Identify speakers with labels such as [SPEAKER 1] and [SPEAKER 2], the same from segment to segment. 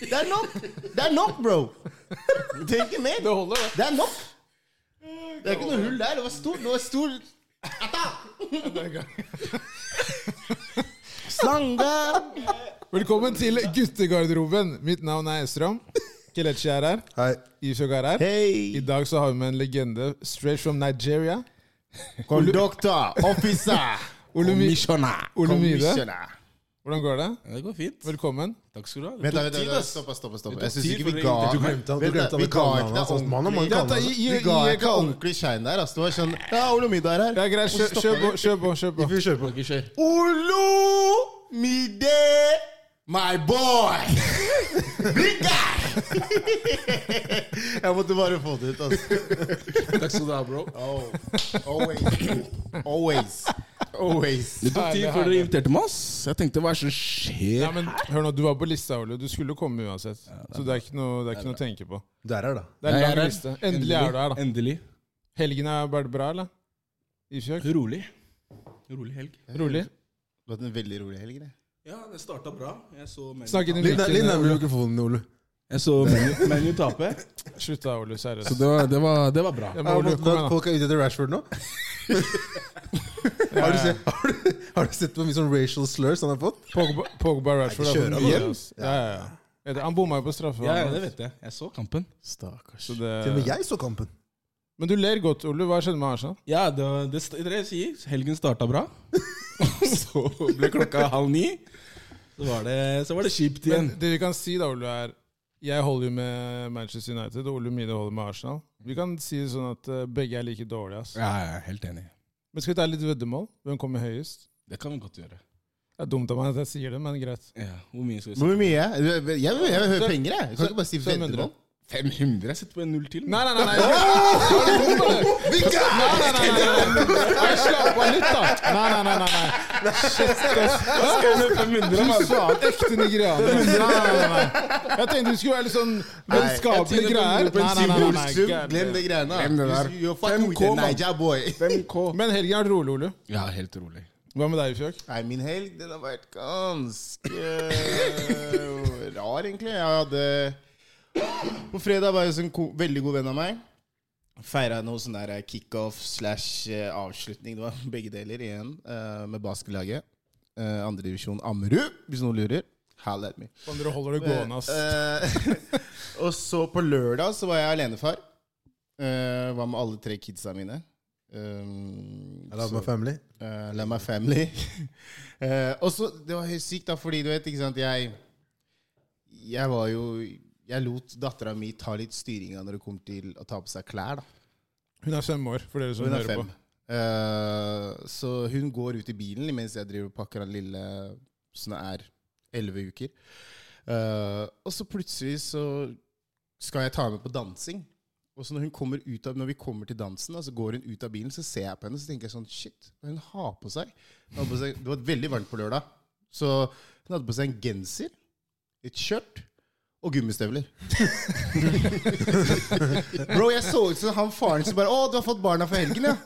[SPEAKER 1] Det er nok! Det er nok, bro! Du trenger ikke mer.
[SPEAKER 2] Det holder, det.
[SPEAKER 1] Det er nok! Det er ikke noe hull der. Det var stort. Det var stor slange.
[SPEAKER 2] Velkommen til guttegarderoben. Mitt navn er Estrøm. Kelechi er her.
[SPEAKER 3] Hei.
[SPEAKER 2] Ishok er her. I
[SPEAKER 1] Hei!
[SPEAKER 2] dag så har vi med en legende straight from Nigeria.
[SPEAKER 1] Conductor, officer,
[SPEAKER 2] Olumi-
[SPEAKER 1] commissioner.
[SPEAKER 2] Olumide.
[SPEAKER 1] Commissioner.
[SPEAKER 2] Hvordan går det?
[SPEAKER 4] Ja, det går fint.
[SPEAKER 2] Velkommen.
[SPEAKER 4] Takk skal du ha. Det
[SPEAKER 1] Vent, da,
[SPEAKER 4] tok
[SPEAKER 1] vent, da,
[SPEAKER 4] tid,
[SPEAKER 1] vent,
[SPEAKER 4] ass.
[SPEAKER 1] stopp, stopp, stopp.
[SPEAKER 4] Det tok
[SPEAKER 1] Jeg syns
[SPEAKER 4] tid
[SPEAKER 1] ikke
[SPEAKER 4] for
[SPEAKER 1] vi
[SPEAKER 4] å
[SPEAKER 1] ga
[SPEAKER 4] ringe.
[SPEAKER 3] Du glemte han.
[SPEAKER 1] Vent da,
[SPEAKER 3] Du glemte han
[SPEAKER 1] vi
[SPEAKER 3] i
[SPEAKER 1] ga ikke deg
[SPEAKER 3] kallenavnet hans. Altså,
[SPEAKER 1] ordentlig.
[SPEAKER 3] Mann og mann
[SPEAKER 2] Ja, da,
[SPEAKER 1] Vi
[SPEAKER 2] gi-
[SPEAKER 3] kallenavn.
[SPEAKER 2] gi-
[SPEAKER 1] ga
[SPEAKER 2] gi-
[SPEAKER 1] ikke ordentlig shine der. ass. Det var sånn Ja, Olumide er
[SPEAKER 2] Det
[SPEAKER 1] her.
[SPEAKER 2] er greit. Kjør, kjør på. Kjør på. kjør på.
[SPEAKER 3] Vi kjører på.
[SPEAKER 4] Ikke kjør.
[SPEAKER 1] Olumide, my boy! Big guy! Jeg måtte bare få det ut, altså.
[SPEAKER 4] Takk skal du ha, bro.
[SPEAKER 1] Oh, always. Always. Always.
[SPEAKER 4] Det tok tid
[SPEAKER 2] Herlig,
[SPEAKER 4] før dere
[SPEAKER 2] herlig.
[SPEAKER 4] inviterte meg, ass. Jeg tenkte, hva er det som
[SPEAKER 2] Ja,
[SPEAKER 4] skjer?
[SPEAKER 2] men hør nå, Du var på lista, Ole. Du skulle komme uansett. Så det er ikke noe, det er ikke noe å tenke på.
[SPEAKER 3] Du er her, da.
[SPEAKER 2] Det er
[SPEAKER 4] Nei, jeg
[SPEAKER 2] en
[SPEAKER 4] er
[SPEAKER 2] lang
[SPEAKER 4] her.
[SPEAKER 2] liste. Endelig er du her, da.
[SPEAKER 4] Endelig.
[SPEAKER 2] Helgen har vært bra, eller? Ifjøk?
[SPEAKER 4] Rolig. Rolig helg.
[SPEAKER 2] Rolig?
[SPEAKER 1] Du har hatt en veldig rolig helg, det.
[SPEAKER 4] Ja, det starta bra. Jeg så Menu,
[SPEAKER 2] Snakk inn i
[SPEAKER 3] Litt, litt
[SPEAKER 2] mikken.
[SPEAKER 3] nærmere mikrofonen, Ole.
[SPEAKER 4] Jeg så menu, menu tape.
[SPEAKER 2] Slutt da, Ole.
[SPEAKER 4] Så
[SPEAKER 2] Seriøst.
[SPEAKER 4] det var, det var, det var bra.
[SPEAKER 2] Jeg
[SPEAKER 3] Er
[SPEAKER 2] må
[SPEAKER 3] det
[SPEAKER 2] Ole
[SPEAKER 3] måten at
[SPEAKER 2] komme igjen,
[SPEAKER 3] folk er ute etter Rashford nå?
[SPEAKER 2] da.
[SPEAKER 3] Har du sett, har du, har du sett hvor mye sånn racial slurs han har fått?
[SPEAKER 2] Pogba- Pogba Rashford er
[SPEAKER 3] kjører
[SPEAKER 2] for
[SPEAKER 3] han
[SPEAKER 2] mye.
[SPEAKER 3] hjem.
[SPEAKER 2] ass. Ja, ja, ja. Ja, det- Han bomma jo på straffe.
[SPEAKER 4] Ja, ja, det vet jeg. Jeg så kampen.
[SPEAKER 1] Stakkars.
[SPEAKER 2] Så
[SPEAKER 3] Til og med
[SPEAKER 2] det...
[SPEAKER 3] jeg så kampen.
[SPEAKER 2] Men du ler godt, Ole. Hva skjedde med Arsenal?
[SPEAKER 4] Ja, det, var- det, st- dere sier helgen starta bra. Så ble klokka halv ni. Så var det, så var det kjipt
[SPEAKER 2] Men
[SPEAKER 4] igjen.
[SPEAKER 2] det vi kan si, da, Ole, er Jeg holder jo med Manchester United, og Ole Mide holder med Arsenal. Vi kan si det sånn at eh, begge er like dårlige. ass.
[SPEAKER 4] Ja, jeg er helt enig.
[SPEAKER 2] Men skal vi ta litt veddemål? Hvem kommer høyest?
[SPEAKER 4] Det kan vi godt gjøre.
[SPEAKER 2] Det er dumt av meg at jeg sier det, men greit.
[SPEAKER 4] Ja, hvor mye skal vi si?
[SPEAKER 1] Hvor mye? Jeg, jeg, vil- jeg, vil høre penger, jeg. Du kan ikke bare si
[SPEAKER 2] 500.
[SPEAKER 1] veddemål.
[SPEAKER 4] 500? Jeg setter på en null til.
[SPEAKER 2] Nei, nei, nei! nei. Er du dum, eller? Nei, nei, nei, nei, nei. Jeg slapp av litt, da. Nei, nei, nei. nei, nei. Shit, ass. Fy faen, ekte nigerianer. Nei, nei, nei, nei. Jeg tenkte du skulle være litt sånn vennskapelige
[SPEAKER 4] jeg
[SPEAKER 2] greier.
[SPEAKER 4] tjener på en
[SPEAKER 1] Hulk, Sum, Glem det greiene. da.
[SPEAKER 4] Glem det der.
[SPEAKER 1] You- You're fucking with
[SPEAKER 4] 5K,
[SPEAKER 1] the
[SPEAKER 4] mann.
[SPEAKER 1] Niger boy.
[SPEAKER 4] 5K.
[SPEAKER 2] Men helgen har vært rolig, Ole.
[SPEAKER 4] Ja, helt rolig.
[SPEAKER 2] Hva med deg, Fjøk?
[SPEAKER 1] Nei, min helg den har vært ganske rar, egentlig. Jeg hadde På fredag var jeg hos en ko veldig god venn av meg. Feira noe sånn der kickoff slash eh, avslutning. Det var begge deler igjen eh, med basketlaget. Eh, Andredivisjon Ammerud, hvis noen lurer. Hall at me.
[SPEAKER 2] Om dere holder det gående, ass.
[SPEAKER 1] Eh, og så på lørdag så var jeg alenefar. Eh, var med alle tre kidsa mine. Um,
[SPEAKER 3] Jeg la
[SPEAKER 1] så-
[SPEAKER 3] meg family.
[SPEAKER 1] Eh, La meg family. Eh, og så, Det var helt sykt, da, fordi du vet, ikke sant Jeg, jeg var jo Jeg lot dattera mi ta litt styringa når det kom til å ta på seg klær. da
[SPEAKER 2] Hun er fem år, for dere som
[SPEAKER 1] Hun er
[SPEAKER 2] hører på.
[SPEAKER 1] fem. Eh, så hun går ut i bilen mens jeg driver og pakker han lille, som er elleve uker. Eh, og så plutselig så skal jeg ta henne med på dansing. Og så når, hun kommer ut av, når vi kommer til dansen, da, så går hun ut av bilen, så ser jeg på henne, så tenker jeg sånn Shit, hva hun har på seg. Hun hadde på seg det var veldig varmt på lørdag, så hun hadde på seg en genser, et skjørt og gummistøvler. Bro, jeg så ut som han faren som bare Å, du har fått barna for helgen, ja.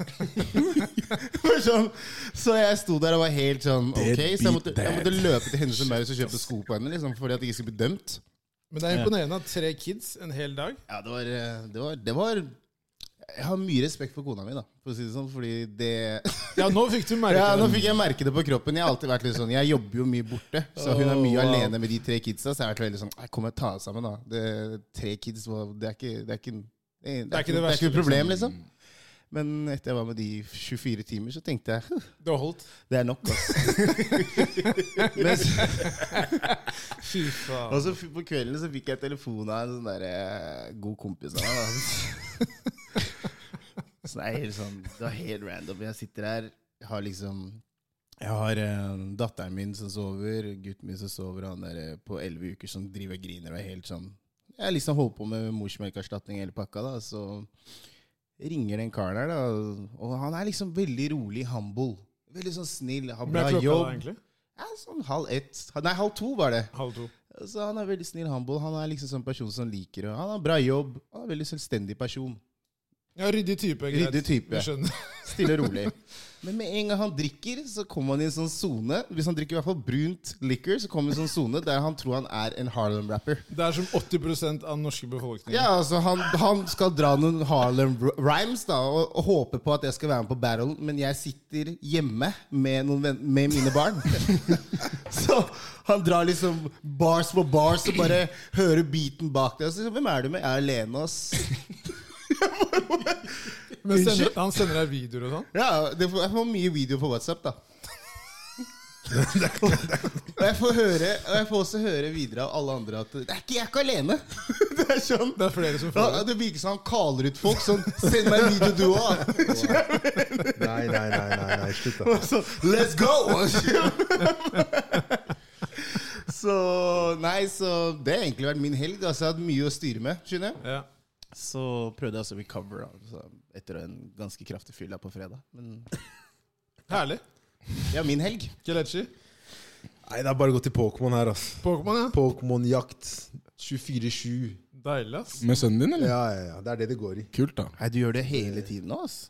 [SPEAKER 1] Bare sånn. Så jeg sto der og var helt sånn Ok, så jeg måtte, jeg måtte løpe til Hennes og Maurits og kjøpe sko på henne, liksom, fordi at jeg ikke skulle bli dømt.
[SPEAKER 2] Men det er imponerende at tre kids en hel dag
[SPEAKER 1] Ja, det var, det var, det var Jeg har mye respekt for kona mi, da, for å si det sånn, fordi det
[SPEAKER 2] Ja, nå fikk du merke
[SPEAKER 1] ja, Nå
[SPEAKER 2] det.
[SPEAKER 1] fikk jeg merke det på kroppen. Jeg har alltid vært litt sånn Jeg jobber jo mye borte, så hun er mye alene med de tre kidsa. Så jeg har vært veldig sånn «Nei, Kom og ta deg sammen, da. Det, tre kids, hva- det er ikke Det er ikke, det er, det er ikke det
[SPEAKER 2] verste,
[SPEAKER 1] er ikke noe problem, liksom. Men etter jeg var med de 24 timer, så tenkte jeg «Huh,
[SPEAKER 2] Det har holdt.
[SPEAKER 1] det er nok. Altså. Men så,
[SPEAKER 2] Fy faen.
[SPEAKER 1] Og så f- på kvelden så fikk jeg telefon av en sånn der eh, god kompis av meg. da. Så det er helt sånn Det var helt random. Jeg sitter her, jeg har liksom Jeg har eh, datteren min som sover, gutten min som sover, og han der eh, på elleve uker som driver og griner og er helt sånn Jeg liksom holder på med morsmelkerstatning og hele pakka, da, så ringer den karen her, da, og han er liksom veldig rolig, humble. Veldig sånn snill, har
[SPEAKER 2] Ble
[SPEAKER 1] bra
[SPEAKER 2] klokka da,
[SPEAKER 1] jobb.
[SPEAKER 2] egentlig?
[SPEAKER 1] Ja, sånn halv ett Nei, halv to var det.
[SPEAKER 2] Halv to.
[SPEAKER 1] Så han er veldig snill humble. Han er liksom sånn person som liker å Han har bra jobb. Han er en veldig selvstendig person.
[SPEAKER 5] Ja, ryddig type. Greit.
[SPEAKER 1] Ryddig type.
[SPEAKER 5] Vi skjønner.
[SPEAKER 1] Stille og rolig. Men med en gang han drikker, så kommer han i en sånn sone. Hvis han drikker i hvert fall brunt liquor, så kommer han i en sånn sone der han tror han er en Harlem-rapper.
[SPEAKER 5] Det er som 80 av den norske befolkningen.
[SPEAKER 1] Ja, altså han, han skal dra noen Harlem Rhymes da og, og håpe på at jeg skal være med på battle, men jeg sitter hjemme med, noen venn, med mine barn. så han drar liksom bars på bars og bare hører beaten bak deg. Og så, sier han, Hvem er du med? Jeg er alene, ass.
[SPEAKER 5] Men sender, han sender deg videoer og sånn?
[SPEAKER 1] Ja, det får, jeg får mye video på WhatsApp, da. og jeg får, høre, og jeg får også høre videre av alle andre at det er ikke jeg er ikke alene. det er sånn
[SPEAKER 5] Det er flere som får det.
[SPEAKER 1] ja, Det virker som han kaller ut folk sånn Send meg en video, du òg!
[SPEAKER 3] Nei, nei, nei, nei, nei slutt da.
[SPEAKER 1] Let's go! så Nei, så det har egentlig vært min helg. Altså, jeg har hatt mye å styre med. skjønner jeg
[SPEAKER 5] Ja.
[SPEAKER 1] Så prøvde jeg også å recover altså, etter en ganske kraftig fylla på fredag. Men
[SPEAKER 5] Herlig.
[SPEAKER 1] ja, min helg.
[SPEAKER 5] Kelechi.
[SPEAKER 3] Nei, det er bare å gå til Pokémon her, ass.
[SPEAKER 5] Pokémon, ja.
[SPEAKER 3] Pokémon-jakt 24-7.
[SPEAKER 5] Deilig, ass.
[SPEAKER 4] Med sønnen din, eller?
[SPEAKER 3] Ja, ja, ja. Det er det det går i.
[SPEAKER 4] Kult, da.
[SPEAKER 1] Nei, du gjør det hele tiden nå, ass.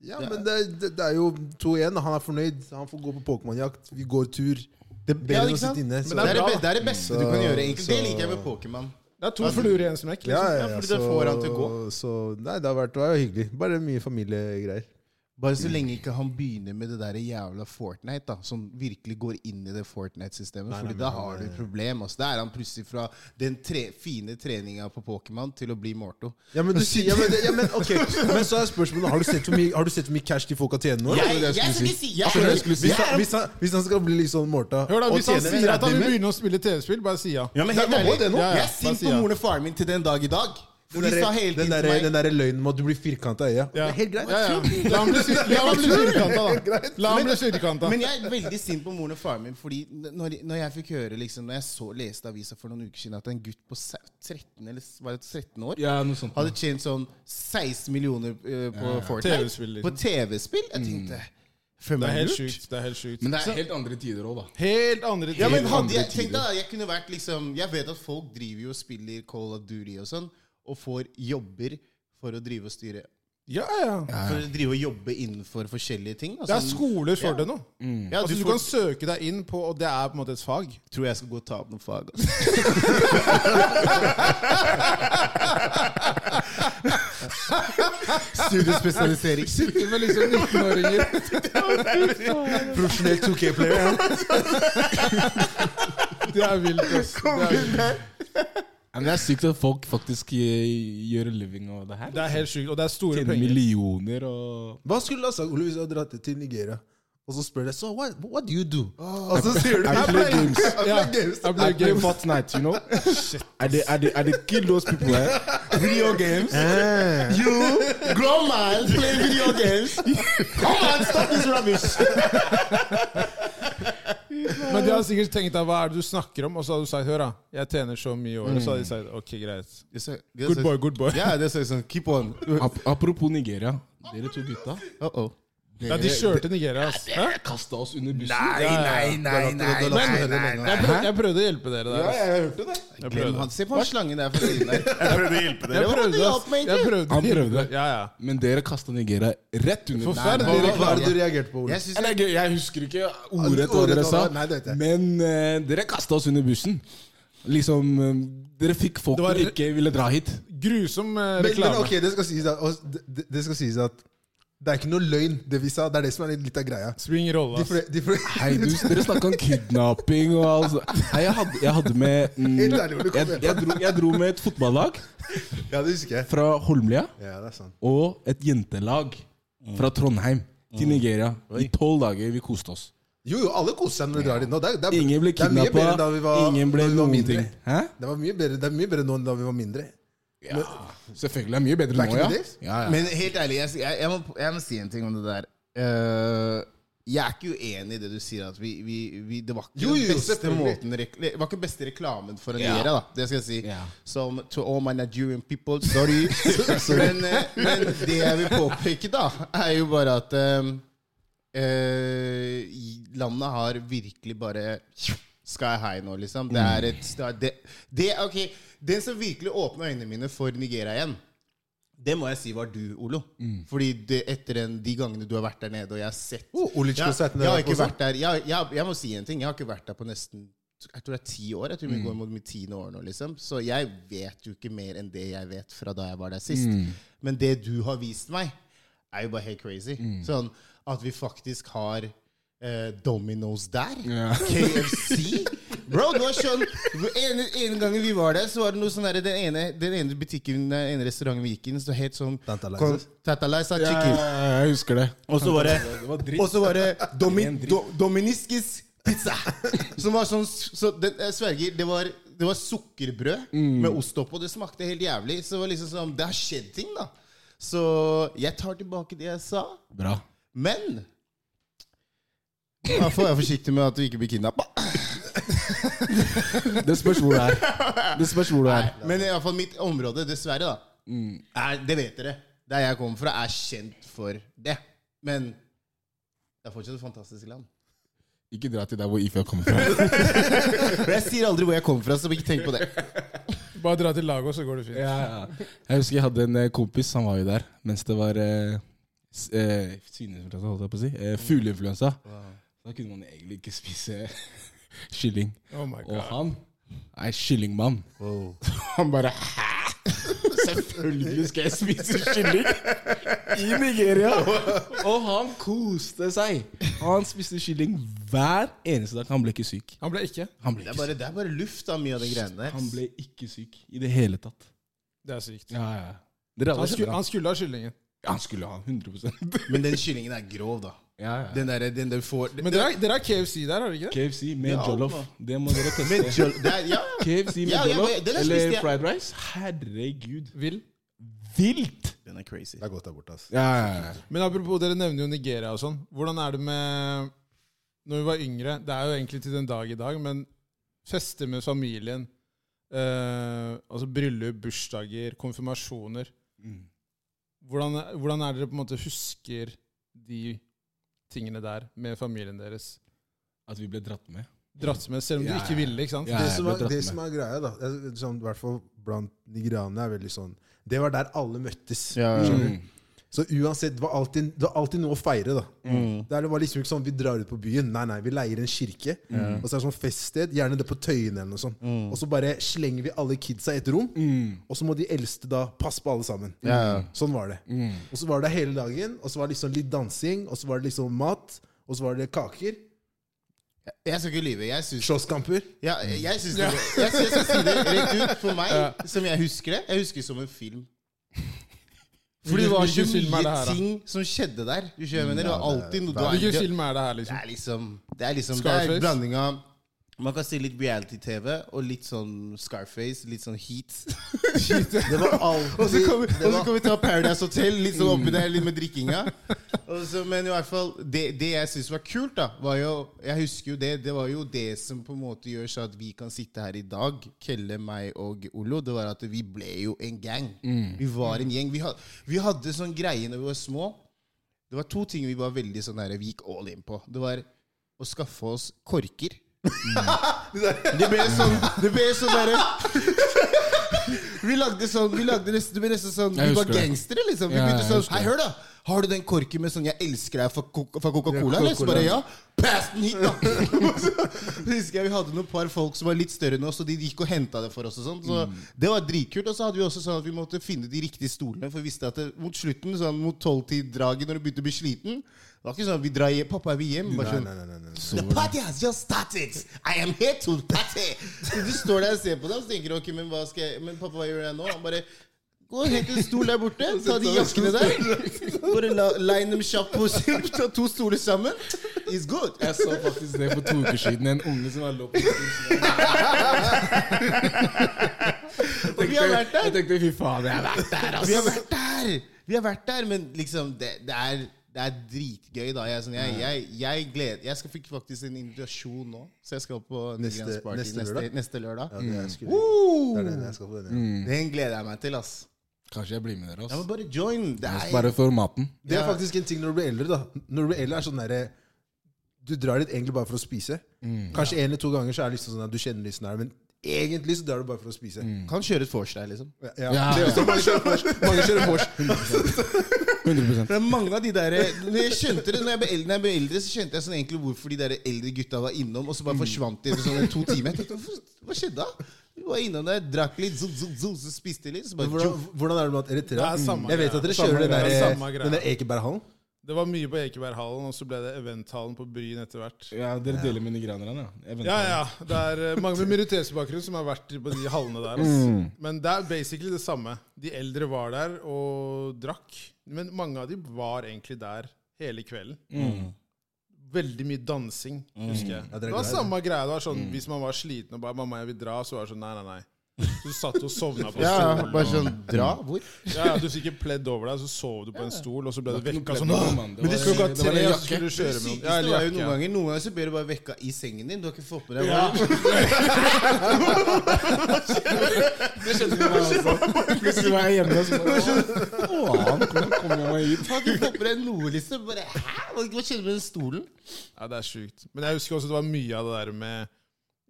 [SPEAKER 3] Ja, men det, er- det, det er jo 2-1. Han er fornøyd. Han får gå på Pokémon-jakt. Vi går tur. Det
[SPEAKER 1] Ja,
[SPEAKER 3] er bedre enn
[SPEAKER 1] ikke
[SPEAKER 3] å
[SPEAKER 1] sant?
[SPEAKER 3] sitte inne.
[SPEAKER 1] Men
[SPEAKER 3] Så.
[SPEAKER 1] det, er det,
[SPEAKER 5] bra,
[SPEAKER 1] be-
[SPEAKER 5] da.
[SPEAKER 1] det er det beste du kan gjøre. egentlig Det liker jeg med Pokémon.
[SPEAKER 5] Det er to fluer i en smekk.
[SPEAKER 3] ja,
[SPEAKER 5] Liksom.
[SPEAKER 3] ja,
[SPEAKER 1] Ja,
[SPEAKER 3] ja,
[SPEAKER 1] fordi det får han til å gå.
[SPEAKER 3] Så, nei, det har vært, det var jo hyggelig. Bare mye familiegreier.
[SPEAKER 1] Bare så lenge ikke han begynner med det der jævla Fortnite, da, som virkelig går inn i det Fortnite-systemet. Fordi da har du et problem. Altså. Da er han plutselig fra den tre, fine treninga på Pokémon til å bli Morto.
[SPEAKER 3] Ja, men, du, sier- ja, men, ja, men, ok. men så er spørsmålet Har du sett hvor mye, har du sett hvor mye cash de folka tjener nå?
[SPEAKER 1] Jeg,
[SPEAKER 3] eller?
[SPEAKER 1] jeg, skal ikke si jeg,
[SPEAKER 3] Skjønner du?
[SPEAKER 1] jeg,
[SPEAKER 3] Hvis, han, hvis, han, hvis han skal bli liksom Morta
[SPEAKER 5] Hør da,
[SPEAKER 3] og
[SPEAKER 5] Hvis han
[SPEAKER 3] tjene
[SPEAKER 5] sier at han vil
[SPEAKER 3] 30 mil-
[SPEAKER 5] begynne å spille TV-spill, bare si ja.
[SPEAKER 1] ja, men helt
[SPEAKER 3] Det er
[SPEAKER 1] ærlig,
[SPEAKER 3] noe, det er noe.
[SPEAKER 1] jeg
[SPEAKER 5] Ja, ja,
[SPEAKER 1] er sint
[SPEAKER 5] bare si
[SPEAKER 1] på
[SPEAKER 5] ja.
[SPEAKER 1] moren og faren min til den dag i dag. For
[SPEAKER 3] den
[SPEAKER 1] de sa hele tiden til
[SPEAKER 3] derre den derre- den
[SPEAKER 1] meg
[SPEAKER 3] derre løgnen med at du blir firkanta i øyet.
[SPEAKER 5] Ja.
[SPEAKER 3] Det er helt greit.
[SPEAKER 5] Ja, ja. La ham bli, syr- la ham bli syrkanta, da. La ham bli syrkanta.
[SPEAKER 1] Men jeg er veldig sint på moren og faren min. Fordi n- når, når jeg fikk høre liksom, Når jeg så leste avisa for noen uker siden at en gutt på se- 13 eller s- var det 13 år
[SPEAKER 4] Ja, noe sånt.
[SPEAKER 1] hadde tjent sånn 16 millioner eh, på Fortnite
[SPEAKER 5] TV-spill, liksom.
[SPEAKER 1] På TV-spill? Jeg tenkte Følg
[SPEAKER 5] Det er
[SPEAKER 1] meg
[SPEAKER 5] helt
[SPEAKER 1] lurt.
[SPEAKER 5] sjukt. Det er helt sjukt.
[SPEAKER 4] Men det er helt andre tider òg, da.
[SPEAKER 5] Helt andre
[SPEAKER 1] Ja,
[SPEAKER 5] ting.
[SPEAKER 1] men hadde jeg
[SPEAKER 4] andre
[SPEAKER 1] tenkt da, jeg kunne vært liksom Jeg vet at folk driver jo og spiller Call of Duty og sånn, og får jobber for å drive og styre
[SPEAKER 5] Ja, ja.
[SPEAKER 1] For å drive og jobbe innenfor forskjellige ting. da,
[SPEAKER 5] Det er
[SPEAKER 1] sånn-
[SPEAKER 5] skoler for det nå.
[SPEAKER 1] ja,
[SPEAKER 5] Altså,
[SPEAKER 1] du
[SPEAKER 5] du
[SPEAKER 1] får,
[SPEAKER 5] kan søke deg inn på, og det er på en måte et fag.
[SPEAKER 1] tror jeg skal gå og ta opp noen fag. Altså.
[SPEAKER 3] Studiespesialisering.
[SPEAKER 5] Sitter med liksom 19-åringer.
[SPEAKER 3] Profesjonell 2K-player. ja.
[SPEAKER 5] Det er vilt, ass. Det er, vilt.
[SPEAKER 4] Men det er sykt at folk faktisk eh, gjør living av det her.
[SPEAKER 5] det er helt sjukt. Og det er store
[SPEAKER 4] Tjener
[SPEAKER 5] penger.
[SPEAKER 4] millioner og
[SPEAKER 3] Hva skulle du ha sagt Ole hvis du hadde dratt til Nigeria? Og så spør jeg so what, what do you do? Og så sier du
[SPEAKER 4] I play games.
[SPEAKER 3] I play
[SPEAKER 5] Ja.
[SPEAKER 3] games.
[SPEAKER 5] I play games.
[SPEAKER 4] Fortnite, you know? I did, I did, I did kill those people, eh? Video games. Eh.
[SPEAKER 1] You, grown man, play video games. Come on, stop this rubbish.
[SPEAKER 5] Men de har sikkert tenkt deg, hva er det du snakker om? Og så har du sagt, hør da, jeg tjener så mye i året. Så har de sagt, ok, greit. Good boy, good boy.
[SPEAKER 1] Ja, det er sånn. Keep on.
[SPEAKER 4] Ap apropos Nigeria. Dere to gutta
[SPEAKER 1] Uh -oh.
[SPEAKER 5] Ja, de kjørte Nigeria, ass. Hæ?
[SPEAKER 4] kasta oss under bussen.
[SPEAKER 1] nei, nei, nei, nei,
[SPEAKER 5] Jeg prøvde, jeg prøvde å hjelpe dere der. ass.
[SPEAKER 3] jeg hørte det.
[SPEAKER 5] Jeg
[SPEAKER 1] Glem
[SPEAKER 5] prøvde.
[SPEAKER 1] han. Se på han slangen der fra siden der. Jeg prøvde å hjelpe
[SPEAKER 5] Jeg prøvde, ass. Jeg prøvde.
[SPEAKER 4] Han prøvde.
[SPEAKER 5] Ja, ja.
[SPEAKER 4] Men dere kasta Nigeria rett under
[SPEAKER 5] Forferdelig.
[SPEAKER 4] Nei,
[SPEAKER 3] Hva er det du reagerte på, Ole?
[SPEAKER 1] Jeg synes
[SPEAKER 4] nei, nei, jeg- Jeg husker ikke ordrett hva
[SPEAKER 3] Ordrett,
[SPEAKER 4] dere sa,
[SPEAKER 3] nei, det vet jeg.
[SPEAKER 4] men eh, dere kasta oss under bussen. Liksom eh, Dere fikk folk
[SPEAKER 5] Det var-
[SPEAKER 4] som ikke ville dra hit.
[SPEAKER 5] Grusom eh,
[SPEAKER 3] Men, men
[SPEAKER 5] reklame.
[SPEAKER 3] ok, det skal sies at, og det, det skal sies at det er ikke noe løgn, det vi sa. Det er det som er litt- litt av greia.
[SPEAKER 5] Swing rolle,
[SPEAKER 3] De
[SPEAKER 5] ass.
[SPEAKER 3] fle, de fle,
[SPEAKER 4] Hei, du, dere snakka om kidnapping og alt sånt. Nei, jeg hadde, jeg hadde med mm,
[SPEAKER 3] Helt ærlig, hvor du kom
[SPEAKER 4] jeg, jeg, dro, jeg dro med et fotballag
[SPEAKER 3] ja, det husker jeg.
[SPEAKER 4] fra Holmlia
[SPEAKER 3] Ja, det er sant.
[SPEAKER 4] og et jentelag fra Trondheim til Nigeria. I tolv dager. Vi koste oss.
[SPEAKER 3] Jo, jo, alle koser seg når de drar dit nå. Det er, det er,
[SPEAKER 4] Ingen ble
[SPEAKER 3] det er mye bedre enn
[SPEAKER 4] kidnappa.
[SPEAKER 3] da vi var,
[SPEAKER 4] Ingen ble
[SPEAKER 3] da vi var
[SPEAKER 4] noen
[SPEAKER 3] mindre.
[SPEAKER 4] ting. Hæ?
[SPEAKER 3] Det, var mye bedre, det er mye bedre nå enn da vi var mindre.
[SPEAKER 4] Ja, selvfølgelig er det mye bedre
[SPEAKER 3] Back
[SPEAKER 4] nå,
[SPEAKER 3] in
[SPEAKER 4] ja.
[SPEAKER 3] the days?
[SPEAKER 4] ja, ja.
[SPEAKER 1] Men helt ærlig, jeg, jeg, jeg, må, jeg må si en ting om det der. Eh, jeg er ikke uenig i det du sier, at vi, vi, vi, det var ikke
[SPEAKER 3] Jo, jo,
[SPEAKER 1] den beste
[SPEAKER 3] selvfølgelig.
[SPEAKER 1] måten rek- Det var ikke beste reklamen for en gjøre, da. Det skal jeg si.
[SPEAKER 4] Ja.
[SPEAKER 1] Som to all my Nigerian people, sorry. men, eh, men det jeg vil påpeke, da, er jo bare at eh, eh, i- landet har virkelig bare Sky high nå, liksom. Det er et sta- det, det, ok, Den som virkelig åpna øynene mine for Nigeria igjen, Det må jeg si var du, Olo. Fordi det, etter den, de gangene du har vært der nede, og jeg har sett
[SPEAKER 3] Oh, Olic
[SPEAKER 1] jeg,
[SPEAKER 3] ble satt ned
[SPEAKER 1] jeg har
[SPEAKER 3] der på
[SPEAKER 1] ikke
[SPEAKER 3] sånn.
[SPEAKER 1] vært der jeg, jeg, jeg må si en ting. Jeg har ikke vært der på nesten jeg tror det er ti år. Jeg tror vi
[SPEAKER 4] Mm.
[SPEAKER 1] går mot mitt tiende år nå, liksom. Så jeg vet jo ikke mer enn det jeg vet fra da jeg var der sist.
[SPEAKER 4] Mm.
[SPEAKER 1] Men det du har vist meg, er jo bare helt crazy.
[SPEAKER 4] Mm.
[SPEAKER 1] Sånn at vi faktisk har eh, Domino's der.
[SPEAKER 4] Ja.
[SPEAKER 1] KFC. Bro, du har skjønt en, en gang vi var der, så var det noe sånn derre den, ene- den ene butikken, den ene restauranten vi gikk inn, så het sånn
[SPEAKER 3] Tantalizers.
[SPEAKER 1] Tataliza
[SPEAKER 4] Ja,
[SPEAKER 1] chicken.
[SPEAKER 4] jeg husker det.
[SPEAKER 1] Og så var det,
[SPEAKER 4] var dritt.
[SPEAKER 1] og så var det domi, do, Dominiskis pizza. Som var sånn så det, Jeg sverger, det var, det var sukkerbrød med ost oppå. Det smakte helt jævlig. Så det var liksom sånn Det har skjedd ting, da. Så jeg tar tilbake det jeg sa.
[SPEAKER 4] Bra.
[SPEAKER 1] Men Derfor er jeg forsiktig med at du ikke blir kidnappa.
[SPEAKER 4] Det spørs hvor du er. Det spørs hvor du er.
[SPEAKER 1] Men iallfall mitt område, dessverre, da er, Det vet dere. Der jeg kommer fra, er kjent for det. Men det er fortsatt et fantastisk land.
[SPEAKER 4] Ikke dra til der hvor Ifjell kommer fra.
[SPEAKER 1] For jeg sier aldri hvor jeg kommer fra, så ikke tenk på det.
[SPEAKER 5] Bare dra til Lagos, så går det fint.
[SPEAKER 4] Ja, ja. Jeg husker jeg hadde en eh, kompis, han var jo der, mens det var eh, s- eh, svineinfluensa, holdt jeg på å si. Eh, Fugleinfluensa. Da kunne man egentlig ikke spise kylling.
[SPEAKER 5] Oh my
[SPEAKER 4] Og
[SPEAKER 5] god.
[SPEAKER 4] han er kyllingmann. Han bare Hæ?! Selvfølgelig skal jeg spise kylling! I Nigeria! Og han koste seg. Han spiste kylling hver eneste dag. Han ble ikke syk.
[SPEAKER 5] Han ble ikke.
[SPEAKER 4] Han ble
[SPEAKER 1] Det
[SPEAKER 4] ikke
[SPEAKER 1] er bare, det er bare luft av mye av de greiene der.
[SPEAKER 4] Han ble ikke syk i det hele tatt.
[SPEAKER 5] Det er sykt.
[SPEAKER 4] Ja, ja. Dere alle
[SPEAKER 5] Han skulle,
[SPEAKER 4] kjenner han.
[SPEAKER 5] han skulle ha kyllingen.
[SPEAKER 4] Ja, han skulle ha 100
[SPEAKER 1] Men den kyllingen er grov, da.
[SPEAKER 4] ja, ja.
[SPEAKER 1] Den der, den der får
[SPEAKER 5] Men dere har, dere har KFC der, har dere ikke det?
[SPEAKER 4] KFC med
[SPEAKER 1] Ja,
[SPEAKER 4] jollof. Det må dere
[SPEAKER 1] Men
[SPEAKER 4] teste.
[SPEAKER 1] jol- det er, ja.
[SPEAKER 4] KFC med
[SPEAKER 1] Ja, ja,
[SPEAKER 4] jollof
[SPEAKER 1] men den har spist,
[SPEAKER 4] eller
[SPEAKER 1] ja.
[SPEAKER 4] fried rice. Herregud.
[SPEAKER 5] Vil.
[SPEAKER 4] Vilt!
[SPEAKER 1] Den er crazy.
[SPEAKER 3] Det er godt der borte, ass.
[SPEAKER 4] Ja, ja, ja.
[SPEAKER 5] Men apropos, dere nevner jo Nigeria og sånn. Hvordan er det med Når vi var yngre Det er jo egentlig til den dag i dag, men fester med familien eh, Altså bryllup, bursdager, konfirmasjoner
[SPEAKER 2] Mm.
[SPEAKER 5] hvordan, hvordan er dere på en måte husker de tingene der med familien deres?
[SPEAKER 4] At vi ble dratt med.
[SPEAKER 5] Dratt med, selv om
[SPEAKER 4] Ja,
[SPEAKER 5] dere ikke
[SPEAKER 4] ja.
[SPEAKER 5] ville, ikke sant?
[SPEAKER 4] Ja,
[SPEAKER 3] Det
[SPEAKER 4] jeg
[SPEAKER 3] som
[SPEAKER 4] ble
[SPEAKER 3] er,
[SPEAKER 4] dratt
[SPEAKER 3] det
[SPEAKER 4] med.
[SPEAKER 3] som er greia, da er, sånn, I hvert fall blant nigerianere er veldig sånn Det var der alle møttes.
[SPEAKER 4] Mm.
[SPEAKER 3] Så uansett, det var, alltid, det var alltid noe å feire, da.
[SPEAKER 1] Mm.
[SPEAKER 3] Det er- det var liksom ikke sånn vi drar ut på byen. Nei, nei, vi leier en kirke. Og så er det sånn feststed, gjerne det på Tøyen eller noe sånt.
[SPEAKER 4] Mm.
[SPEAKER 3] Og så bare slenger vi alle kidsa i et rom, og så må de eldste da passe på alle sammen.
[SPEAKER 1] Ja.
[SPEAKER 3] Sånn var det. Og så var det hele dagen, og så var det liksom litt dansing, og så var det liksom mat, og så var det kaker,
[SPEAKER 1] Jeg skal ikke lyve. Jeg syns
[SPEAKER 3] slåsskamper.
[SPEAKER 1] ja, jeg, syns det, jeg, jeg skal si det rett ut. For meg, som jeg husker det Jeg husker det som en film. Fordi det var så
[SPEAKER 5] Hvilken film er det
[SPEAKER 1] mye
[SPEAKER 5] her, da?
[SPEAKER 1] ting som skjedde der. Du skjønner, det var alltid noe du
[SPEAKER 5] Hvilken
[SPEAKER 1] aldri-
[SPEAKER 5] film er det her,
[SPEAKER 1] Det
[SPEAKER 5] liksom?
[SPEAKER 1] er liksom Det er liksom Det er
[SPEAKER 5] Scarface?
[SPEAKER 1] blanding av Man kan si litt reality-TV og litt sånn Scarface, litt sånn heat.
[SPEAKER 3] Det var alltid
[SPEAKER 1] Og så kan, vi,
[SPEAKER 3] det
[SPEAKER 1] og så
[SPEAKER 3] var-
[SPEAKER 1] kan vi ta Paradise Hotel litt sånn oppi der, litt med drikkinga. Og så, men i hvert fall, det, det jeg syns var kult, da, var jo Jeg husker jo det. Det var jo det som på en måte gjør så at vi kan sitte her i dag, Kelle, meg og Ollo. Det var at vi ble jo en gang.
[SPEAKER 3] Mm.
[SPEAKER 1] Vi var en gjeng. Vi, had, vi hadde sånn greie når vi var små. Det var to ting vi var veldig sånn her, vi gikk all in på. Det var å skaffe oss korker. Det ble sånn Det ble sånn derre Vi lagde sånn Vi lagde nesten, det ble nesten sånn Vi
[SPEAKER 4] Jeg
[SPEAKER 1] var
[SPEAKER 4] husker det.
[SPEAKER 1] gangstere, liksom. Vi
[SPEAKER 4] Ja,
[SPEAKER 1] begynte
[SPEAKER 4] jeg
[SPEAKER 1] sånn
[SPEAKER 4] husker
[SPEAKER 1] Hei, hør, da! Har du den korken med sånn 'Jeg elsker deg' fra Coca- fra Coca-Cola?
[SPEAKER 3] Ja,
[SPEAKER 1] eller? Så
[SPEAKER 3] Coca-Cola.
[SPEAKER 1] bare ja. Pass den hit, da! Så husker jeg vi hadde noen par folk som var litt større enn oss, og de gikk og henta det for oss. og sånn Så
[SPEAKER 4] Mm.
[SPEAKER 1] Det var dritkult. Og så hadde vi også sånn at vi måtte finne de riktige stolene, for vi visste at det, mot slutten, sånn mot tolvtid-draget, når du begynte å bli sliten Det var ikke sånn at vi drar hjem, pappa, er vi hjem? Bare
[SPEAKER 3] Nei,
[SPEAKER 1] sånn,
[SPEAKER 3] nei, nei, nei, nei.
[SPEAKER 1] The party has just started. I am here to party. Så du står der og ser på dem, så tenker du ok, men hva skal jeg Men pappa, hva gjør jeg nå? Han bare Gå og hent en stol der borte. Ta de jakkene der. Bare la, line dem kjapt på skilt. Ta to stoler sammen. It's good.
[SPEAKER 4] Jeg så faktisk det for to uker siden. En unge som var lå på
[SPEAKER 1] Og vi har vært
[SPEAKER 4] Jeg
[SPEAKER 1] der.
[SPEAKER 4] tenkte fy faen, jeg har vært der,
[SPEAKER 1] Vi har
[SPEAKER 4] ass!
[SPEAKER 1] vært der. Vi har vært der, men liksom Det, det er det er dritgøy, da. Jeg, er sånn, jeg, jeg, jeg, gleder, jeg skal fikk faktisk en invitasjon nå, så jeg skal på
[SPEAKER 3] Neste-
[SPEAKER 1] Neste, neste,
[SPEAKER 3] neste lørdag?
[SPEAKER 1] neste lørdag.
[SPEAKER 3] Ja, det er
[SPEAKER 1] Mm.
[SPEAKER 3] skummelt.
[SPEAKER 1] Woo! Mm.
[SPEAKER 3] Det er den jeg skal få. Den, ja.
[SPEAKER 1] Den gleder jeg meg til, ass.
[SPEAKER 4] Kanskje jeg blir med dere,
[SPEAKER 1] Ja, men
[SPEAKER 4] ass.
[SPEAKER 1] bare join. Det er,
[SPEAKER 4] Bare for maten.
[SPEAKER 3] Det er faktisk en ting når du blir eldre. da Når du blir eldre er sånn
[SPEAKER 1] Mm.
[SPEAKER 3] derre Du drar dit egentlig bare for å spise. Kanskje en eller to ganger så er det liksom sånn at du kjenner litt sånn her, men Egentlig så drar du bare for å spise.
[SPEAKER 1] Kan kjøre et vors der, liksom.
[SPEAKER 3] Ja, ja.
[SPEAKER 4] Ja.
[SPEAKER 3] Det er også mange kjører vors. Mange kjører vors.
[SPEAKER 4] 100
[SPEAKER 1] Det er mange av de der, når jeg skjønte det, når jeg ble eldre, når jeg ble eldre så skjønte jeg sånn egentlig hvorfor de der eldre gutta var innom, og så bare forsvant de etter sånn en to timer. Jeg tenkte, "Hvorfor- Hva skjedde da? De var innom der, drakk litt, zo, zo, zo, så spiste de litt. Så bare,
[SPEAKER 3] Hvordan, hvordan er det med at Eritrea
[SPEAKER 2] Det er samme
[SPEAKER 3] Jeg vet at dere
[SPEAKER 2] greia.
[SPEAKER 3] kjører den
[SPEAKER 2] Samme
[SPEAKER 3] der,
[SPEAKER 2] greia. Samme greia.
[SPEAKER 3] den der Ekeberghallen.
[SPEAKER 2] Det var mye på Ekeberghallen, og så ble det eventhallen på Bryn etter hvert.
[SPEAKER 4] Ja, dere deler med nigerianerne, ja.
[SPEAKER 2] Ja, ja. Det er eh, mange med minoritetsbakgrunn som har vært på de hallene der. ass. Men det er basically det samme. De eldre var der og drakk. Men mange av de var egentlig der hele kvelden. Veldig mye dansing, husker jeg.
[SPEAKER 3] Ja,
[SPEAKER 2] det,
[SPEAKER 3] dere er
[SPEAKER 2] var
[SPEAKER 3] glad i
[SPEAKER 2] samme greia. det var sånn, Hvis man var sliten og bare 'Mamma, jeg vil dra', så var det sånn Nei, nei, nei. Så du satt og sovna på
[SPEAKER 1] ja,
[SPEAKER 2] stolen.
[SPEAKER 1] bare sånn, dra, hvor?
[SPEAKER 2] Ja, ja, Du fikk ikke pledd over deg, så sov du på en stol, og så ble du vekka sånn. «Åh!»
[SPEAKER 4] Men
[SPEAKER 2] Klokka tre, og så
[SPEAKER 4] jakke.
[SPEAKER 2] skulle du kjøre med noen.
[SPEAKER 1] Ja,
[SPEAKER 2] eller
[SPEAKER 1] det er jo
[SPEAKER 2] jakke, ja.
[SPEAKER 1] noen ganger, noen ganger så blir du bare vekka i sengen din. Du har ikke fått med deg
[SPEAKER 2] Ja.
[SPEAKER 1] hva det
[SPEAKER 4] Det skjedde med meg også. Plutselig var jeg hjemme og så bare, «Å, Faen, hvordan kom jeg meg hit?
[SPEAKER 1] Du har ikke fått med deg noe, liksom. Bare, hæ? Hva hva skjedde med den stolen?
[SPEAKER 2] Ja, det er sjukt. Men jeg husker også det var mye av det der med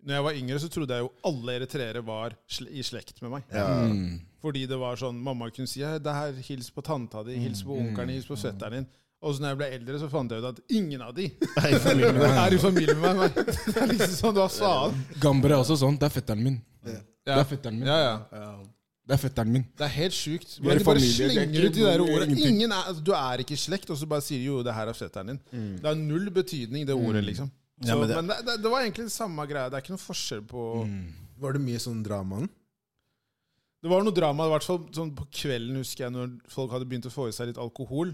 [SPEAKER 2] Når jeg var yngre, så trodde jeg jo alle eritreere var sl i slekt med meg. Fordi det var sånn Mamma kunne si «Hei, det her, 'hils på tanta di', 'hils på onkelen', 'hils på fetteren din'. Og så når jeg ble eldre, så fant jeg ut at ingen av de er i familie med meg. Det er liksom sånn, hva faen?
[SPEAKER 4] Gamber er også sånn. Det er fetteren min. Det er fetteren min.
[SPEAKER 2] Ja, ja.
[SPEAKER 4] Det er fetteren min.
[SPEAKER 2] Det er helt sjukt.
[SPEAKER 4] er
[SPEAKER 2] Hvordan de bare
[SPEAKER 4] familie, det er
[SPEAKER 2] slenger
[SPEAKER 4] ikke-
[SPEAKER 2] ut de der ordene.
[SPEAKER 4] ingenting.
[SPEAKER 2] Ingen er, altså, du er ikke i slekt, og så bare sier de, jo det her er fetteren din.
[SPEAKER 4] Mm.
[SPEAKER 2] Det har null betydning, det ordet, liksom. Så,
[SPEAKER 1] Ja, men
[SPEAKER 2] men
[SPEAKER 1] det-
[SPEAKER 2] det, det, det var egentlig den samme greia. Det er ikke noe forskjell på
[SPEAKER 4] Mm.
[SPEAKER 3] Var det mye sånn drama?
[SPEAKER 2] Det var noe drama, i hvert fall sånn på kvelden, husker jeg, når folk hadde begynt å få i seg litt alkohol.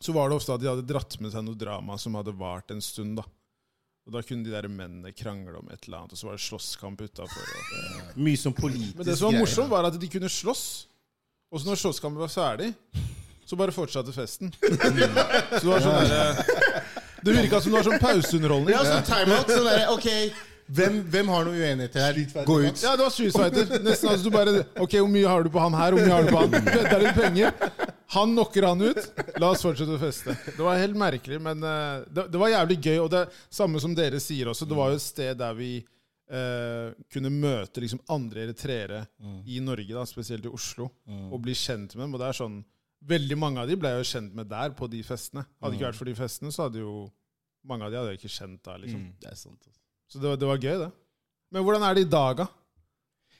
[SPEAKER 2] Så var det ofte at de hadde dratt med seg noe drama som hadde vart en stund, da. Og da kunne de der mennene krangle om et eller annet, og så var det slåsskamp utafor.
[SPEAKER 1] Mye som politisk
[SPEAKER 2] Men det som var morsomt, var at de kunne slåss. Og så når slåsskampen var ferdig, så bare fortsatte festen. Så det var sånn derre Det virka som det var sånn pauseunderholdning.
[SPEAKER 1] Ja, sånn timeout. Sånn der, ok, hvem, hvem har noe uenigheter her? Gå ut.
[SPEAKER 2] Ja, det var Street Fighter. Nesten altså du bare Ok, hvor mye har du på han her? Hvor mye har du på han? Vedder litt penger. Han knocker han ut. La oss fortsette å feste. Det var helt merkelig, men eh, det, det var jævlig gøy. Og det samme som dere sier også, det var jo et sted der vi eh, kunne møte liksom andre eritreere i Norge, da, spesielt i Oslo, og bli kjent med dem. Og det er sånn Veldig mange av de ble jo kjent med der, på de festene. Hadde
[SPEAKER 1] Mm.
[SPEAKER 2] det ikke vært for de festene, så hadde jo mange av de hadde jeg ikke kjent da, liksom.
[SPEAKER 1] Det er sant. altså.
[SPEAKER 2] Så det, var- det var gøy, det. Men hvordan er det i dag, da?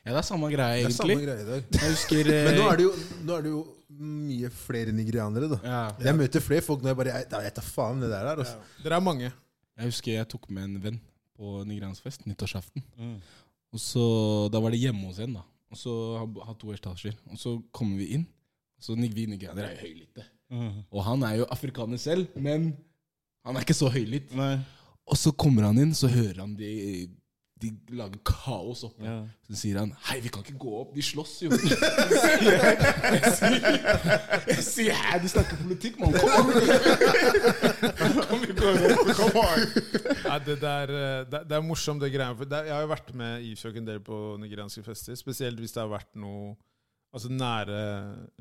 [SPEAKER 4] Ja, det er samme greie,
[SPEAKER 3] Det er samme
[SPEAKER 4] egentlig.
[SPEAKER 3] greie i dag.
[SPEAKER 4] Jeg husker eh,
[SPEAKER 3] Men nå er det jo, nå er det jo mye flere nigerianere, da.
[SPEAKER 4] ja,
[SPEAKER 3] Jeg møter flere folk når jeg bare Jeg, jeg tar faen det der. Altså.
[SPEAKER 2] Dere er mange.
[SPEAKER 4] Jeg husker jeg tok med en venn på nigeriansk fest nyttårsaften.
[SPEAKER 3] Mm.
[SPEAKER 4] Og så, Da var det hjemme hos en, da. Og så har har to etasjer. Og så kommer vi inn. Og så nig- vi nigerianere er jo høylytte.
[SPEAKER 1] Mm.
[SPEAKER 4] Og han er jo afrikaner selv, men han er ikke så høylytt. Og så kommer han inn, så hører han de, de lager kaos oppe. Så sier han 'Hei, vi kan ikke gå opp, de slåss jo'. Jeg sier- jeg sier- Jeg sier 'Hæ, de snakker politikk, mann'. Kom an!
[SPEAKER 2] Nei, det, der, eh, det, det er morsomt, det greiene. For det, jeg har jo vært med Ifjok en del på nigerianske fester. Spesielt hvis det har vært noe Altså nære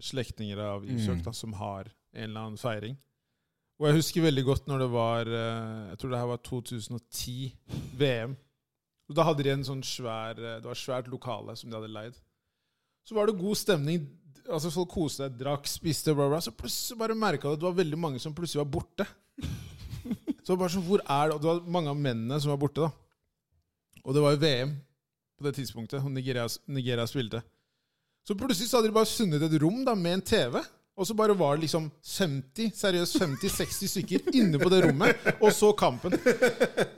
[SPEAKER 2] slektninger av Ifjok da, som har en eller annen feiring. Og jeg husker veldig godt når det var eh, Jeg tror det her var 2010, VM. Og da hadde de en sånn svær eh, Det var et svært lokale som de hadde leid. Så var det god stemning. Altså Folk koste seg, drakk, spiste, bla, bla. Så plutselig bare merka du at det var veldig mange som plutselig var borte. Så det var bare sånn, hvor er det? Og det var mange av mennene som var borte, da. Og det var jo VM på det tidspunktet, og Nigeria, Nigeria spilte. Så plutselig så hadde de bare funnet et rom da, med en TV. Og så bare var det liksom 50, seriøst 50-60 stykker inne på det rommet, og så kampen.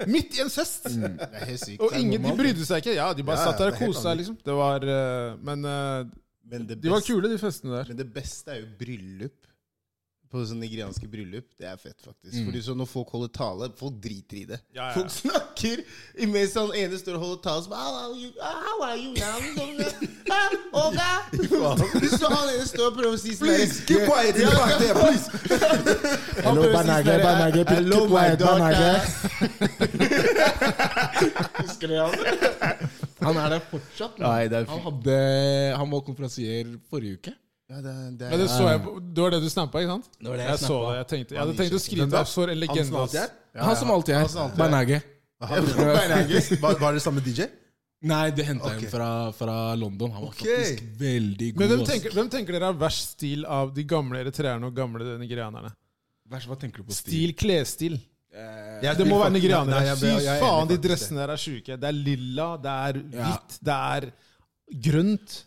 [SPEAKER 2] Midt i en fest!
[SPEAKER 1] Mm. Det er helt sykt.
[SPEAKER 2] Og ingen, de brydde seg ikke. Ja, de bare
[SPEAKER 3] Ja, ja,
[SPEAKER 2] satt der og
[SPEAKER 3] det er helt
[SPEAKER 2] koste seg, liksom. Det var eh, Men eh,
[SPEAKER 1] Men det,
[SPEAKER 2] de var
[SPEAKER 1] beste,
[SPEAKER 2] kule, de festene der.
[SPEAKER 1] men det beste er jo bryllup. På sånne nigerianske bryllup. Det er fett, faktisk. Fordi så Når folk holder tale, folk driter i det.
[SPEAKER 2] Ja, ja.
[SPEAKER 1] Folk snakker imens han ene står og holder tale. Som, how are you, how are you now? Ah, Oga! Så han ene står og prøver å si sånn der-
[SPEAKER 3] Keep quiet, keep quiet there, please.
[SPEAKER 1] Han prøver å si sånn der, Hello, my daughter.
[SPEAKER 4] Han er der fortsatt. men
[SPEAKER 1] Nei, det er
[SPEAKER 4] han,
[SPEAKER 1] fint.
[SPEAKER 4] hadde, han var konferansier forrige uke.
[SPEAKER 1] Ja, det, er- det
[SPEAKER 2] Ja,
[SPEAKER 1] er-
[SPEAKER 2] det, så jeg på, det var det du snappa, ikke sant?
[SPEAKER 4] var det jeg
[SPEAKER 2] jeg så
[SPEAKER 4] snappet.
[SPEAKER 2] det. Jeg, tenkte, jeg hadde tenkt å skrive det for en legende. ass.
[SPEAKER 4] han som alltid er. Bernage.
[SPEAKER 3] Var, var det samme DJ?
[SPEAKER 4] Nei, det henta jeg
[SPEAKER 3] Ok.
[SPEAKER 4] fra, fra London. Han var
[SPEAKER 3] Ok.
[SPEAKER 4] faktisk veldig god.
[SPEAKER 2] Men hvem
[SPEAKER 4] ass.
[SPEAKER 2] tenker, hvem tenker dere er verst stil av de gamle eritreerne og gamle nigerianerne?
[SPEAKER 4] Vers, Hva tenker du på Eh,
[SPEAKER 2] Stil, klesstil.
[SPEAKER 3] Jeg
[SPEAKER 2] Det må
[SPEAKER 3] vil
[SPEAKER 2] være
[SPEAKER 3] fakt- Nei,
[SPEAKER 2] nigerianere.
[SPEAKER 3] jeg
[SPEAKER 2] Fy
[SPEAKER 3] ble- jeg er
[SPEAKER 2] faen,
[SPEAKER 3] enig
[SPEAKER 2] de
[SPEAKER 3] faktisk.
[SPEAKER 2] dressene der er sjuke. Det er lilla, det er
[SPEAKER 4] Ja.
[SPEAKER 2] hvitt, det er grønt.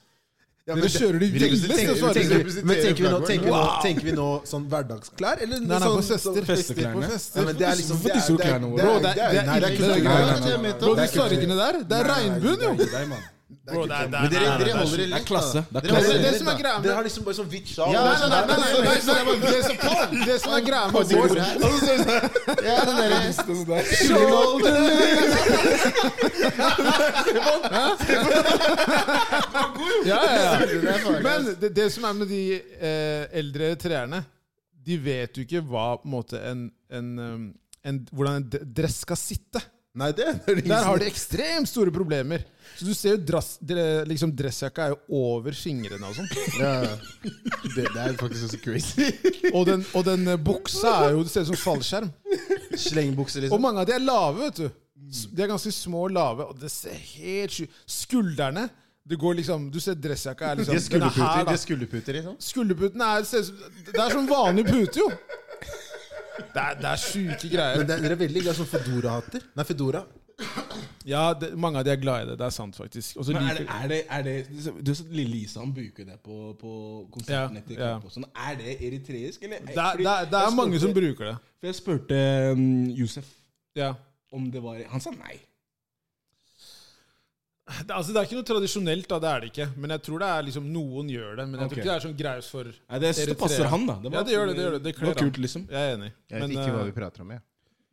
[SPEAKER 3] Ja, men
[SPEAKER 2] Dere
[SPEAKER 3] det-
[SPEAKER 2] kjører de villeste
[SPEAKER 3] Tenker-
[SPEAKER 2] svarte
[SPEAKER 3] tenker-
[SPEAKER 2] stiler.
[SPEAKER 3] Men tenker vi, nå, tenker, vi nå, tenker vi nå sånn hverdagsklær, eller
[SPEAKER 2] Nei, nei,
[SPEAKER 3] sånn,
[SPEAKER 2] på fester.
[SPEAKER 4] Festeklærne.
[SPEAKER 2] På
[SPEAKER 3] Ja,
[SPEAKER 2] fester.
[SPEAKER 3] men det er liksom
[SPEAKER 4] Hvorfor
[SPEAKER 3] det er-
[SPEAKER 4] tisser du
[SPEAKER 3] det er-
[SPEAKER 4] klærne våre?
[SPEAKER 3] det er-
[SPEAKER 2] Bro, det er- det er
[SPEAKER 3] Nei,
[SPEAKER 2] ille. Nei,
[SPEAKER 3] kulturelt.
[SPEAKER 4] nei, nei, nei, nei.
[SPEAKER 2] Bro,
[SPEAKER 3] Det
[SPEAKER 2] de
[SPEAKER 3] er ikke
[SPEAKER 2] fargene der, det er regnbuen, jo!
[SPEAKER 4] Deg, mann.
[SPEAKER 2] Bro, det er- det er-
[SPEAKER 1] Men dere, dere
[SPEAKER 2] nei, nei, nei,
[SPEAKER 1] holder i
[SPEAKER 4] Det er
[SPEAKER 1] litt,
[SPEAKER 4] klasse.
[SPEAKER 1] da.
[SPEAKER 4] Det er
[SPEAKER 1] Dere holder i
[SPEAKER 2] Det er det
[SPEAKER 1] litt,
[SPEAKER 2] som er
[SPEAKER 1] da.
[SPEAKER 2] greia
[SPEAKER 3] Dere
[SPEAKER 2] med
[SPEAKER 3] har liksom bare sånn hvitt sjal.
[SPEAKER 1] Ja, nei, nei, nei, nei, nei, nei, nei, nei,
[SPEAKER 2] Det som- det som er greia med vår
[SPEAKER 1] Ja, det der-
[SPEAKER 2] ja, ja, ja.
[SPEAKER 1] det er farlig.
[SPEAKER 2] Men det, det som er med de eh, eldre treerne De vet jo ikke hva på en måte en, en, um, en, hvordan en d- dress skal sitte.
[SPEAKER 3] Nei, det er det
[SPEAKER 2] Der har de ekstremt store problemer. Så du ser jo drass, dre- liksom Dressjakka er jo over fingrene og sånn.
[SPEAKER 1] Ja, ja. Det, det er faktisk også crazy.
[SPEAKER 2] Og den, og den eh, buksa er jo, det ser ut som fallskjerm.
[SPEAKER 1] Slengbukse,
[SPEAKER 2] Og
[SPEAKER 1] liksom.
[SPEAKER 2] mange av de er lave, vet du. S- De er ganske små og lave, og det ser helt sjukt Skuldrene det går liksom, Du ser dressjakka er
[SPEAKER 1] De
[SPEAKER 2] liksom
[SPEAKER 1] Sånn, er
[SPEAKER 2] den er
[SPEAKER 1] skulderputer, de er
[SPEAKER 2] her, da.
[SPEAKER 1] skulderputer, liksom.
[SPEAKER 2] Skulderputen er, ser ut som- det er som vanlig pute, jo. Det er, det er sjuke
[SPEAKER 3] Men
[SPEAKER 2] greier.
[SPEAKER 3] det- dere er veldig glad i sånn Fedora-hatter. Nei, Fedora.
[SPEAKER 2] Ja, det, Mange av de er glad i det. Det er sant, faktisk. Og så
[SPEAKER 4] Men er det,
[SPEAKER 2] liker
[SPEAKER 4] er det, er det liksom, Du har sett Lille Isan bruker det på, på konsertene
[SPEAKER 2] Ja,
[SPEAKER 4] til
[SPEAKER 2] ja.
[SPEAKER 4] Kamp og sånn. Er det eritreisk, eller?
[SPEAKER 2] det, er, det, er, det er mange som bruker det.
[SPEAKER 4] For jeg spurte um, Josef
[SPEAKER 2] Ja.
[SPEAKER 4] om det var Han sa nei.
[SPEAKER 2] Det, altså, det er ikke noe tradisjonelt, da. Det er det ikke. Men jeg tror det er liksom noen gjør det. Men jeg
[SPEAKER 4] Ok.
[SPEAKER 2] tror ikke det er sånn graus for
[SPEAKER 4] Nei, det, det
[SPEAKER 2] Eritrea.
[SPEAKER 4] passer han, da.
[SPEAKER 2] Ja, det gjør det. Det, gjør det. det
[SPEAKER 4] var
[SPEAKER 2] kler
[SPEAKER 4] kult,
[SPEAKER 2] han.
[SPEAKER 4] liksom.
[SPEAKER 2] Jeg er enig.
[SPEAKER 1] Jeg vet
[SPEAKER 2] Men,
[SPEAKER 1] ikke hva
[SPEAKER 2] eh,
[SPEAKER 1] vi prater om, jeg.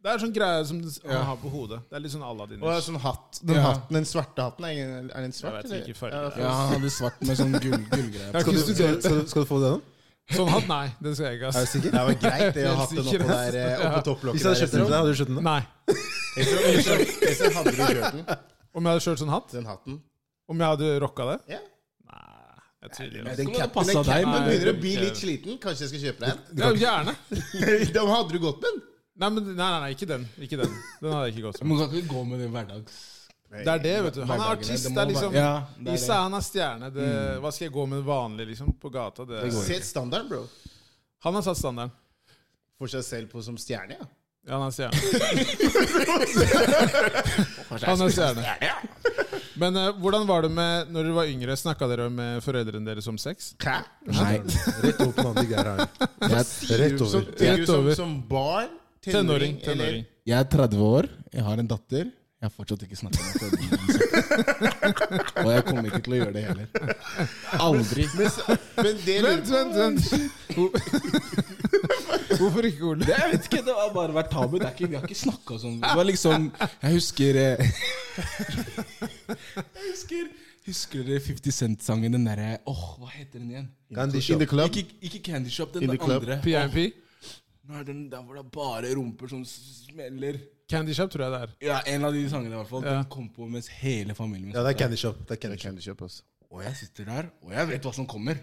[SPEAKER 2] det er sånn greie som han har på hodet. Det er litt sånn Aladdin.
[SPEAKER 1] Og sånn hatt. Den, hatten, den svarte hatten, er er den svart?
[SPEAKER 2] Jeg vet ikke farge.
[SPEAKER 1] Ja,
[SPEAKER 4] Ja, han hadde svart med sånn gull, gullgreier.
[SPEAKER 3] Skal du, skal, skal, skal du få det nå?
[SPEAKER 2] Sånn hatt, nei. Den skal jeg ikke
[SPEAKER 3] Er
[SPEAKER 2] ha.
[SPEAKER 3] du sikker?
[SPEAKER 1] Det var greit det å ha
[SPEAKER 2] Helt
[SPEAKER 1] den
[SPEAKER 2] sikker,
[SPEAKER 1] oppå der, eh, oppå topplokket
[SPEAKER 3] Hvis jeg hadde kjøpt den til
[SPEAKER 1] der.
[SPEAKER 3] deg, liksom. hadde du kjøpt den? da?
[SPEAKER 2] Nei.
[SPEAKER 1] Ellers hadde du kjørt den.
[SPEAKER 2] Om jeg hadde kjørt sånn hatt?
[SPEAKER 1] Den hatten.
[SPEAKER 2] Om jeg hadde rocka det?
[SPEAKER 1] Ja.
[SPEAKER 2] Nei, jeg tviler. altså.
[SPEAKER 4] Den capen
[SPEAKER 1] Men
[SPEAKER 4] passa deg,
[SPEAKER 1] capen
[SPEAKER 2] men-
[SPEAKER 1] begynner å bli litt sliten. Kanskje jeg skal kjøpe deg en?
[SPEAKER 2] Ja, gjerne.
[SPEAKER 1] Da hadde du gått med den.
[SPEAKER 2] Nei, men, nei, nei, nei, ikke den. Ikke den. Den hadde jeg ikke gått med.
[SPEAKER 4] Man kan ikke gå med det hverdags...
[SPEAKER 2] Det er det, vet du. Han er artist. Det er liksom
[SPEAKER 4] ja, det er
[SPEAKER 2] Isa, han er stjerne. Det,
[SPEAKER 3] Mm.
[SPEAKER 2] hva skal jeg gå med vanlig, liksom? På gata? Det,
[SPEAKER 1] Sett standarden, bro.
[SPEAKER 2] han har satt standarden.
[SPEAKER 1] For seg selv på som stjerne, ja.
[SPEAKER 2] Ja, han er stjerne. han er stjerne. Men eh, hvordan var det med Når dere var yngre, snakka dere med foreldrene deres om sex?
[SPEAKER 1] Hæ?
[SPEAKER 4] Nei.
[SPEAKER 3] Rett over på den andre greia her. Rett
[SPEAKER 1] Som,
[SPEAKER 3] over.
[SPEAKER 1] tenker du som,
[SPEAKER 2] over.
[SPEAKER 1] som barn?
[SPEAKER 2] Tenåring.
[SPEAKER 1] eller-
[SPEAKER 2] tenåring.
[SPEAKER 4] Jeg er 30 år, jeg har en datter. Jeg har fortsatt ikke snakka med foreldrene mine. Og jeg kommer ikke til å gjøre det heller. Aldri.
[SPEAKER 1] Men det
[SPEAKER 2] Vent, vent, vent! Hvorfor ikke, Ole?
[SPEAKER 4] Det, jeg vet ikke, det har bare vært tabu. Det er ikke, vi har ikke snakka sånn. Det var liksom Jeg husker eh, Jeg husker Husker dere 50 Cent-sangen? Den derre Åh, hva heter den igjen?
[SPEAKER 3] Candy
[SPEAKER 1] In
[SPEAKER 3] shop.
[SPEAKER 1] the club?
[SPEAKER 4] Ikke, ikke Candy Shop, den
[SPEAKER 1] In the club.
[SPEAKER 4] andre.
[SPEAKER 2] PIMP?
[SPEAKER 4] Nå er den der hvor det er bare rumper som smeller.
[SPEAKER 2] Candy Shop tror jeg det er.
[SPEAKER 4] Ja, en av de sangene i hvert fall.
[SPEAKER 2] Ja.
[SPEAKER 4] Den kom på mens hele familien min
[SPEAKER 3] Ja, det er Candy Shop. Det er candy shop.
[SPEAKER 1] Candy Shop, altså.
[SPEAKER 4] Og jeg sitter der, og jeg vet hva som kommer.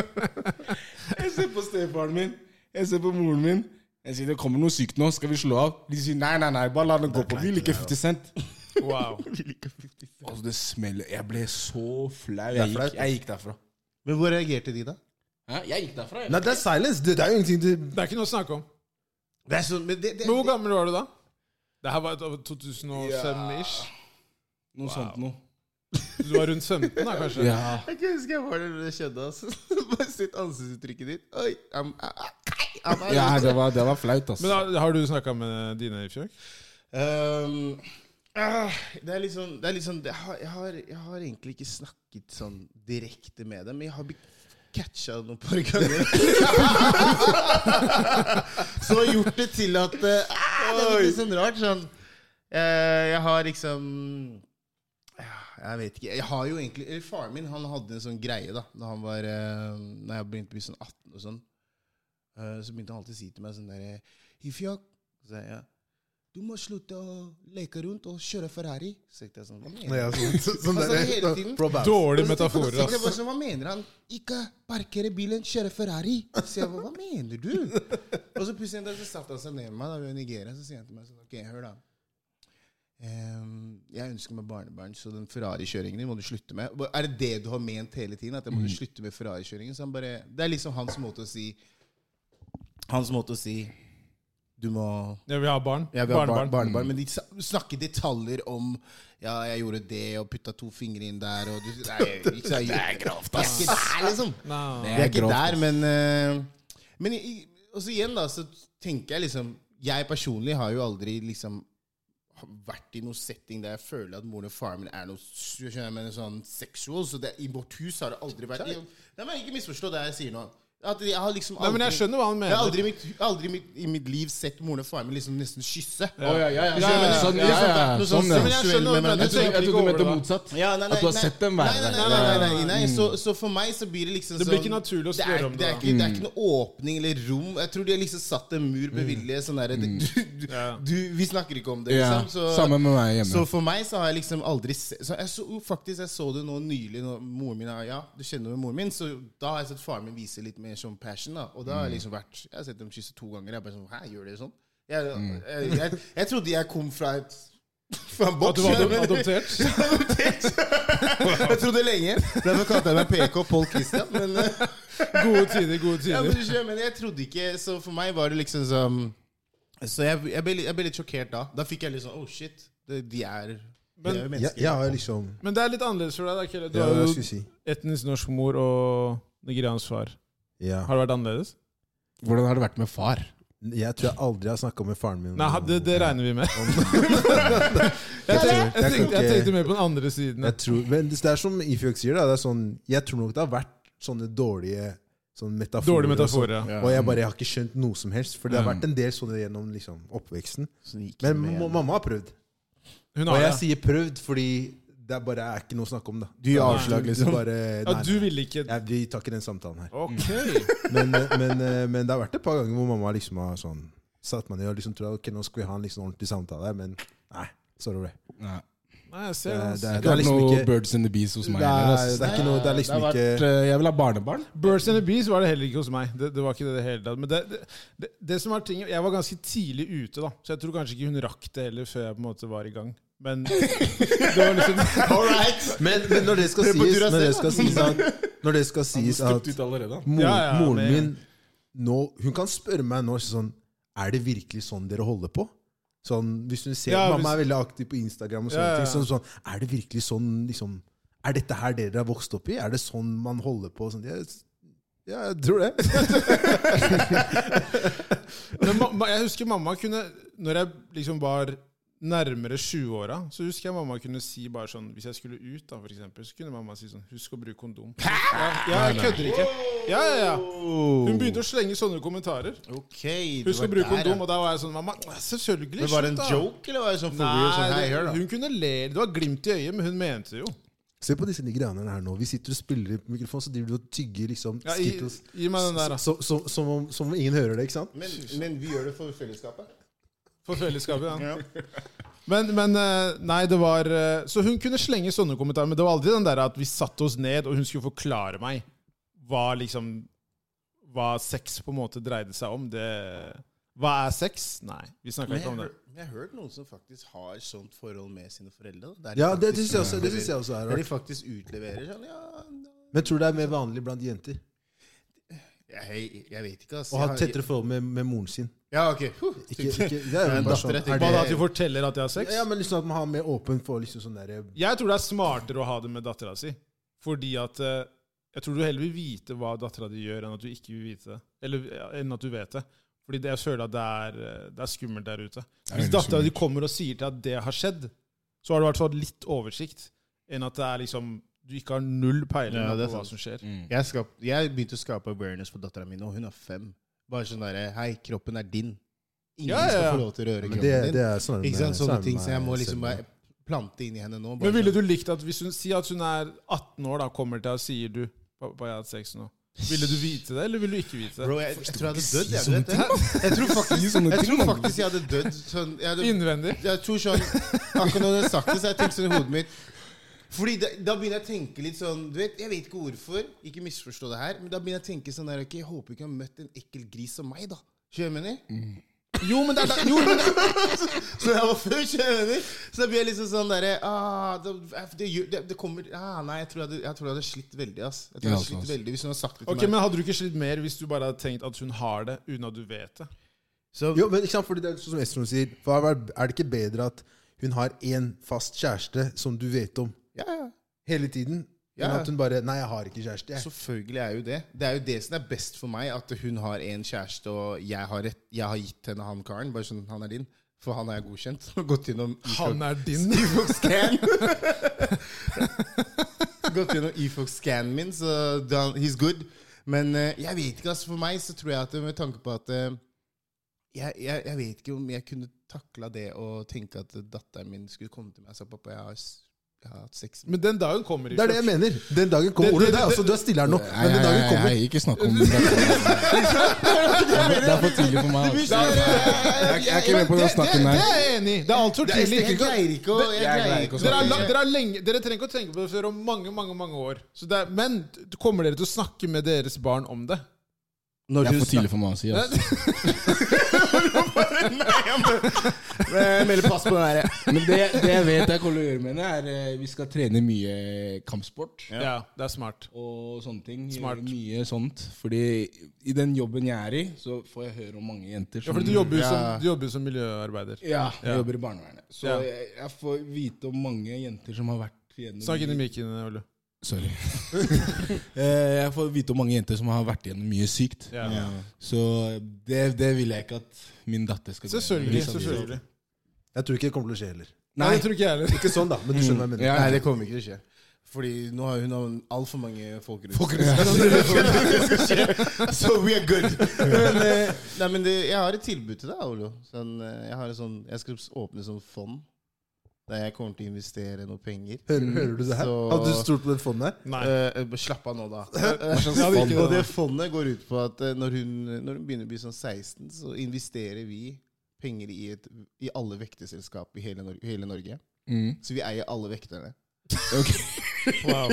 [SPEAKER 4] jeg ser på stefaren min, jeg ser på moren min. Jeg sier det kommer noe sykt nå, skal vi slå av? De sier nei, nei, nei, bare la den gå på. Vi liker 50 Cent.
[SPEAKER 2] Wow.
[SPEAKER 4] Altså, det smeller. Jeg ble så flau. Jeg
[SPEAKER 3] flaut,
[SPEAKER 4] gikk, jeg gikk derfra.
[SPEAKER 1] Men hvor reagerte de, da?
[SPEAKER 4] Hæ? Jeg gikk derfra, jeg.
[SPEAKER 3] Nei, det er silence. Det, det er jo ingenting du
[SPEAKER 2] Det er ikke noe å snakke om.
[SPEAKER 1] Det er sånn, men det, det,
[SPEAKER 2] Men hvor gammel var du da? Det her var et- over 2005-ish.
[SPEAKER 4] Noe sånt noe.
[SPEAKER 2] Du var rundt 15 da, kanskje?
[SPEAKER 4] Ja.
[SPEAKER 1] Jeg kan huske jeg var der når det skjedde. Altså. Bare sitt ansiktsuttrykket ditt. Oi, I'm, I'm,
[SPEAKER 4] Ja, det var, det var flaut, ass.
[SPEAKER 2] Men da, har du snakka med dine i fjøk?
[SPEAKER 1] Um, ah, det er litt sånn, det er litt sånn jeg, har, jeg, har, jeg har egentlig ikke snakket sånn direkte med dem, men jeg har blitt catcha noen par ganger. Så har gjort det til at eh, ah, Det er litt sånn rart. Sånn, eh, jeg har liksom ja, Jeg vet ikke. Jeg har jo egentlig eller Faren min han hadde en sånn greie da Når han var eh, Når jeg begynte å bli sånn 18 og sånn. eh, så begynte han alltid å si til meg sånn derre Ifjak. Så sa jeg, ja. Du du må slutte å leke rundt og kjøre Ferrari. Så tenkte jeg sånn, hva mener
[SPEAKER 3] Ja,
[SPEAKER 1] han?
[SPEAKER 3] sånn, sånn, sånn
[SPEAKER 1] Altså,
[SPEAKER 3] der-
[SPEAKER 1] hele tiden.
[SPEAKER 3] Bro, bad.
[SPEAKER 2] Dårlige
[SPEAKER 1] Så tenkte jeg
[SPEAKER 2] metaforer, ass.
[SPEAKER 1] bare sånn, Hva mener han? Ikke parkere bilen, kjøre Ferrari. Så jeg bare, hva mener du? Og så plutselig en dag så satte han seg ned med meg da vi var i Nigeria, så sier han til meg sånn, ok, hør da. Ehm, jeg ønsker meg barnebarn, så den Ferrari-kjøringen din må du slutte med. Hva- Er det det du har ment hele tiden? At jeg
[SPEAKER 2] Mm.
[SPEAKER 1] må slutte med Ferrari-kjøringen? Så han bare, det er liksom hans måte å si, hans måte å si, du må
[SPEAKER 2] Jeg vil ha barn.
[SPEAKER 1] ja, vi har barnebarn.
[SPEAKER 2] Barnebarn.
[SPEAKER 1] Barn, barnebarn, Men de sa- snakker detaljer om Ja, jeg gjorde det, og putta to fingre inn der, og du Nei, ikke så jeg, det er grovt, ass. Det er ikke der, liksom.
[SPEAKER 2] Nei.
[SPEAKER 1] Det er ikke der, men eh, Men i- i- også igjen, da, så tenker jeg liksom Jeg personlig har jo aldri liksom vært i noen setting der jeg føler at moren og faren min er noe su- skjønner jeg, mener, sånn sexual. Så det, i vårt hus har det aldri vært Nei, men Ikke misforstå det jeg sier nå. At jeg har liksom
[SPEAKER 2] Nei, men jeg skjønner hva han
[SPEAKER 1] jeg har
[SPEAKER 2] mener.
[SPEAKER 1] aldri, i mitt- aldri i mitt- i mitt liv sett moren og faren min liksom nesten kysse.
[SPEAKER 2] Ja.
[SPEAKER 4] ja, ja, ja.
[SPEAKER 1] Så jeg mener,
[SPEAKER 4] Sånn,
[SPEAKER 1] det har
[SPEAKER 4] ja, ja,
[SPEAKER 1] vært noe sånn
[SPEAKER 4] sånn, ja.
[SPEAKER 1] seksuelt
[SPEAKER 2] Men jeg skjønner hva du
[SPEAKER 1] mellom-
[SPEAKER 2] mener.
[SPEAKER 1] Jeg tror-
[SPEAKER 4] Jeg
[SPEAKER 2] ikke
[SPEAKER 4] trodde du
[SPEAKER 2] over
[SPEAKER 4] mente
[SPEAKER 2] det, da.
[SPEAKER 4] motsatt.
[SPEAKER 1] Ja, nei, nei,
[SPEAKER 4] At du har
[SPEAKER 1] nei.
[SPEAKER 4] sett dem være
[SPEAKER 1] Nei,
[SPEAKER 4] der. Mm.
[SPEAKER 1] Nei, nei, nei, nei, nei. Så, så for meg så blir det liksom sånn
[SPEAKER 2] Det blir ikke naturlig å
[SPEAKER 1] det er,
[SPEAKER 2] spørre om
[SPEAKER 1] det, er
[SPEAKER 2] det. da.
[SPEAKER 1] ikke,
[SPEAKER 4] Mm.
[SPEAKER 1] det er ikke noe åpning eller rom. Jeg tror de har liksom satt en mur med vilje. Sånn der, du, du,
[SPEAKER 2] Ja.
[SPEAKER 1] du, vi snakker ikke om det,
[SPEAKER 4] Mm. Ja,
[SPEAKER 1] liksom. Så,
[SPEAKER 4] Samme med meg hjemme.
[SPEAKER 1] så for meg så har jeg liksom aldri se, så jeg så, Faktisk, jeg så det nå nylig når moren min er- Ja, du kjenner jo moren min, så da har jeg sett faren min vise litt mer sånn passion, da. Og da har jeg
[SPEAKER 4] Mm.
[SPEAKER 1] liksom vært Jeg har sett dem kysse to ganger. Jeg er bare sånn Hæ, gjør dere sånn? Jeg,
[SPEAKER 4] Mm.
[SPEAKER 1] jeg, jeg, jeg trodde jeg kom fra et fra en
[SPEAKER 2] At
[SPEAKER 1] boks.
[SPEAKER 2] du var
[SPEAKER 1] men-
[SPEAKER 2] adop- adoptert?
[SPEAKER 1] jeg trodde lenge. Derfor kalte jeg meg PK Pål Christian. Men, eh,
[SPEAKER 2] Gode tider, gode
[SPEAKER 1] ja,
[SPEAKER 2] tider.
[SPEAKER 1] men, du skjønner, men jeg trodde ikke Så for meg var det liksom som Så jeg, jeg, ble, litt- jeg ble litt sjokkert da. Da fikk jeg litt sånn Oh shit. det- De er, de er jo
[SPEAKER 3] Jeg,
[SPEAKER 1] mennesker.
[SPEAKER 3] jeg har liksom
[SPEAKER 2] Men det er litt annerledes for deg. da, Kelle. Du
[SPEAKER 3] Ja,
[SPEAKER 2] har
[SPEAKER 3] hva
[SPEAKER 2] jo
[SPEAKER 3] skulle jeg si?
[SPEAKER 2] etnisk norsk mor og nigeriansk far.
[SPEAKER 3] Ja.
[SPEAKER 2] Har det vært annerledes?
[SPEAKER 4] Hvordan har det vært med far?
[SPEAKER 3] Jeg tror jeg aldri har snakka med faren min.
[SPEAKER 2] Nei, ha- det, det regner vi med. Jeg
[SPEAKER 3] Jeg
[SPEAKER 2] tenkte, jeg,
[SPEAKER 3] kan
[SPEAKER 2] tenkte, jeg
[SPEAKER 3] ikke-
[SPEAKER 2] tenkte mer på den andre siden.
[SPEAKER 3] Jeg tror, men det er som Ifjok sier, da. Det er sånn, jeg tror nok det har vært sånne dårlige sånne metaforer.
[SPEAKER 2] Dårlig
[SPEAKER 3] og
[SPEAKER 2] metafor, ja.
[SPEAKER 3] sånn. Og jeg bare har ikke skjønt noe som helst. For det har vært en del sånne gjennom liksom, oppveksten. Men ma- mamma har prøvd.
[SPEAKER 2] Hun
[SPEAKER 3] Og
[SPEAKER 2] har
[SPEAKER 3] jeg
[SPEAKER 2] det.
[SPEAKER 3] sier prøvd fordi det er bare er ikke noe å snakke om, da.
[SPEAKER 1] Du gir avslag,
[SPEAKER 3] Du
[SPEAKER 1] liksom.
[SPEAKER 3] Bare,
[SPEAKER 2] Ja,
[SPEAKER 3] nei,
[SPEAKER 2] du
[SPEAKER 3] nei.
[SPEAKER 2] ville ikke
[SPEAKER 3] Jeg, vi tar ikke den samtalen her.
[SPEAKER 2] Ok.
[SPEAKER 1] Mm.
[SPEAKER 3] Men, men, eh, men det har vært et par ganger hvor mamma liksom har sånn satt meg ned og liksom trodd ok, nå skal vi ha en liksom ordentlig samtale, men nei. Sorry. Det,
[SPEAKER 4] Nei.
[SPEAKER 2] Nei, jeg
[SPEAKER 3] det,
[SPEAKER 2] ser det.
[SPEAKER 4] Det
[SPEAKER 3] det, det
[SPEAKER 4] har
[SPEAKER 3] er
[SPEAKER 4] vært
[SPEAKER 3] liksom
[SPEAKER 4] noe
[SPEAKER 3] ikke
[SPEAKER 4] Birds and the Bees hos meg.
[SPEAKER 3] det er,
[SPEAKER 4] heller,
[SPEAKER 3] det er ikke noe Det er liksom
[SPEAKER 4] ass.
[SPEAKER 3] ikke
[SPEAKER 4] Det har vært, eh, Jeg vil ha barnebarn.
[SPEAKER 2] Birds and the Bees var det heller ikke hos meg. Det, det var ikke det i det hele tatt. Men det, det, det, det som var ting, Jeg var ganske tidlig ute, da, så jeg tror kanskje ikke hun rakk det heller før jeg på en måte var i gang. Men det var liksom
[SPEAKER 1] All right!
[SPEAKER 3] Men, men når det skal
[SPEAKER 1] Hør på
[SPEAKER 3] sies,
[SPEAKER 1] Duracell.
[SPEAKER 3] når det skal sies at, når det skal sies at
[SPEAKER 4] Stupt ut allerede.
[SPEAKER 3] mor,
[SPEAKER 2] Ja, ja,
[SPEAKER 3] moren
[SPEAKER 2] men-
[SPEAKER 3] min nå, Hun kan spørre meg nå sånn Er det virkelig sånn dere holder på? Sånn, hvis hun ser
[SPEAKER 2] Ja,
[SPEAKER 3] Mamma
[SPEAKER 2] hvis-
[SPEAKER 3] er veldig aktiv på Instagram. og sånne
[SPEAKER 2] Ja, ja, ja.
[SPEAKER 3] ting sånn, sånn, Er det virkelig sånn liksom, Er dette her dere har vokst opp i? Er det sånn man holder på? Sånn, jeg, ja, jeg tror det.
[SPEAKER 2] Men mamma, jeg husker mamma kunne Når jeg liksom var nærmere 20-åra, så husker jeg mamma kunne si bare sånn Hvis jeg skulle ut, da, for eksempel, så kunne mamma si sånn Husk å bruke kondom. Hæ?! Ja, ja, jeg kødder ikke. Ja, ja, ja. Hun begynte å slenge sånne kommentarer.
[SPEAKER 1] Ok, det
[SPEAKER 2] Husk å
[SPEAKER 1] var
[SPEAKER 2] bruke
[SPEAKER 1] der, ja.
[SPEAKER 2] kondom. Og da var jeg sånn Mamma, selvfølgelig.
[SPEAKER 1] Men Var det en
[SPEAKER 2] slutt, da."
[SPEAKER 1] joke, eller var det sånn for real? Sånn, hei, hør
[SPEAKER 2] Nei,
[SPEAKER 1] da.
[SPEAKER 2] hun kunne le. Det var glimt i øyet, men hun mente det jo.
[SPEAKER 3] Se på disse nigerianerne her nå. Vi sitter og spiller på mikrofon, så driver de og tygger liksom
[SPEAKER 2] Ja, gi,
[SPEAKER 3] skittles.
[SPEAKER 2] gi meg den der, da.
[SPEAKER 3] Så, så, som, om, som om ingen hører det, ikke sant?
[SPEAKER 1] Men, men vi gjør det for fellesskapet.
[SPEAKER 2] For fellesskapet. Ja.
[SPEAKER 1] Ja.
[SPEAKER 2] Men, men eh, Nei, det var eh, Så hun kunne slenge sånne kommentarer, men det var aldri den der at vi satte oss ned, og hun skulle forklare meg hva liksom Hva sex på en måte dreide seg om. Det Hva er sex? Nei, vi snakka
[SPEAKER 1] Men
[SPEAKER 2] ikke
[SPEAKER 1] jeg,
[SPEAKER 2] om det.
[SPEAKER 1] hør- men jeg har hørt noen som faktisk har sånt forhold med sine foreldre. da. Der de
[SPEAKER 3] Ja, det
[SPEAKER 1] faktisk
[SPEAKER 3] syns jeg også, det
[SPEAKER 1] utleverer-
[SPEAKER 3] synes jeg også er
[SPEAKER 1] Der de
[SPEAKER 3] rart.
[SPEAKER 1] faktisk utleverer sånn Ja,
[SPEAKER 3] Men tror du det er mer vanlig blant jenter
[SPEAKER 1] jeg, jeg vet ikke, altså.
[SPEAKER 3] å ha tettere forhold med, med moren sin?
[SPEAKER 1] Ja, ok. Huh.
[SPEAKER 3] Ikke, ikke, det er jo
[SPEAKER 1] Men
[SPEAKER 3] bare
[SPEAKER 1] datter,
[SPEAKER 3] sånn.
[SPEAKER 1] jeg tenker-
[SPEAKER 2] Hva da,
[SPEAKER 3] Er
[SPEAKER 2] at
[SPEAKER 3] det,
[SPEAKER 2] du forteller at jeg har sex?
[SPEAKER 3] ja, men liksom at man har mer åpen for liksom sånn derre
[SPEAKER 2] Jeg tror det er smartere å ha det med dattera si. Fordi at eh, Jeg tror du heller vil vite hva dattera di gjør, enn at du ikke vil vite det. Eller ja, enn at du vet det. Fordi det, jeg føler at det er, eh, det er skummelt der ute. Hvis
[SPEAKER 4] veldig
[SPEAKER 2] dattera di kommer og sier til at det har skjedd, så har du i hvert fall litt oversikt. Enn at det er liksom du ikke har null peiling
[SPEAKER 1] Ja, det er
[SPEAKER 2] på hva
[SPEAKER 1] sant. Mm.
[SPEAKER 2] som skjer.
[SPEAKER 1] Jeg, skap, jeg begynte å skape awareness for dattera mi, og hun er fem. Bare sånn derre Hei, kroppen er din. Ingen
[SPEAKER 2] Ja, ja,
[SPEAKER 1] skal
[SPEAKER 2] ja.
[SPEAKER 1] få lov til å røre
[SPEAKER 3] Men
[SPEAKER 1] kroppen
[SPEAKER 3] det,
[SPEAKER 1] din.
[SPEAKER 3] det er sånn
[SPEAKER 1] ikke sant? Sånne ting. Så jeg må liksom bare plante inn i henne nå. bare sånn.
[SPEAKER 2] Men ville du likt at hvis hun sier at hun er 18 år, da kommer til deg og sier du Pappa, jeg har hatt sex nå. Ville du vite det, eller ville du ikke vite det?
[SPEAKER 1] Bro, jeg, jeg tror jeg hadde dødd. Jeg, du vet det? jeg tror faktisk
[SPEAKER 4] Sånne
[SPEAKER 1] jeg,
[SPEAKER 4] ting,
[SPEAKER 1] tror
[SPEAKER 4] mann.
[SPEAKER 1] faktisk jeg hadde dødd sånn jeg, hadde,
[SPEAKER 2] Innvendig.
[SPEAKER 1] jeg tror sånn Akkurat når du har sagt det, så har jeg tenkt sånn i hodet mitt Fordi da, da begynner jeg å tenke litt sånn Du vet, Jeg vet ikke hvorfor, ikke misforstå det her, men da begynner jeg å tenke sånn der, ok, Jeg håper ikke jeg har møtt en ekkel gris som meg, da. Skjønner du hva jeg mener? Mm. Jo, men det er da, jo, men det Så jeg var før, skjønner du hva jeg mener? Så da blir jeg liksom sånn derre ah, det, det, gjør- det, det kommer ah, Nei, jeg tror jeg, hadde- jeg tror jeg hadde slitt veldig, ass. Jeg tror jeg
[SPEAKER 4] Ja,
[SPEAKER 1] hadde
[SPEAKER 4] altså,
[SPEAKER 1] slitt veldig Hvis hun hadde sagt det til
[SPEAKER 2] Ok,
[SPEAKER 1] meg.
[SPEAKER 2] Men hadde du ikke slitt mer hvis du bare hadde tenkt at hun har det, uten at du vet det?
[SPEAKER 1] Så,
[SPEAKER 3] Jo, men ikke sant, fordi det er sånn som Estron sier, for er det ikke bedre at hun har én fast kjæreste som du vet om
[SPEAKER 1] ja, ja.
[SPEAKER 3] hele tiden, enn
[SPEAKER 1] Ja.
[SPEAKER 3] at hun bare Nei, jeg har ikke kjæreste, jeg.
[SPEAKER 1] Selvfølgelig er jo det. Det er jo det som er best for meg, at hun har en kjæreste, og jeg har, rett, jeg har gitt henne han karen. Bare sånn, han er din. For han er godkjent. Og gått gjennom
[SPEAKER 2] Han
[SPEAKER 1] Efox
[SPEAKER 2] er din.
[SPEAKER 1] scan. gått gjennom Efox scan min, så da- he's good. Men eh, jeg vet ikke, altså. For meg så tror jeg at med tanke på at eh, jeg, jeg, jeg vet ikke om jeg kunne takla det å tenke at datteren min skulle komme til meg og si pappa, jeg har, s- jeg har hatt sex med
[SPEAKER 2] Men den dagen kommer
[SPEAKER 3] Det er det jeg mener. Den dagen kommer.
[SPEAKER 2] Det-
[SPEAKER 3] Ole,
[SPEAKER 2] det-
[SPEAKER 3] det er
[SPEAKER 2] det-
[SPEAKER 3] også, du er stille her nå,
[SPEAKER 4] Nei,
[SPEAKER 3] men
[SPEAKER 4] nei,
[SPEAKER 3] den dagen
[SPEAKER 4] nei,
[SPEAKER 3] kommer.
[SPEAKER 4] nei, ikke snakk om det. Det er- det er for tidlig for meg. altså. Jeg- jeg er ikke med på den
[SPEAKER 2] Det
[SPEAKER 4] snakken her.
[SPEAKER 2] er jeg enig i. Det er altfor
[SPEAKER 1] Jeg
[SPEAKER 2] tidlig.
[SPEAKER 1] greier ikke å jeg greier ikke å-
[SPEAKER 2] Dere, er la, dere, er lenge, dere trenger ikke å tenke på det før om mange mange, mange år. Så det er, men t- kommer dere til å snakke med deres barn om det?
[SPEAKER 1] Når
[SPEAKER 4] Det er
[SPEAKER 1] du
[SPEAKER 4] for tidlig for meg å si. Altså.
[SPEAKER 1] Jeg melder pass på den der.
[SPEAKER 4] Men det, det jeg vet jeg kommer til å gjøre med henne, er eh, vi skal trene mye kampsport.
[SPEAKER 2] Ja, det er smart.
[SPEAKER 4] Og sånne ting.
[SPEAKER 2] Smart.
[SPEAKER 4] Mye sånt. Fordi i den jobben jeg er i, så får jeg høre om mange jenter
[SPEAKER 2] Ja,
[SPEAKER 4] som
[SPEAKER 2] for du jobber jo som,
[SPEAKER 1] Mm, Ja.
[SPEAKER 2] du jobber jo som miljøarbeider.
[SPEAKER 4] Ja, jeg
[SPEAKER 2] Ja.
[SPEAKER 4] jobber i barnevernet. Så
[SPEAKER 2] Ja.
[SPEAKER 4] jeg, jeg får vite om mange jenter som har vært gjennom
[SPEAKER 2] Snakk inn i mikken, Ole.
[SPEAKER 4] Sorry. Eh, jeg får vite om mange jenter som har vært gjennom mye sykt.
[SPEAKER 2] Ja.
[SPEAKER 4] Så det, det vil jeg ikke at min datter skal gå gjennom.
[SPEAKER 1] sånn
[SPEAKER 2] Selvfølgelig. selvfølgelig.
[SPEAKER 3] Jeg tror ikke det kommer til å skje heller.
[SPEAKER 2] Nei, det tror ikke jeg heller.
[SPEAKER 3] Ikke sånn, da, men du skjønner hva jeg mener.
[SPEAKER 4] Ja.
[SPEAKER 1] Nei, det kommer ikke til å skje. Fordi nå har hun altfor mange folk rundt seg. Så we are good. Men, eh, nei, men det, jeg har et tilbud til deg, Olo. Sånn, eh, jeg, har en sånn, jeg skal åpne sånn fond der jeg kommer til å investere noe penger.
[SPEAKER 3] Hører, hører du det her?
[SPEAKER 1] Så-
[SPEAKER 3] Hadde du stolt på det fondet her?
[SPEAKER 2] Nei.
[SPEAKER 1] Eh, eh, slapp av nå, da. Eh,
[SPEAKER 2] hadde ikke
[SPEAKER 1] og
[SPEAKER 2] det,
[SPEAKER 1] det fondet går ut på at eh, når hun, når hun begynner å bli sånn 16, så investerer vi penger i, et, i alle vekteselskap i hele, Nor hele Norge.
[SPEAKER 4] Mm.
[SPEAKER 1] Så vi eier alle vekterne.
[SPEAKER 4] Ok.
[SPEAKER 2] Wow.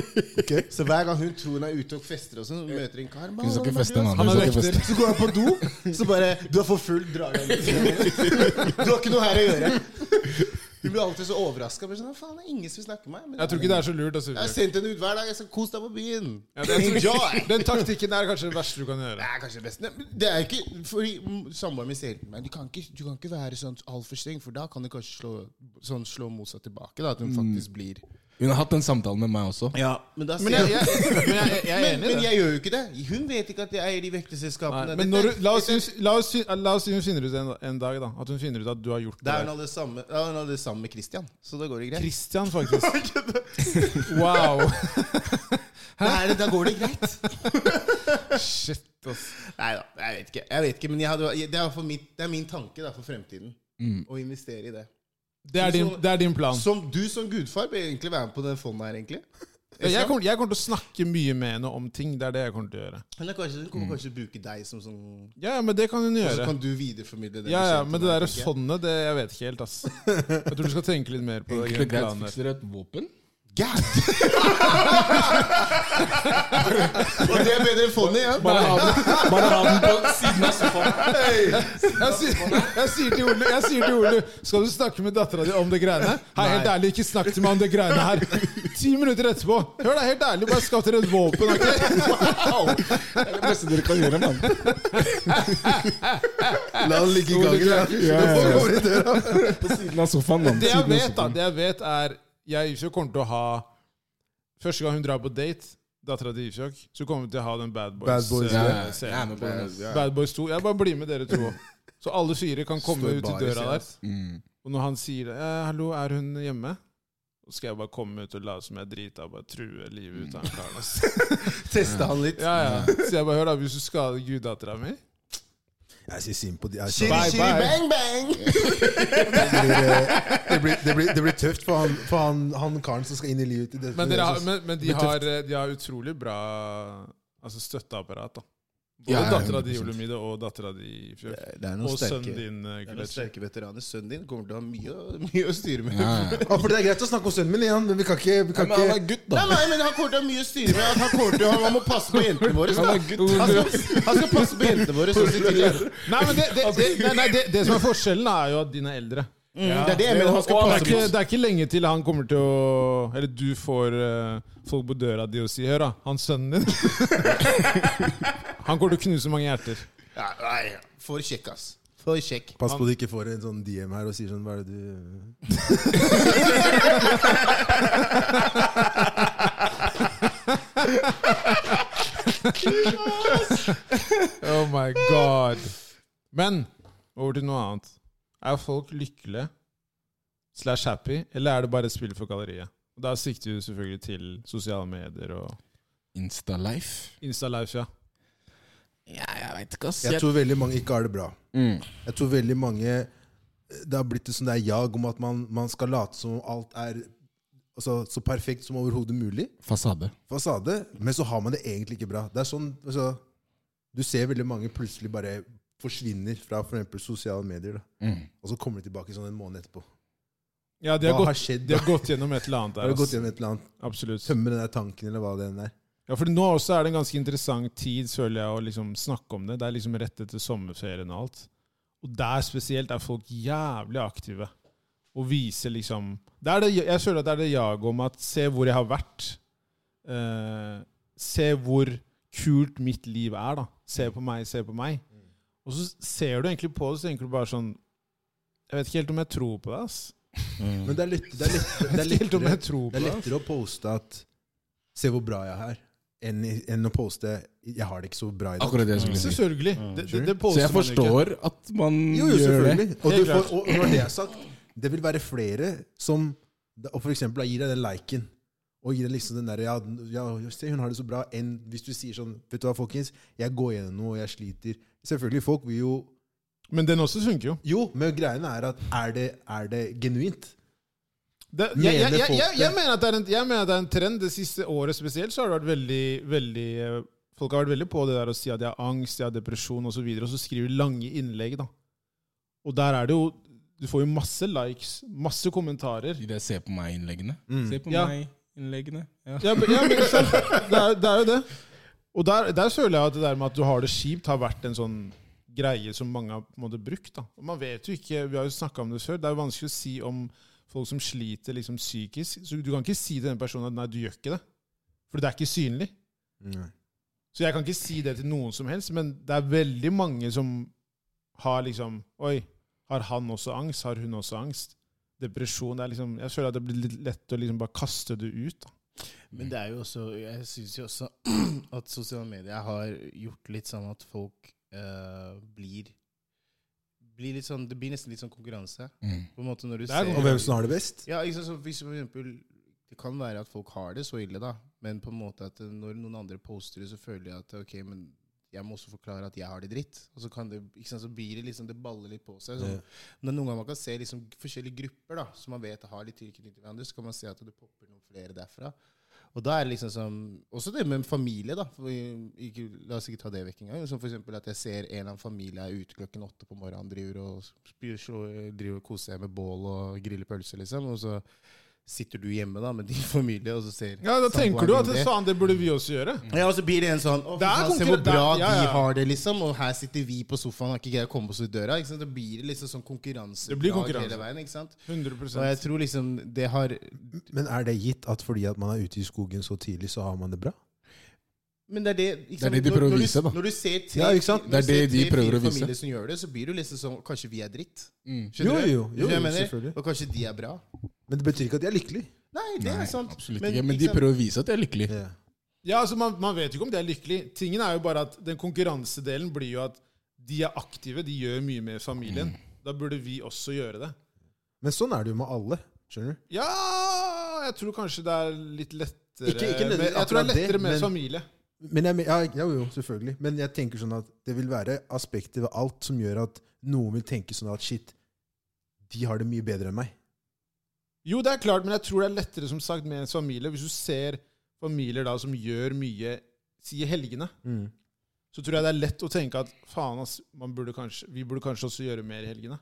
[SPEAKER 1] Så hver gang hun tror hun er ute og fester, og sånn, hun møter en kar
[SPEAKER 4] Hun skal ikke feste en annen.
[SPEAKER 2] Han
[SPEAKER 4] Hun
[SPEAKER 2] er
[SPEAKER 4] skal ikke
[SPEAKER 2] vekter.
[SPEAKER 4] feste.
[SPEAKER 1] Så går han på do, så bare Du er for full, drar jeg litt. Du har ikke noe her å gjøre. Hun blir alltid så overraska. Sånn, faen, det er ingen som vil snakke med meg. Men
[SPEAKER 2] Jeg tror ikke det er så lurt. Altså.
[SPEAKER 1] jeg har sendt henne ut hver dag. Jeg skal kose deg på byen.
[SPEAKER 2] Ja, det er-
[SPEAKER 1] Enjoy!
[SPEAKER 2] Den taktikken er kanskje det verste du kan gjøre.
[SPEAKER 1] Det er kanskje det beste. Nei, men Det er ikke, fordi mm, Samboeren min sier til meg du kan ikke, du kan ikke være sånn altfor streng, for da kan du kanskje slå, sånn, slå motsatt tilbake. Da, at
[SPEAKER 4] Mm.
[SPEAKER 1] hun faktisk blir
[SPEAKER 4] Hun har hatt den samtalen med meg også.
[SPEAKER 1] ja, Men da
[SPEAKER 2] Men
[SPEAKER 1] sier
[SPEAKER 2] jeg,
[SPEAKER 1] hun
[SPEAKER 2] jeg, men jeg, jeg er
[SPEAKER 1] men,
[SPEAKER 2] enig i
[SPEAKER 1] men
[SPEAKER 2] det.
[SPEAKER 1] jeg gjør jo ikke det. Hun vet ikke at jeg eier de
[SPEAKER 2] Nei,
[SPEAKER 1] vekteselskapene.
[SPEAKER 2] men
[SPEAKER 1] Dette-
[SPEAKER 2] når, du- la, oss,
[SPEAKER 1] dette-
[SPEAKER 2] si- la, oss, si- la oss si hun finner ut en, en dag da at hun finner ut at du har gjort
[SPEAKER 1] Da
[SPEAKER 2] det.
[SPEAKER 1] er hun alle sammen, da er hun alle sammen med Christian, så da går det greit.
[SPEAKER 2] Christian, faktisk. Wow.
[SPEAKER 1] Nei, da går det greit.
[SPEAKER 2] Shit, ass.
[SPEAKER 1] Nei da, jeg vet ikke. Jeg vet ikke men jeg hadde, det, er for mitt, det er min tanke da, for fremtiden.
[SPEAKER 2] Mm.
[SPEAKER 1] Å investere i det.
[SPEAKER 2] Det er din, det er din plan.
[SPEAKER 1] Som du som gudfar bør egentlig være med på det fondet her, egentlig.
[SPEAKER 2] Ja, Jeg kommer, jeg kommer til å snakke mye med henne om ting. Det er det jeg kommer til å gjøre.
[SPEAKER 1] Eller kanskje hun
[SPEAKER 2] Mm.
[SPEAKER 1] kommer kanskje til å bruke deg som sånn Og
[SPEAKER 2] Ja, ja, men det kan hun
[SPEAKER 1] så
[SPEAKER 2] gjøre.
[SPEAKER 1] kan du videreformidle det. du
[SPEAKER 2] Ja, ja,
[SPEAKER 1] kjenner til
[SPEAKER 2] Men
[SPEAKER 1] meg,
[SPEAKER 2] det der
[SPEAKER 1] tenker jeg.
[SPEAKER 2] fondet, det jeg vet ikke helt, ass. Jeg tror du skal tenke litt mer på det.
[SPEAKER 4] Enkelt og greit
[SPEAKER 2] planen der.
[SPEAKER 4] fikser et våpen.
[SPEAKER 1] Og det er bedre enn fondet, ja.
[SPEAKER 4] Bare ha den, bare ha den på siden av sofaen.
[SPEAKER 2] Jeg sier, jeg sier til Ole, jeg sier til Ole Skal du snakke med dattera di om det greiene? Hei, helt ærlig, ikke snakk til meg om det greiene her. Ti minutter etterpå. Hør da, helt ærlig, bare skaff dere et våpen. ok?
[SPEAKER 4] Det er det beste dere kan gjøre, mann.
[SPEAKER 1] La den ligge i gangen. Ja.
[SPEAKER 4] På siden av sofaen, mann.
[SPEAKER 2] Det jeg vet, da, det jeg vet er Jeg Ifjok kommer til å ha Første gang hun drar på date, dattera til Ifjok, så kommer hun til å ha den Bad
[SPEAKER 3] Bad Boys, ja,
[SPEAKER 2] Boys-serien.
[SPEAKER 4] Jeg er med på det.
[SPEAKER 2] Bad Boys 2. Jeg bare blir med dere to òg. Så alle fire kan komme
[SPEAKER 3] Står
[SPEAKER 2] ut i
[SPEAKER 3] bare i
[SPEAKER 2] døra der.
[SPEAKER 3] siden,
[SPEAKER 4] Mm.
[SPEAKER 2] Og når han sier eh, 'hallo, er hun hjemme', så skal jeg bare komme ut og late som jeg er drita og bare true livet ut av han karen. ass.
[SPEAKER 1] Teste han litt.
[SPEAKER 2] Ja, ja. Så jeg bare hør da, hvis du skader guddattera mi
[SPEAKER 3] Jeg sier synd på de. jeg
[SPEAKER 1] Shitty,
[SPEAKER 3] sier-
[SPEAKER 2] Bye,
[SPEAKER 1] shitty,
[SPEAKER 2] bye.
[SPEAKER 1] bang, bang.
[SPEAKER 3] Det blir, eh, det blir, det blir, det blir tøft for, han, for han, han karen som skal inn i livet til dette.
[SPEAKER 2] Men, dere har,
[SPEAKER 3] Jesus.
[SPEAKER 2] men, men de,
[SPEAKER 3] Det blir
[SPEAKER 2] har, de har utrolig bra Altså støtteapparat, da.
[SPEAKER 4] Ja,
[SPEAKER 2] Både
[SPEAKER 4] ja,
[SPEAKER 2] dattera di i
[SPEAKER 4] 100%.
[SPEAKER 2] Julemide og dattera di i
[SPEAKER 1] Det
[SPEAKER 2] Fjørk.
[SPEAKER 1] er- det er noen
[SPEAKER 2] Og sønnen
[SPEAKER 1] sterke,
[SPEAKER 2] din,
[SPEAKER 1] det
[SPEAKER 2] eh,
[SPEAKER 1] er noen
[SPEAKER 2] Gullet.
[SPEAKER 1] sterke veteraner. Sønnen din kommer til å ha mye, å- mye å styre med.
[SPEAKER 3] Ja, for det er greit å snakke om sønnen min igjen, men vi kan ikke, vi
[SPEAKER 4] Ja,
[SPEAKER 3] kan
[SPEAKER 4] men han
[SPEAKER 3] ikke
[SPEAKER 4] er gutt, da.
[SPEAKER 1] Nei, nei, men han kommer til å ha mye å styre med. Han, kommer til å, han må passe på jentene våre. så- Han skal, han skal passe på jentene våre. Så de til,
[SPEAKER 2] Nei, men det, det,
[SPEAKER 1] Altså,
[SPEAKER 2] det, nei, nei, det, det som er forskjellen, er jo at dine er eldre.
[SPEAKER 1] Mm, det er det jeg mener. Han skal
[SPEAKER 2] Det
[SPEAKER 1] passe
[SPEAKER 2] Eh, er, ikke, det er ikke lenge til han kommer til å Eller du får eh, folk på døra di og sier 'Hør, da. Han sønnen din Han kommer til å knuse mange hjerter.
[SPEAKER 1] Ja, nei, for kjekk, ass. For kjekk.
[SPEAKER 3] Pass på du ikke får en sånn DM her og sier sånn Hva er det du
[SPEAKER 2] Oh my god. Men over til noe annet. Er folk lykkelige slash happy, eller er det bare spill for galleriet? Og Da sikter du selvfølgelig til sosiale medier og
[SPEAKER 4] Insta-life?
[SPEAKER 2] Insta-life, ja.
[SPEAKER 4] Ja, jeg veit ikke, ass.
[SPEAKER 3] Jeg tror veldig mange ikke har det bra.
[SPEAKER 4] Mm.
[SPEAKER 3] Jeg tror veldig mange Det har blitt et sånt der jag om at man, man skal late som alt er altså, så perfekt som overhodet mulig.
[SPEAKER 4] Fasade.
[SPEAKER 3] Fasade. Men så har man det egentlig ikke bra. Det er sånn altså, Du ser veldig mange plutselig bare forsvinner fra f.eks. sosiale medier. Da.
[SPEAKER 4] Mm.
[SPEAKER 3] Og så kommer de tilbake sånn en måned etterpå.
[SPEAKER 2] Ja, de har,
[SPEAKER 3] Hva har
[SPEAKER 2] gått,
[SPEAKER 3] skjedd?
[SPEAKER 2] de
[SPEAKER 3] Da?
[SPEAKER 2] har gått gjennom et eller annet
[SPEAKER 3] Har
[SPEAKER 2] der.
[SPEAKER 3] du gått
[SPEAKER 2] ass.
[SPEAKER 3] gjennom et eller annet?
[SPEAKER 2] Absolutt.
[SPEAKER 3] Tømme den der tanken, eller hva det enn er.
[SPEAKER 2] Ja, for nå også er det en ganske interessant tid, føler jeg, å liksom snakke om det. Det er liksom rett etter sommerferien og alt. Og der spesielt er folk jævlig aktive. Og viser liksom det er det, Jeg føler at det er det jaget om at se hvor jeg har vært. Eh, se hvor kult mitt liv er, da. Se på meg, se på meg. Og så ser du egentlig på det, så tenker du bare sånn Jeg vet ikke helt om jeg tror på det, ass. Mm.
[SPEAKER 3] Men det er, lett, det, er lett, det, er
[SPEAKER 2] Ikke helt om jeg
[SPEAKER 3] lettere,
[SPEAKER 2] tror på
[SPEAKER 3] det er
[SPEAKER 2] det. ass.
[SPEAKER 3] lettere å poste at 'se hvor bra jeg er', enn, i- enn å poste 'jeg har det ikke så bra i dag'.
[SPEAKER 4] Akkurat det jeg skulle si.
[SPEAKER 2] Selvfølgelig. Det, det, det påstår man jo
[SPEAKER 4] Så jeg
[SPEAKER 2] ikke.
[SPEAKER 4] forstår at man
[SPEAKER 3] Jo, jo,
[SPEAKER 4] gjør det.
[SPEAKER 3] selvfølgelig. Og,
[SPEAKER 2] Helt
[SPEAKER 3] du får, og når det er sagt, det vil være flere som og for eksempel da gir deg den liken. Og gir deg liksom den der, ja, ja, se, hun har det så bra, enn hvis du sier sånn Vet du hva, folkens, jeg går gjennom noe, og jeg sliter. Selvfølgelig, folk vil jo
[SPEAKER 2] Men den også funker jo.
[SPEAKER 3] Jo, men greien er at er det, er det genuint?
[SPEAKER 2] Det, jeg,
[SPEAKER 3] Mener
[SPEAKER 2] jeg, jeg,
[SPEAKER 3] folk
[SPEAKER 2] jeg,
[SPEAKER 3] det?
[SPEAKER 2] jeg, mener at det er en, jeg mener at det er en trend. Det siste året spesielt så har det vært veldig, veldig eh, Folk har vært veldig på det der å si at de har angst, de har depresjon osv., og, så videre, og så skriver de lange innlegg. da. Og der er det jo Du får jo masse likes, masse kommentarer.
[SPEAKER 4] De der se på meg-innleggene. Se på
[SPEAKER 2] Ja.
[SPEAKER 4] meg-innleggene. Ja.
[SPEAKER 2] Ja, men, ja, men ikke sant? det, er, det er jo det. Og der, der føler jeg at det der med at du har det kjipt, har vært en sånn greie som mange har på en måte brukt. da. Og man vet jo ikke, Vi har jo snakka om det før. Det er jo vanskelig å si om folk som sliter liksom psykisk. så Du kan ikke si til den personen at nei, du gjør ikke det. For det er ikke synlig.
[SPEAKER 4] Mm.
[SPEAKER 2] Så jeg kan ikke si det til noen som helst, men det er veldig mange som har liksom Oi, har han også angst? Har hun også angst? Depresjon det er liksom, Jeg føler at det blir litt lett å liksom bare kaste det ut. da.
[SPEAKER 1] Men det er jo også Jeg syns jo også at sosiale medier har gjort litt sånn at folk eh, blir blir litt sånn, Det blir nesten litt sånn konkurranse.
[SPEAKER 4] Mm.
[SPEAKER 1] På en måte når du
[SPEAKER 2] Det er
[SPEAKER 1] ser
[SPEAKER 2] noe-
[SPEAKER 3] Og hvem som har det best?
[SPEAKER 1] Ja, ikke sant, så hvis for eksempel, Det kan være at folk har det så ille, da, men på en måte at eh, når noen andre poster det, så føler jeg at ok, men jeg må også forklare at jeg har det dritt. Og så, kan det, ikke sant, så blir det liksom, det baller litt på seg. Sånn. Men noen ganger man kan se liksom forskjellige grupper da, som man vet har litt tilknytning til hverandre, så kan man se at det popper noen flere derfra. Og da er det liksom som, Også det med familie, da. For vi- ikke, la oss ikke ta det vekk engang. Som for eksempel at jeg ser en eller annen familie er ute klokken åtte på morgenen driver og spyr, slår, driver og koser seg med bål og griller pølser, liksom. Og så sitter du hjemme da med din familie, og så ser
[SPEAKER 2] Ja, Da tenker du at
[SPEAKER 1] samboeren din
[SPEAKER 2] faen, det burde vi også gjøre.
[SPEAKER 1] ja, og så blir det en sånn Å, fy
[SPEAKER 2] Det er
[SPEAKER 1] faen, se hvor
[SPEAKER 2] konkurran-
[SPEAKER 1] bra
[SPEAKER 2] det er- ja,
[SPEAKER 1] de
[SPEAKER 2] ja.
[SPEAKER 1] har det, liksom. Og her sitter vi på sofaen og har ikke greid å komme oss ut døra. Ikke sant? Da blir det liksom sånn konkurranse
[SPEAKER 2] Det blir konkurranse.
[SPEAKER 1] hele veien. Ikke sant?
[SPEAKER 2] 100
[SPEAKER 1] Og jeg tror liksom det har
[SPEAKER 3] Men er det gitt at fordi at man er ute i skogen så tidlig, så har man det bra?
[SPEAKER 1] Men det er det ikke sant?
[SPEAKER 4] Det er det de
[SPEAKER 1] Når-
[SPEAKER 4] prøver å
[SPEAKER 1] når du-
[SPEAKER 4] vise, da.
[SPEAKER 1] Når du ser tre,
[SPEAKER 3] Ja, ikke sant?
[SPEAKER 1] når
[SPEAKER 4] Det er
[SPEAKER 1] du ser
[SPEAKER 4] det de
[SPEAKER 1] tre,
[SPEAKER 4] prøver
[SPEAKER 1] fire
[SPEAKER 4] å vise.
[SPEAKER 1] familier som gjør det, så blir du liksom sånn Kanskje vi er dritt?
[SPEAKER 4] Mm.
[SPEAKER 1] Skjønner
[SPEAKER 3] Jo,
[SPEAKER 1] du?
[SPEAKER 3] jo,
[SPEAKER 1] Skjønner du
[SPEAKER 3] jo,
[SPEAKER 1] hva jeg mener?
[SPEAKER 3] selvfølgelig.
[SPEAKER 1] Og kanskje de er bra?
[SPEAKER 3] Men det betyr ikke at de er lykkelige.
[SPEAKER 1] Nei, det er sant.
[SPEAKER 4] Absolutt ikke. Men de
[SPEAKER 1] sant?
[SPEAKER 4] prøver å vise at de er lykkelige.
[SPEAKER 3] Ja.
[SPEAKER 2] Ja, altså man, man vet jo ikke om det er lykkelig. Tingen er jo bare at Den konkurransedelen blir jo at de er aktive, de gjør mye med familien.
[SPEAKER 3] Mm.
[SPEAKER 2] Da burde vi også gjøre det.
[SPEAKER 3] Men sånn er det jo med alle. Skjønner du?
[SPEAKER 2] Ja, jeg tror kanskje det er litt lettere
[SPEAKER 3] Ikke- ikke
[SPEAKER 2] med, Jeg tror
[SPEAKER 3] nødvendigvis
[SPEAKER 2] det er
[SPEAKER 3] akkurat det,
[SPEAKER 2] lettere med
[SPEAKER 3] men-
[SPEAKER 2] familie.
[SPEAKER 3] Men jeg, men- ja, ja, jo, selvfølgelig. Men jeg tenker sånn at det vil være aspekter ved alt som gjør at noen vil tenke sånn at shit, de har det mye bedre enn meg.
[SPEAKER 2] Jo, det er klart, men jeg tror det er lettere som sagt med en familie. Hvis du ser familier da som gjør mye sier helgene,
[SPEAKER 3] Mm.
[SPEAKER 2] så tror jeg det er lett å tenke at faen, ass, man burde kanskje, vi burde kanskje også gjøre mer i helgene.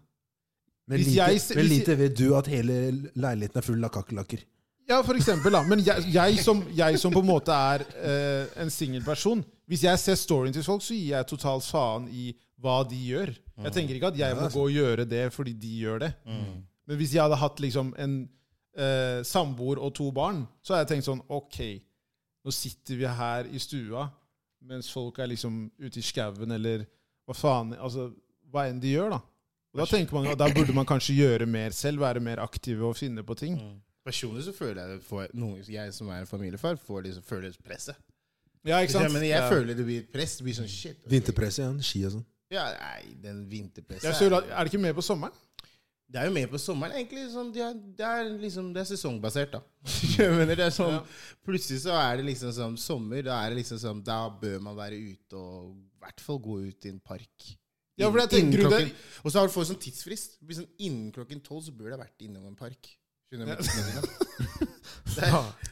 [SPEAKER 3] Men
[SPEAKER 2] Hvis
[SPEAKER 3] lite,
[SPEAKER 2] jeg s-
[SPEAKER 3] men
[SPEAKER 2] hvis
[SPEAKER 3] lite vet du at hele leiligheten er full av kakerlakker.
[SPEAKER 2] Ja, for eksempel, da. Men jeg, jeg, som, jeg som på en måte er eh, en singel person Hvis jeg ser storyen til folk, så gir jeg totalt faen i hva de gjør. Jeg tenker ikke at jeg må gå og gjøre det fordi de gjør det. Men hvis jeg hadde hatt liksom en eh, samboer og to barn, så hadde jeg tenkt sånn Ok, nå sitter vi her i stua mens folk er liksom ute i skauen, eller hva faen Altså, hva enn de gjør, da. Og da tenker man at da burde man kanskje gjøre mer selv, være mer aktive og finne på ting.
[SPEAKER 1] Personlig så føler jeg det får, noen, jeg som er familiefar, får liksom, føler presset.
[SPEAKER 2] Ja, ikke sant?
[SPEAKER 1] Men jeg
[SPEAKER 2] Ja.
[SPEAKER 1] føler det blir et press. Det blir sånn shit. ok.
[SPEAKER 3] Vinterpresse, ja. Ski og sånn.
[SPEAKER 1] Ja, nei, den vinterpresset
[SPEAKER 2] Jeg
[SPEAKER 1] er-
[SPEAKER 2] føler at, er det ikke med på sommeren?
[SPEAKER 1] Det er jo mer på sommeren, egentlig. Sånn, de er, det, er liksom, det er sesongbasert, da. Jeg mener, det er sånn, Plutselig så er det liksom som sommer. Da er det liksom som, da bør man være ute og i hvert fall gå ut i en park.
[SPEAKER 2] Ja, for jeg
[SPEAKER 1] Innen
[SPEAKER 2] tenker jo det-
[SPEAKER 1] klokken, Og så har du fått sånn tidsfrist. Det blir sånn, Innen klokken tolv så bør du ha vært innom en park. Skjønner du? hva jeg mener? Det, er,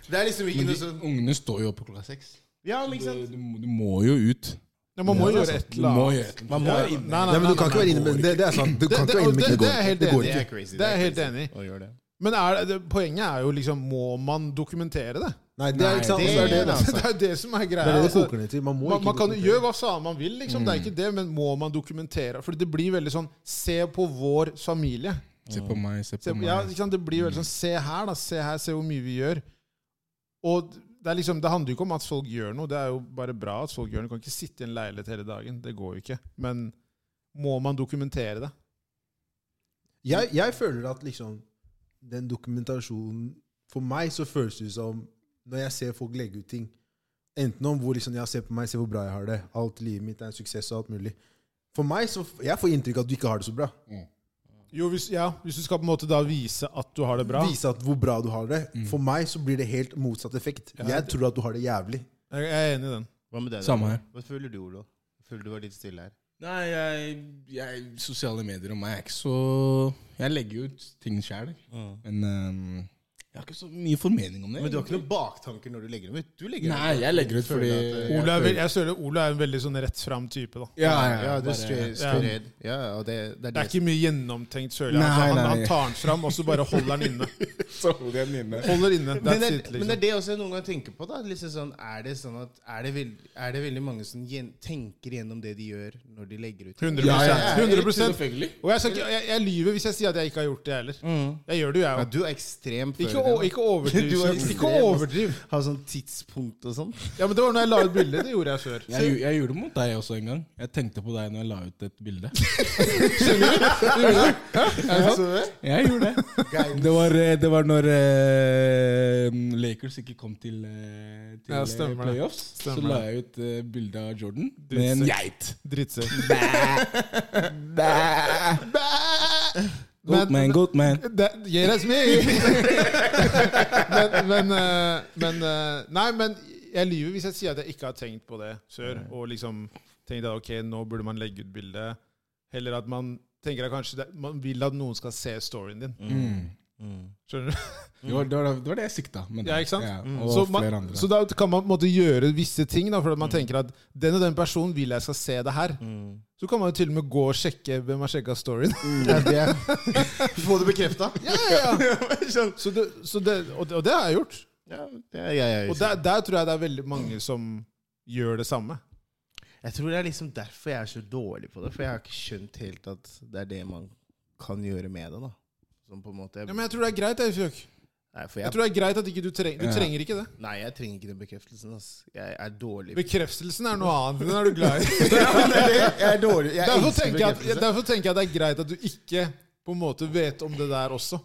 [SPEAKER 1] det er liksom ikke
[SPEAKER 4] Men de,
[SPEAKER 1] noe sånn
[SPEAKER 4] ungene står jo opp klokka seks.
[SPEAKER 1] Ja, men
[SPEAKER 4] Du,
[SPEAKER 1] ikke sant?
[SPEAKER 4] du, må- du må jo ut. Altså,
[SPEAKER 2] Ja, man må jo
[SPEAKER 3] altså,
[SPEAKER 2] gjøre et
[SPEAKER 4] Du
[SPEAKER 2] eller
[SPEAKER 4] må
[SPEAKER 2] annet.
[SPEAKER 4] gjøre et eller
[SPEAKER 1] Man må,
[SPEAKER 4] annet.
[SPEAKER 2] Ja,
[SPEAKER 1] det,
[SPEAKER 2] nei, nei,
[SPEAKER 3] Nei, men
[SPEAKER 2] nei,
[SPEAKER 3] du kan ikke
[SPEAKER 2] nei,
[SPEAKER 3] være inne med det, det er sant. Du kan ikke være inne med
[SPEAKER 2] det- det er
[SPEAKER 3] knekkebrød.
[SPEAKER 2] helt
[SPEAKER 3] Det går
[SPEAKER 2] enig.
[SPEAKER 1] er
[SPEAKER 3] ikke.
[SPEAKER 1] crazy.
[SPEAKER 2] Det er jeg helt
[SPEAKER 1] crazy
[SPEAKER 2] enig i.
[SPEAKER 1] å gjøre det.
[SPEAKER 2] Men er det, poenget er jo liksom Må man dokumentere det?
[SPEAKER 3] Nei, det er ikke sant.
[SPEAKER 1] Nei,
[SPEAKER 3] Det er det det,
[SPEAKER 2] Det er det som er greia.
[SPEAKER 3] Altså. det, er det, det
[SPEAKER 2] altså.
[SPEAKER 3] koker ned til. Man må
[SPEAKER 2] man,
[SPEAKER 3] ikke
[SPEAKER 2] man kan jo
[SPEAKER 3] dokumentere. Mm.
[SPEAKER 2] gjøre hva faen man vil, liksom. Det er ikke det, men må man dokumentere? For det blir veldig sånn Se på vår familie.
[SPEAKER 4] Se på meg, se på
[SPEAKER 2] Se, på-
[SPEAKER 4] meg.
[SPEAKER 2] ja, ikke sant? Det blir veldig sånn Se her, da. Se her, se hvor mye vi gjør. Og det, er liksom, det handler jo ikke om at folk gjør noe. Det er jo bare bra at folk gjør noe. Du kan ikke sitte i en leilighet hele dagen. Det går jo ikke. Men må man dokumentere det?
[SPEAKER 3] Jeg, jeg føler at liksom den dokumentasjonen For meg så føles det ut som når jeg ser folk legge ut ting Enten om hvor liksom jeg ser på meg, se hvor bra jeg har det. Alt i livet mitt er en suksess og alt mulig. For meg så, Jeg får inntrykk av at du ikke har det så bra.
[SPEAKER 2] Jo, hvis, ja, hvis du skal på en måte da vise at du har det bra.
[SPEAKER 3] Vise at hvor bra du har det.
[SPEAKER 1] Mm.
[SPEAKER 3] For meg så blir det helt motsatt effekt. Jeg tror at du har det jævlig.
[SPEAKER 2] Jeg er enig i den.
[SPEAKER 1] Hva med deg? da?
[SPEAKER 4] Samme her.
[SPEAKER 1] Hva føler du, Olo? Jeg Føler du var litt stille her?
[SPEAKER 4] Nei, jeg, jeg Sosiale medier og meg er ikke så Jeg legger jo ut ting sjæl, men øhm, jeg har ikke så mye formening om det.
[SPEAKER 1] Men du har ikke noen baktanker når du legger dem ut? Du legger dem ut.
[SPEAKER 4] Nei, jeg legger ut fordi
[SPEAKER 1] Føler at, eh,
[SPEAKER 2] Ola er, vel- jeg føler Ola er en veldig sånn rett fram type. da
[SPEAKER 4] Ja, ja,
[SPEAKER 1] Ja, du er
[SPEAKER 4] bare,
[SPEAKER 1] straight, straight. Ja, og det, det er
[SPEAKER 2] Det
[SPEAKER 1] det
[SPEAKER 2] er ikke mye gjennomtenkt, føler jeg.
[SPEAKER 4] Nei,
[SPEAKER 2] Altså, han,
[SPEAKER 4] nei.
[SPEAKER 2] han tar den fram, og så bare holder den inne.
[SPEAKER 4] så holder jeg den inne.
[SPEAKER 2] Holder inne,
[SPEAKER 1] men det,
[SPEAKER 2] That's
[SPEAKER 1] er,
[SPEAKER 2] it,
[SPEAKER 1] men det er
[SPEAKER 2] liksom.
[SPEAKER 1] det også jeg noen ganger tenker på. da liksom sånn, er, det sånn at, er, det veld, er det veldig mange som gjen, tenker gjennom det de gjør, når de legger ut?
[SPEAKER 2] 100
[SPEAKER 4] Ja, ja, ja.
[SPEAKER 2] 100
[SPEAKER 4] Selvfølgelig.
[SPEAKER 2] Og jeg, skal ikke, jeg, jeg lyver hvis jeg sier at jeg ikke har gjort det heller. Jeg gjør det jo,
[SPEAKER 1] Ja,
[SPEAKER 2] jeg òg.
[SPEAKER 1] du er ekstrem før
[SPEAKER 2] Ikke,
[SPEAKER 1] i
[SPEAKER 2] o-
[SPEAKER 1] tiden.
[SPEAKER 2] ikke overdriv.
[SPEAKER 1] Du er
[SPEAKER 2] Seb.
[SPEAKER 1] ekstrem,
[SPEAKER 2] Ikke
[SPEAKER 1] ass.
[SPEAKER 2] overdriv.
[SPEAKER 1] Ha sånn tidspunkt og sånn.
[SPEAKER 2] Ja, men Det var når jeg la ut bilde. Det gjorde jeg før.
[SPEAKER 4] Jeg, gjo- jeg gjorde det mot deg også en gang. Jeg tenkte på deg når jeg la ut et bilde. Jeg gjorde det. Det var, eh, det var når eh, Lakers ikke kom til, eh, til
[SPEAKER 2] Ja,
[SPEAKER 4] eh,
[SPEAKER 2] stemmer det.
[SPEAKER 4] playoffs.
[SPEAKER 2] Stemmer
[SPEAKER 4] så la jeg ut eh, bilde av Jordan med
[SPEAKER 2] Drittsekk.
[SPEAKER 4] en geit.
[SPEAKER 2] Drittsekk.
[SPEAKER 4] Goat man, goat man.
[SPEAKER 2] That, yeah, that's me! men men, eh, men eh, Nei, men jeg lyver hvis jeg sier at jeg ikke har tenkt på det før. Og liksom tenkt at ok, nå burde man legge ut bilde. Heller at man tenker at kanskje det, man vil at noen skal se storyen din. Skjønner du?
[SPEAKER 4] Mm. Det, var, det, var, det var det jeg sikta. Men,
[SPEAKER 2] Ja, ikke sant? Mm.
[SPEAKER 4] og
[SPEAKER 2] så,
[SPEAKER 4] flere
[SPEAKER 2] man,
[SPEAKER 4] andre.
[SPEAKER 2] så da kan man på en måte gjøre visse ting, da, for at man tenker at den og den personen vil jeg skal se det her. Så kan man jo til og med gå og sjekke hvem har sjekka storyen.
[SPEAKER 1] Få det bekrefta.
[SPEAKER 2] ja, ja, ja. Så det, så det, og, det, og det har jeg gjort.
[SPEAKER 1] Ja, det er jeg, jeg,
[SPEAKER 2] Og der, der tror jeg det er veldig mange som gjør det samme.
[SPEAKER 1] jeg tror det er liksom derfor jeg er så dårlig på det. For jeg har ikke skjønt helt at det er det man kan gjøre med det. da Som på en måte
[SPEAKER 2] Ja, men jeg tror det er greit. Jeg, Fjøk.
[SPEAKER 1] Nei, for
[SPEAKER 2] jeg
[SPEAKER 1] jeg,
[SPEAKER 2] tror det er greit at ikke du, treng, du
[SPEAKER 4] Ja.
[SPEAKER 2] trenger ikke det.
[SPEAKER 1] nei, jeg trenger ikke den bekreftelsen. ass Jeg er dårlig på
[SPEAKER 2] Bekreftelsen er noe annet. Den er du glad i.
[SPEAKER 1] Jeg er dårlig. Jeg
[SPEAKER 2] Derfor
[SPEAKER 1] elsker
[SPEAKER 2] tenker, jeg at,
[SPEAKER 1] bekreftelse.
[SPEAKER 2] derfor tenker jeg det er greit at du ikke på en måte vet om det der også.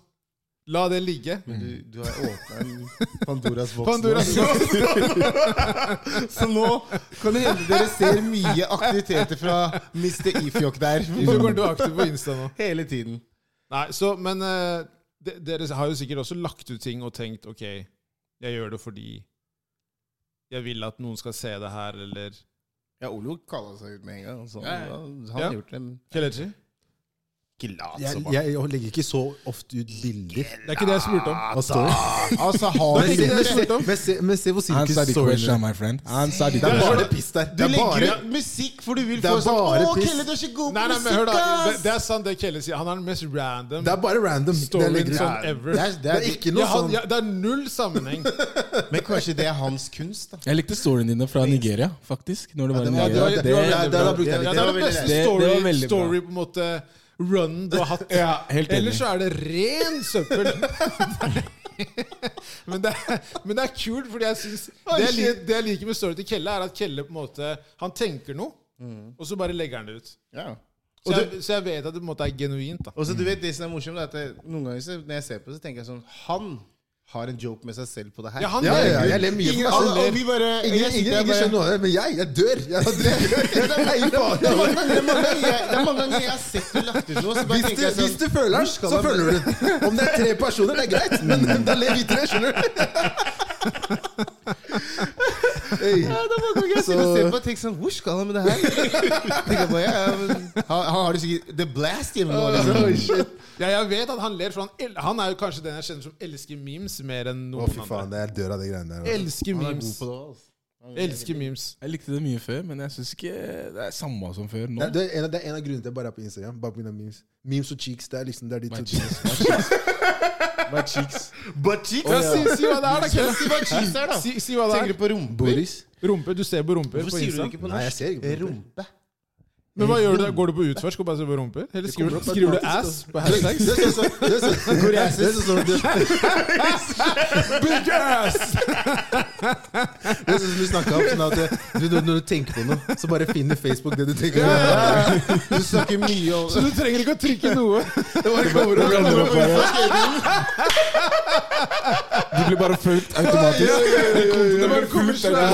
[SPEAKER 2] La det ligge.
[SPEAKER 1] Men du, du har åpna en Pandoras boks.
[SPEAKER 2] Pandora,
[SPEAKER 1] nå. Så nå kan det hende dere ser mye aktiviteter fra Mr. Ifjok der.
[SPEAKER 2] du kommer til å være aktiv på Insta nå.
[SPEAKER 1] Hele tiden.
[SPEAKER 2] Nei, så, men eh, de, dere har jo sikkert også lagt ut ting og tenkt ok, jeg gjør det fordi jeg vil at noen skal se det her, eller
[SPEAKER 1] Ja, Olo kalla seg ut med en gang. Så
[SPEAKER 4] Ja, ja.
[SPEAKER 1] han
[SPEAKER 2] Ja.
[SPEAKER 1] har gjort det. men-
[SPEAKER 2] Kelechi?
[SPEAKER 1] Ikke lat
[SPEAKER 3] Jeg,
[SPEAKER 1] som.
[SPEAKER 3] jeg, jeg legger ikke så ofte ut bilder
[SPEAKER 2] Det er ikke det jeg spurte om.
[SPEAKER 3] av storyen.
[SPEAKER 1] Altså, har
[SPEAKER 3] Men
[SPEAKER 1] du
[SPEAKER 3] se-
[SPEAKER 1] gjort det?
[SPEAKER 3] men se- men se- Men se hvor
[SPEAKER 4] Answer
[SPEAKER 3] sirkus
[SPEAKER 4] the
[SPEAKER 3] storyen
[SPEAKER 4] question,
[SPEAKER 3] er.
[SPEAKER 4] my friend. Answer the
[SPEAKER 3] Det er
[SPEAKER 4] question.
[SPEAKER 3] bare piss der.
[SPEAKER 1] Du
[SPEAKER 3] Det er
[SPEAKER 1] legger
[SPEAKER 3] bare
[SPEAKER 1] ut musikk for du vil
[SPEAKER 3] Det er
[SPEAKER 1] få sånn
[SPEAKER 3] bare
[SPEAKER 1] Å,
[SPEAKER 3] piss.
[SPEAKER 1] Kelle, du er så god
[SPEAKER 2] Nei,
[SPEAKER 1] på
[SPEAKER 2] nei, men hør
[SPEAKER 1] musikk,
[SPEAKER 2] da, det,
[SPEAKER 1] ass!
[SPEAKER 2] det er sant det Kelle sier. Han er den mest random
[SPEAKER 3] Det er bare random. Det jeg
[SPEAKER 2] storyen
[SPEAKER 3] legger
[SPEAKER 2] som
[SPEAKER 3] ut.
[SPEAKER 2] ever.
[SPEAKER 1] Det er, det
[SPEAKER 3] Det
[SPEAKER 1] er
[SPEAKER 3] er ikke
[SPEAKER 2] Ja,
[SPEAKER 3] noe
[SPEAKER 2] han,
[SPEAKER 3] sånn
[SPEAKER 2] ja, det er null sammenheng.
[SPEAKER 1] Men kanskje det er hans kunst, da.
[SPEAKER 4] Jeg likte storyen din fra Nigeria, faktisk. Når du var i
[SPEAKER 3] var-
[SPEAKER 4] Nigeria. Det,
[SPEAKER 3] det- det-
[SPEAKER 4] det,
[SPEAKER 3] der- der har brukt jeg
[SPEAKER 2] Ja,
[SPEAKER 3] litt.
[SPEAKER 2] det er den
[SPEAKER 1] veldig
[SPEAKER 2] beste
[SPEAKER 4] lett. Det- det var
[SPEAKER 2] story,
[SPEAKER 4] veldig bra.
[SPEAKER 2] story på en måte run du har hatt.
[SPEAKER 4] helt enig.
[SPEAKER 2] Ellers så er det ren søppel. men, det er, men det er kult, fordi jeg synes det, jeg liker, det jeg liker med storyen til Kelle, er at Kelle på en måte Han tenker noe, og så bare legger han det ut.
[SPEAKER 1] Ja.
[SPEAKER 2] Så jeg, så jeg vet at det på en måte er genuint. da
[SPEAKER 1] Og så du vet Det som er morsomt, er at det, noen ganger så, når jeg ser på det, så tenker jeg sånn Han har en joke med seg selv på det her.
[SPEAKER 2] Ja, han
[SPEAKER 3] Ja, ja, ja,
[SPEAKER 2] legger
[SPEAKER 3] jeg
[SPEAKER 2] ut.
[SPEAKER 3] ler mye
[SPEAKER 1] Ingen-
[SPEAKER 3] for meg
[SPEAKER 1] alle-
[SPEAKER 3] selv.
[SPEAKER 1] og vi bare
[SPEAKER 3] Ingen,
[SPEAKER 1] jeg sitter
[SPEAKER 3] ingen,
[SPEAKER 1] her
[SPEAKER 3] ingen
[SPEAKER 1] bare-
[SPEAKER 3] skjønner noe av det, men jeg, jeg dør. Jeg dør. Jeg feier
[SPEAKER 1] Det er
[SPEAKER 3] faen.
[SPEAKER 1] mange ganger jeg- det er mange ganger jeg har sett du lagt ut noe, så bare
[SPEAKER 3] Hvis
[SPEAKER 1] tenker
[SPEAKER 3] du,
[SPEAKER 1] jeg
[SPEAKER 3] hvis
[SPEAKER 1] sånn
[SPEAKER 3] du føler den,
[SPEAKER 1] skal
[SPEAKER 3] så
[SPEAKER 1] det
[SPEAKER 3] føler du den. Om det er tre personer, det er greit, men da ler vi tre, skjønner du.
[SPEAKER 1] ja,
[SPEAKER 3] Hey.
[SPEAKER 1] det er mange ganger jeg sitter og ser på og tenker sånn Hvor skal han med det her? Tenker jeg bare, ja, ja, men, han, han har det sikkert The Blast hjemme nå. Liksom.
[SPEAKER 2] Ja, jeg vet at han ler, for han, el han er jo kanskje den jeg kjenner som elsker memes mer enn
[SPEAKER 3] Å,
[SPEAKER 2] noen
[SPEAKER 3] fy faen,
[SPEAKER 2] andre.
[SPEAKER 3] det er dør av de greiene der. altså.
[SPEAKER 2] Elsker
[SPEAKER 1] Han er
[SPEAKER 2] memes.
[SPEAKER 1] god på det også.
[SPEAKER 2] Elsker memes.
[SPEAKER 4] Jeg likte det mye før, men jeg syns ikke det er samme som før
[SPEAKER 3] Det
[SPEAKER 4] nå.
[SPEAKER 3] er, det, er en av, det er en av grunnene til jeg bare er på Instagram. Bare på grunn av memes. memes og cheeks. Det er liksom det er de
[SPEAKER 4] My
[SPEAKER 3] to
[SPEAKER 4] cheeks. My cheeks. My cheeks.
[SPEAKER 1] Butt cheeks!
[SPEAKER 2] Ja, si, si hva det er, da, Kelle.
[SPEAKER 1] Si hva cheeks er, da.
[SPEAKER 2] Si, si hva det
[SPEAKER 1] Tenker du
[SPEAKER 2] er.
[SPEAKER 1] på rumper?
[SPEAKER 3] Boris?
[SPEAKER 2] Rumpe. Du ser på rumper
[SPEAKER 1] Hvorfor
[SPEAKER 2] på
[SPEAKER 1] sier du
[SPEAKER 2] Insta.
[SPEAKER 1] det ikke på
[SPEAKER 3] Nei, jeg
[SPEAKER 1] norsk?
[SPEAKER 3] ser ikke på rumpe.
[SPEAKER 1] Rumpe.
[SPEAKER 2] Men hva gjør du? da? Går du på utforsk og bare ser på rumper? Eller skriver, du- skriver du ass på hashtags?
[SPEAKER 3] Det er sånn- det er sånn- det er sånn som- det er
[SPEAKER 2] Big ass!
[SPEAKER 3] det er sånn som vi snakket om. Sånn at eh, du, du, når du tenker på noe, så bare finner Facebook det du tenker på.
[SPEAKER 1] Du snakker mye om
[SPEAKER 2] Så du trenger ikke å trykke noe.
[SPEAKER 1] Det var kommer opp
[SPEAKER 4] kommer opp,
[SPEAKER 1] kommer opp.
[SPEAKER 4] Du blir bare fulgt automatisk.
[SPEAKER 2] Det bare kommer svære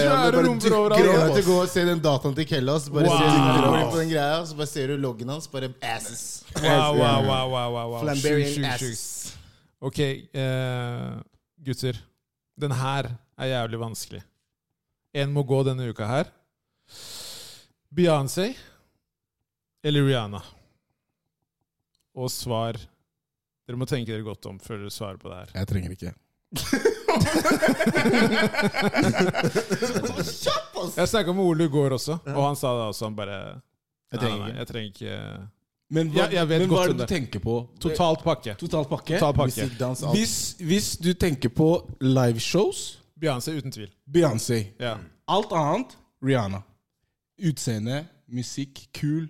[SPEAKER 2] svære rumper
[SPEAKER 1] Gleder meg
[SPEAKER 2] overalt.
[SPEAKER 1] til å gå og se den dataen til Kellas. Bare se
[SPEAKER 2] Wow.
[SPEAKER 1] du går inn på den greia, så bare ser du loggen hans. Bare asses.
[SPEAKER 2] Wow, wow, wow, wow, wow, wow. Sjukt,
[SPEAKER 1] Flamberian
[SPEAKER 2] sjukt,
[SPEAKER 1] asses.
[SPEAKER 2] sjukt. Ok, eh, gutter. Den her er jævlig vanskelig. En må gå denne uka her. Beyoncé eller Rihanna? Og svar Dere må tenke dere godt om før dere svarer på det her.
[SPEAKER 4] Jeg trenger ikke.
[SPEAKER 1] Kjapp, ass!
[SPEAKER 2] Jeg snakka med Ole i går også, og han sa det også. Han bare Jeg
[SPEAKER 1] trenger
[SPEAKER 2] nei, nei, jeg trenger ikke
[SPEAKER 4] Men hva,
[SPEAKER 2] Jeg- jeg vet
[SPEAKER 4] men hva
[SPEAKER 2] godt
[SPEAKER 4] er
[SPEAKER 2] om
[SPEAKER 4] det du tenker på?
[SPEAKER 2] Totalt pakke.
[SPEAKER 4] Totalt pakke?
[SPEAKER 2] Total pakke.
[SPEAKER 1] Musikk, dans, alt.
[SPEAKER 4] Hvis, hvis du tenker på liveshows,
[SPEAKER 2] Beyoncé, uten tvil.
[SPEAKER 4] Beyoncé.
[SPEAKER 2] Ja.
[SPEAKER 4] Alt annet Rihanna. Utseende, musikk, kul.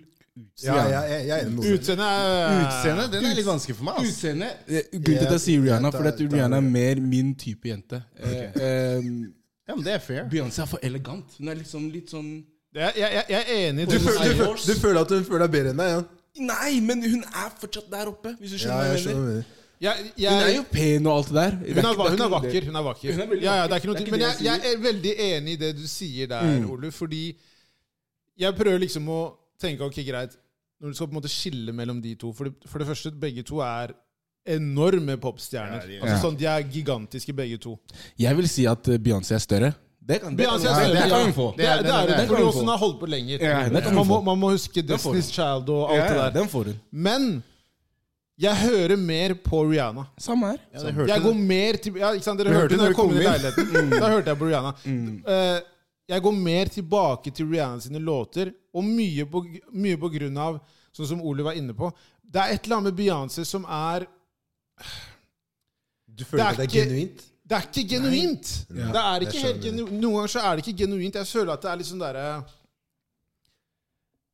[SPEAKER 3] Ja, ja, jeg, jeg er enig med Ole.
[SPEAKER 2] Utseende er
[SPEAKER 1] Utseende, den er litt vanskelig for meg, ass.
[SPEAKER 4] Utseende eh, Grunnen til at jeg sier Rihanna, fordi at Rihanna er mer min type jente. Eh, eh,
[SPEAKER 1] Ja, men det er fair.
[SPEAKER 4] Beyoncé er for elegant. Hun er liksom litt sånn
[SPEAKER 2] Jeg, jeg, jeg- jeg er enig i
[SPEAKER 3] Du,
[SPEAKER 2] det.
[SPEAKER 3] føl- du, føl- du føler at hun føler deg bedre enn deg? Ja,
[SPEAKER 4] Nei, men hun er fortsatt der oppe, hvis du
[SPEAKER 3] ja
[SPEAKER 4] skjønner
[SPEAKER 3] jeg
[SPEAKER 4] hva jeg
[SPEAKER 3] skjønner
[SPEAKER 4] mener.
[SPEAKER 3] hva du mener.
[SPEAKER 2] Jeg,
[SPEAKER 4] Hun er
[SPEAKER 2] jeg,
[SPEAKER 4] jo pen og alt det der.
[SPEAKER 2] Hun er, hun er vakker. hun er vakker.
[SPEAKER 4] Hun er veldig
[SPEAKER 2] ja, ja, det er
[SPEAKER 4] vakker.
[SPEAKER 2] ikke noe til. Men
[SPEAKER 4] Det er ikke det Mm.
[SPEAKER 2] jeg, jeg er veldig enig i det du sier der, Ole. Fordi jeg prøver liksom å tenke ok, greit, når du skal på en måte skille mellom de to For det, for det første, begge to er enorme popstjerner.
[SPEAKER 1] Ja, de er-
[SPEAKER 2] altså
[SPEAKER 4] Ja.
[SPEAKER 2] sånn, De er gigantiske, begge to. Altså,
[SPEAKER 4] Jeg vil si at eh, Beyoncé er større. Det kan det kan-
[SPEAKER 2] Beyoncé er
[SPEAKER 4] Nei,
[SPEAKER 2] større.
[SPEAKER 4] det kan hun få.
[SPEAKER 2] Det er det, er,
[SPEAKER 1] det
[SPEAKER 2] det
[SPEAKER 1] er-
[SPEAKER 2] fordi
[SPEAKER 4] det er-
[SPEAKER 2] også hun har holdt på lenger.
[SPEAKER 4] Ja, det kan hun
[SPEAKER 2] man, må,
[SPEAKER 4] få.
[SPEAKER 2] man må huske
[SPEAKER 4] får
[SPEAKER 2] Destiny's Child og alt
[SPEAKER 4] Ja, ja,
[SPEAKER 2] det der.
[SPEAKER 4] Den får hun.
[SPEAKER 2] Men jeg hører mer på Rihanna.
[SPEAKER 4] Samme her.
[SPEAKER 1] Ja, det hørte
[SPEAKER 2] Jeg
[SPEAKER 1] du.
[SPEAKER 2] går mer til ja, ikke sant? Dere
[SPEAKER 1] Vi
[SPEAKER 2] hørte
[SPEAKER 1] hørte
[SPEAKER 2] når
[SPEAKER 1] når
[SPEAKER 2] jeg kom
[SPEAKER 1] vi
[SPEAKER 2] inn i
[SPEAKER 1] kom
[SPEAKER 2] leiligheten. Da hørte jeg på Rihanna. Eh, jeg går mer tilbake til Rihanna sine låter, og mye på, mye på grunn av Sånn som Ole var inne på. Det er et eller annet med Beyoncé som er
[SPEAKER 3] Du føler at det er
[SPEAKER 2] ikke-
[SPEAKER 3] genuint?
[SPEAKER 2] Det er ikke genuint!
[SPEAKER 3] Nei.
[SPEAKER 2] det er ikke
[SPEAKER 3] jeg
[SPEAKER 2] helt
[SPEAKER 3] skjønner.
[SPEAKER 2] genu Noen ganger så er det ikke genuint. Jeg føler at det er litt sånn derre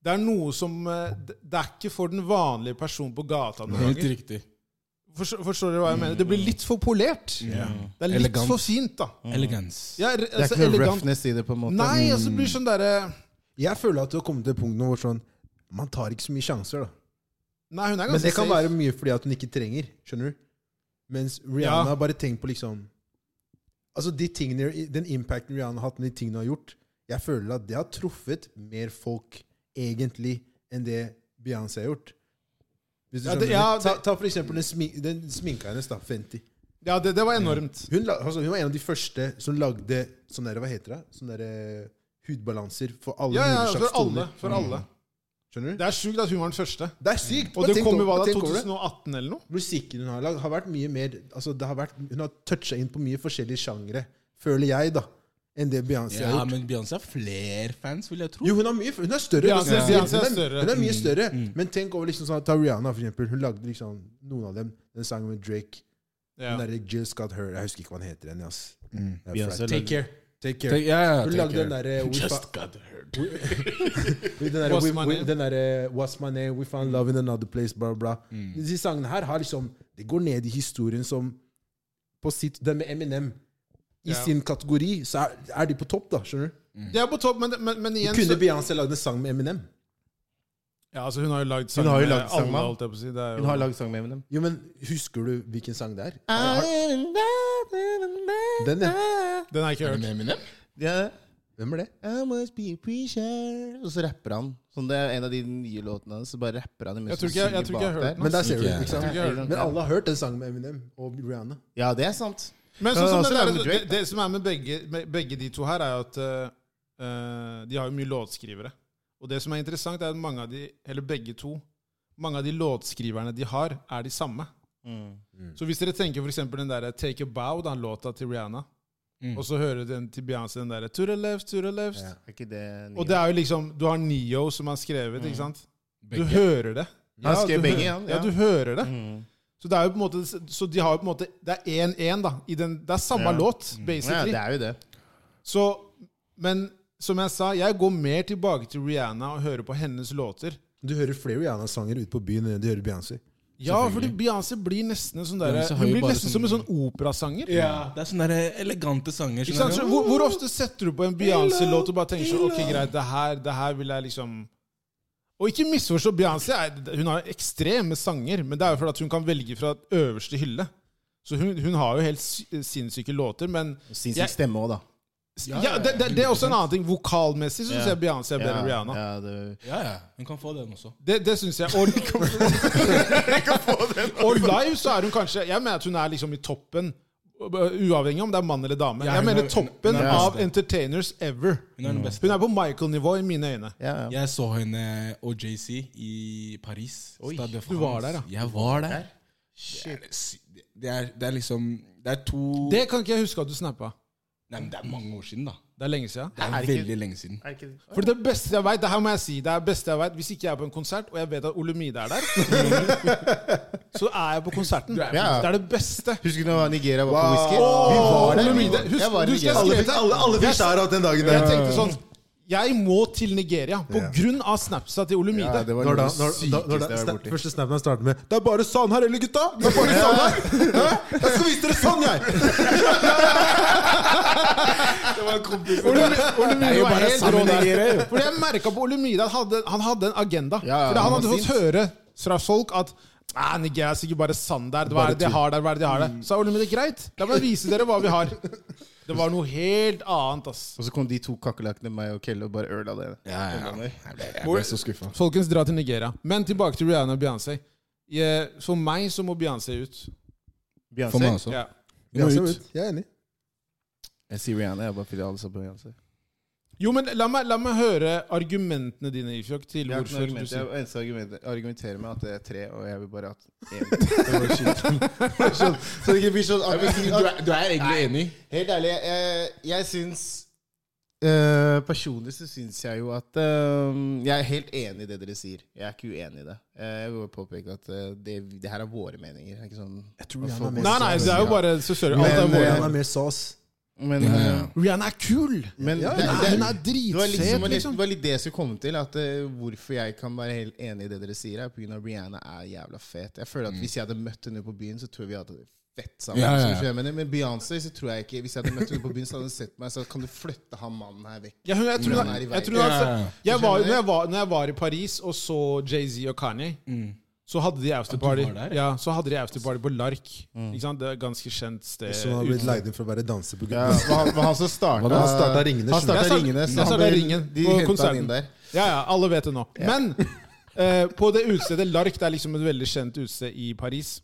[SPEAKER 2] Det er noe som eh, Det det er ikke for den vanlige personen på gata noen
[SPEAKER 4] Helt
[SPEAKER 2] ganger.
[SPEAKER 4] riktig.
[SPEAKER 2] Forstår, forstår dere hva jeg mener? Det blir litt for polert. Det er litt
[SPEAKER 4] Elegant.
[SPEAKER 2] for fint, da.
[SPEAKER 4] Elegans.
[SPEAKER 2] Ja, re-
[SPEAKER 1] Det er
[SPEAKER 2] altså,
[SPEAKER 1] ikke noe
[SPEAKER 2] elegant.
[SPEAKER 1] roughness i det, på en måte. Mm.
[SPEAKER 2] Nei, altså det blir sånn derre
[SPEAKER 3] Jeg føler at du har kommet til punktet hvor sånn man tar ikke så mye sjanser. da.
[SPEAKER 2] Nei, hun er ganske
[SPEAKER 3] Men det kan
[SPEAKER 2] safe.
[SPEAKER 3] være mye fordi at hun ikke trenger. skjønner du? Mens
[SPEAKER 2] Ja.
[SPEAKER 3] Rihanna har bare tenkt på liksom Altså de tingene, Den impacten Rihanna har hatt, med de tingene hun har gjort, jeg føler at det har truffet mer folk egentlig enn det Beyoncé har gjort. Hvis du
[SPEAKER 2] Ja, det-
[SPEAKER 3] skjønner.
[SPEAKER 2] ja, det-
[SPEAKER 3] ta, ta for eksempel den, smi, den sminka hennes, da. Fenty.
[SPEAKER 2] Ja, det, det var enormt.
[SPEAKER 3] Hun, la- altså, hun var en av de første som lagde sånn der, hva heter det? Sånn der, eh, hudbalanser for alle
[SPEAKER 2] Ja, ja,
[SPEAKER 3] mulige
[SPEAKER 2] for
[SPEAKER 3] slags
[SPEAKER 2] alle.
[SPEAKER 3] toner.
[SPEAKER 2] For alle.
[SPEAKER 3] Skjønner du?
[SPEAKER 2] Det er sjukt at hun var den første.
[SPEAKER 3] Det er sykt!
[SPEAKER 2] Og
[SPEAKER 3] Bare
[SPEAKER 2] det
[SPEAKER 3] tenk
[SPEAKER 2] kom jo
[SPEAKER 3] over-
[SPEAKER 2] hva da,
[SPEAKER 3] tenk over det.
[SPEAKER 2] 2018 eller noe?
[SPEAKER 3] Musikken hun har lagd, har vært mye mer altså det har vært, Hun har toucha inn på mye forskjellige sjangre, føler jeg, da, enn det Beyoncé har
[SPEAKER 4] Ja,
[SPEAKER 3] gjort.
[SPEAKER 4] men Beyoncé har flere fans, vil jeg tro.
[SPEAKER 3] Jo, hun er, mye, hun er større.
[SPEAKER 2] Beyoncé-
[SPEAKER 3] hun, er,
[SPEAKER 2] Beyoncé er
[SPEAKER 3] hun, er,
[SPEAKER 2] større. Mm.
[SPEAKER 3] hun er mye større. Men tenk over liksom sånn, ta Rihanna, for eksempel. Hun lagde liksom noen av dem. Den sangen med Drake.
[SPEAKER 2] Ja.
[SPEAKER 3] Den der eh, Just Got Her. Jeg husker ikke hva den heter. Den, ass. Det er
[SPEAKER 1] Beyoncé
[SPEAKER 3] flaut.
[SPEAKER 1] lagde-
[SPEAKER 3] Take care. Take care.
[SPEAKER 4] Mm. Tenk- ja, ja,
[SPEAKER 3] hun
[SPEAKER 4] tenk-
[SPEAKER 3] lagde den derre We
[SPEAKER 4] Just
[SPEAKER 3] fa-
[SPEAKER 4] got hurt.
[SPEAKER 3] we- den derre
[SPEAKER 2] What's
[SPEAKER 3] we-
[SPEAKER 2] my
[SPEAKER 3] we-
[SPEAKER 2] name?
[SPEAKER 3] den derre What's my name? We found love in another place, bla, bla. Disse sangene her har liksom Det går ned i historien som på sitt, Den med Eminem. I
[SPEAKER 2] Ja.
[SPEAKER 3] sin kategori så er, er de på topp, da. skjønner du?
[SPEAKER 2] Det er på topp, men, men, men igjen
[SPEAKER 3] Kunne
[SPEAKER 2] så,
[SPEAKER 3] Beyoncé lagd en sang med Eminem?
[SPEAKER 2] ja, altså, Hun har jo
[SPEAKER 1] Hun
[SPEAKER 2] lagd sang
[SPEAKER 1] har jo
[SPEAKER 2] med
[SPEAKER 1] lagd sang med
[SPEAKER 2] alle,
[SPEAKER 1] han.
[SPEAKER 2] holdt jeg på å si. Det er jo,
[SPEAKER 1] Hun har lagd sang med dem.
[SPEAKER 3] Jo, men Husker du hvilken sang det er? Har- har- Den, ja.
[SPEAKER 2] Den har jeg ikke hørt.
[SPEAKER 4] Med Eminem?
[SPEAKER 1] Ja.
[SPEAKER 3] Hvem er det?
[SPEAKER 1] I must be a preacher. Og så rapper han. Sånn det er en av de nye låtene hans. Så bare rapper han
[SPEAKER 2] Jeg tror ikke jeg, jeg, tror ikke jeg har hørt den.
[SPEAKER 3] Men der ser du,
[SPEAKER 4] Ikke-
[SPEAKER 3] ikke sant?
[SPEAKER 2] Jeg tror ikke jeg har hørt den.
[SPEAKER 3] Men alle har hørt den sangen med Eminem og Rihanna.
[SPEAKER 1] Ja, det er sant.
[SPEAKER 2] Men
[SPEAKER 1] Ja, altså,
[SPEAKER 2] sånn som
[SPEAKER 1] også
[SPEAKER 2] det, der,
[SPEAKER 1] lagde
[SPEAKER 2] det,
[SPEAKER 1] Drake,
[SPEAKER 2] det som er med begge, med begge de to her, er jo at eh, de har jo mye låtskrivere. Og det som er interessant, er at mange av de, eller begge to, mange av de låtskriverne de har, er de samme.
[SPEAKER 1] Mm.
[SPEAKER 2] Så hvis dere tenker f.eks. den der Take a Bow, den låta til Rihanna,
[SPEAKER 4] Mm.
[SPEAKER 2] og så hører den til Beyoncé, den der To the left, to the left.
[SPEAKER 3] Ja.
[SPEAKER 1] Er ikke det nye?
[SPEAKER 2] Og det er jo liksom Du har Neo som har skrevet, ikke sant? Du
[SPEAKER 4] Begge.
[SPEAKER 2] hører det.
[SPEAKER 1] Han skrev
[SPEAKER 2] du
[SPEAKER 1] begge,
[SPEAKER 2] hører-
[SPEAKER 1] ja,
[SPEAKER 2] ja.
[SPEAKER 1] ja.
[SPEAKER 2] Du hører det.
[SPEAKER 1] Mm.
[SPEAKER 2] Så det er jo på en måte Så de har jo på en måte Det er 1-1, da. I den, det er samme
[SPEAKER 1] Ja.
[SPEAKER 2] låt,
[SPEAKER 1] Ja,
[SPEAKER 2] basically.
[SPEAKER 1] det er jo det.
[SPEAKER 2] Så Men som jeg sa, jeg går mer tilbake til Rihanna og hører på hennes låter.
[SPEAKER 3] Du hører flere Rihanna-sanger ute på byen enn du hører Beyoncé.
[SPEAKER 2] Ja, fordi Beyoncé blir nesten en sånn der,
[SPEAKER 4] Beyoncé har
[SPEAKER 2] Hun
[SPEAKER 4] jo
[SPEAKER 2] blir
[SPEAKER 4] bare
[SPEAKER 2] nesten som en sånn operasanger.
[SPEAKER 4] Ja, det er sånne der elegante sanger.
[SPEAKER 2] Ikke sant? Så
[SPEAKER 4] skjønner du?
[SPEAKER 2] Hvor, hvor ofte setter du på en Beyoncé-låt og bare tenker sånn Ok, greit, det her, det her vil jeg liksom Og ikke misforstå Beyoncé. er- Hun har ekstreme sanger, men det er jo fordi at hun kan velge fra øverste hylle. Så hun, hun har jo helt sy- sinnssyke låter, men
[SPEAKER 1] Sinnssyk
[SPEAKER 2] Jeg-
[SPEAKER 1] stemme òg, da.
[SPEAKER 2] ja, det, det, det er også en annen ting. Vokalmessig så syns jeg Beyoncé er bedre enn Rihanna.
[SPEAKER 1] Ja, det,
[SPEAKER 4] Ja, ja. Hun kan få den også.
[SPEAKER 2] Det, det syns jeg. Og, og live så er hun kanskje Jeg mener at hun er liksom i toppen. Uavhengig om det er mann eller dame.
[SPEAKER 4] Ja,
[SPEAKER 2] jeg
[SPEAKER 4] hun
[SPEAKER 2] mener
[SPEAKER 4] er-
[SPEAKER 2] toppen
[SPEAKER 4] hun er
[SPEAKER 2] av
[SPEAKER 4] best.
[SPEAKER 2] entertainers ever.
[SPEAKER 4] Hun er den beste.
[SPEAKER 2] Hun er på Michael-nivå i mine øyne.
[SPEAKER 1] ja, ja.
[SPEAKER 4] Jeg så henne og JC i Paris. Stade de
[SPEAKER 2] du var
[SPEAKER 4] France.
[SPEAKER 2] der, ja.
[SPEAKER 4] Jeg var der. Det er, det, er, det er liksom Det er to
[SPEAKER 2] Det kan ikke jeg huske at du snappa.
[SPEAKER 4] Nei, men det er mange år siden, da.
[SPEAKER 2] Det er lenge siden.
[SPEAKER 4] Det er,
[SPEAKER 1] Er det ikke-
[SPEAKER 4] veldig lenge siden.
[SPEAKER 1] Er ikke det?
[SPEAKER 2] For det beste jeg vet, det her må jeg si, det er det beste jeg vet, hvis ikke jeg er på en konsert, og jeg vet at Ole Mide er der, så er jeg på konserten. Det er det beste.
[SPEAKER 1] Husker du når Nigeria var på
[SPEAKER 3] Wow.
[SPEAKER 1] whisky?
[SPEAKER 2] Åh,
[SPEAKER 1] der.
[SPEAKER 2] Ole Mide. Husk,
[SPEAKER 1] Jeg var i
[SPEAKER 2] du skal
[SPEAKER 1] Nigeria.
[SPEAKER 2] skrive
[SPEAKER 3] alle, alle fikk skjæra den dagen
[SPEAKER 2] Jeg tenkte sånn Jeg må til Nigeria på
[SPEAKER 3] Ja.
[SPEAKER 2] grunn av snapsa til Ole Mide.
[SPEAKER 1] Ja, det var
[SPEAKER 3] Når da,
[SPEAKER 1] noe av
[SPEAKER 3] når,
[SPEAKER 1] det
[SPEAKER 3] da, når da,
[SPEAKER 1] sykeste jeg var
[SPEAKER 3] sna-
[SPEAKER 1] borti.
[SPEAKER 3] første snappen han starter med 'Det er bare sand her, eller gutta?' Det er bare sand her. Hæ? Jeg skal vise dere sand, jeg!
[SPEAKER 2] Ole, Ole
[SPEAKER 4] er
[SPEAKER 2] Mide
[SPEAKER 4] jo
[SPEAKER 2] var
[SPEAKER 4] bare
[SPEAKER 2] helt rå
[SPEAKER 4] sammen
[SPEAKER 2] der.
[SPEAKER 4] Nigeria, jo.
[SPEAKER 2] Fordi jeg merka på Ole Mide at han hadde, han hadde en agenda.
[SPEAKER 1] Ja, ja,
[SPEAKER 2] Fordi
[SPEAKER 1] han
[SPEAKER 2] han
[SPEAKER 1] var
[SPEAKER 2] hadde fått
[SPEAKER 1] sint.
[SPEAKER 2] høre fra folk at Nei, Nigeria er sikkert bare sand der. Hva er det de har der? Hva er det de har der? Så Ole Mide, greit. La meg vise dere hva vi har. Det var noe helt annet, ass.
[SPEAKER 1] Og så kom de to kakerlakkene, meg og Kelle, og bare øla det.
[SPEAKER 4] Ja, ja.
[SPEAKER 1] Enda mer.
[SPEAKER 4] Jeg ble, jeg ble så skuffa.
[SPEAKER 2] Folkens, dra til Nigeria. Men tilbake til Rihanna og Beyoncé. Jeg- For meg så må Beyoncé ut.
[SPEAKER 1] Beyoncé.
[SPEAKER 4] For meg også.
[SPEAKER 2] Ja.
[SPEAKER 4] Vi må
[SPEAKER 3] Ja, så
[SPEAKER 4] ut.
[SPEAKER 3] ut. Jeg er enig.
[SPEAKER 1] Jeg sier Rihanna, jeg bare fordi alle sa på Beyoncé.
[SPEAKER 2] Jo, men la meg, la meg høre argumentene dine, Ifjok, til
[SPEAKER 1] Jeg har ikke noe
[SPEAKER 2] hvorfor du
[SPEAKER 1] argument.
[SPEAKER 2] sier
[SPEAKER 1] Jeg eneste argumentet argumenterer med at det er tre, og jeg vil bare at én. Så det ikke blir sånn
[SPEAKER 4] Du er, du er egentlig enig?
[SPEAKER 1] Helt ærlig, jeg, jeg syns eh, Personlig så syns jeg jo at eh, Jeg er helt enig i det dere sier. Jeg er ikke uenig i det. Eh, jeg vil bare påpeke at eh, det, det her er våre meninger. Det er ikke sånn
[SPEAKER 3] Jeg tror Rihanna er mer
[SPEAKER 2] Nei, nei,
[SPEAKER 3] sauce.
[SPEAKER 2] det er jo bare så søren. Alt er
[SPEAKER 1] Men,
[SPEAKER 2] vår.
[SPEAKER 1] eh,
[SPEAKER 3] Rihanna er mer sauce.
[SPEAKER 1] Men, eh,
[SPEAKER 2] Rihanna er kul!
[SPEAKER 1] men
[SPEAKER 3] Ja,
[SPEAKER 1] det, det,
[SPEAKER 2] Hun er
[SPEAKER 1] det var liksom,
[SPEAKER 2] dritfet, liksom.
[SPEAKER 1] det var litt det jeg skulle komme til. At eh, Hvorfor jeg kan være helt enig i det dere sier, er pga. at Rihanna er jævla fet. Jeg føler at Hvis jeg hadde møtt henne på byen, så tror jeg vi hadde det fett sammen.
[SPEAKER 4] Ja, ja, ja.
[SPEAKER 1] Så skjønner jeg, Men, men Beyoncé så tror jeg ikke Hvis jeg hadde møtt henne på byen, så hadde hun sett meg så kan du flytte han mannen her vekk.
[SPEAKER 2] Ja, hun, jeg tror,
[SPEAKER 1] Hun er
[SPEAKER 2] hun-
[SPEAKER 1] i
[SPEAKER 2] jeg
[SPEAKER 1] veien.
[SPEAKER 2] tror hun altså,
[SPEAKER 4] Ja, ja, ja.
[SPEAKER 2] jeg var, når, jeg var, når jeg var i Paris og så Jay-Z og Kanye, så hadde de afterparty
[SPEAKER 4] Mm. var der?
[SPEAKER 2] ja, så hadde de afterparty på Lark. Ikke sant? Det er et ganske kjent sted.
[SPEAKER 3] Som har blitt leid inn for å være danser på
[SPEAKER 1] Eh, Ja,
[SPEAKER 3] gutta.
[SPEAKER 1] det var han- det var han som starta
[SPEAKER 3] Han starta ringene.
[SPEAKER 1] Han
[SPEAKER 3] skjønner
[SPEAKER 1] starta
[SPEAKER 2] Jeg starta-
[SPEAKER 1] ringene,
[SPEAKER 2] jeg
[SPEAKER 1] så han
[SPEAKER 2] starta
[SPEAKER 1] ble,
[SPEAKER 2] ringen
[SPEAKER 1] de
[SPEAKER 2] på
[SPEAKER 1] henta
[SPEAKER 2] konserten.
[SPEAKER 1] han inn der.
[SPEAKER 2] Ja, ja, alle vet det nå. Men eh, på det utestedet Lark, det er liksom et veldig kjent utested i Paris,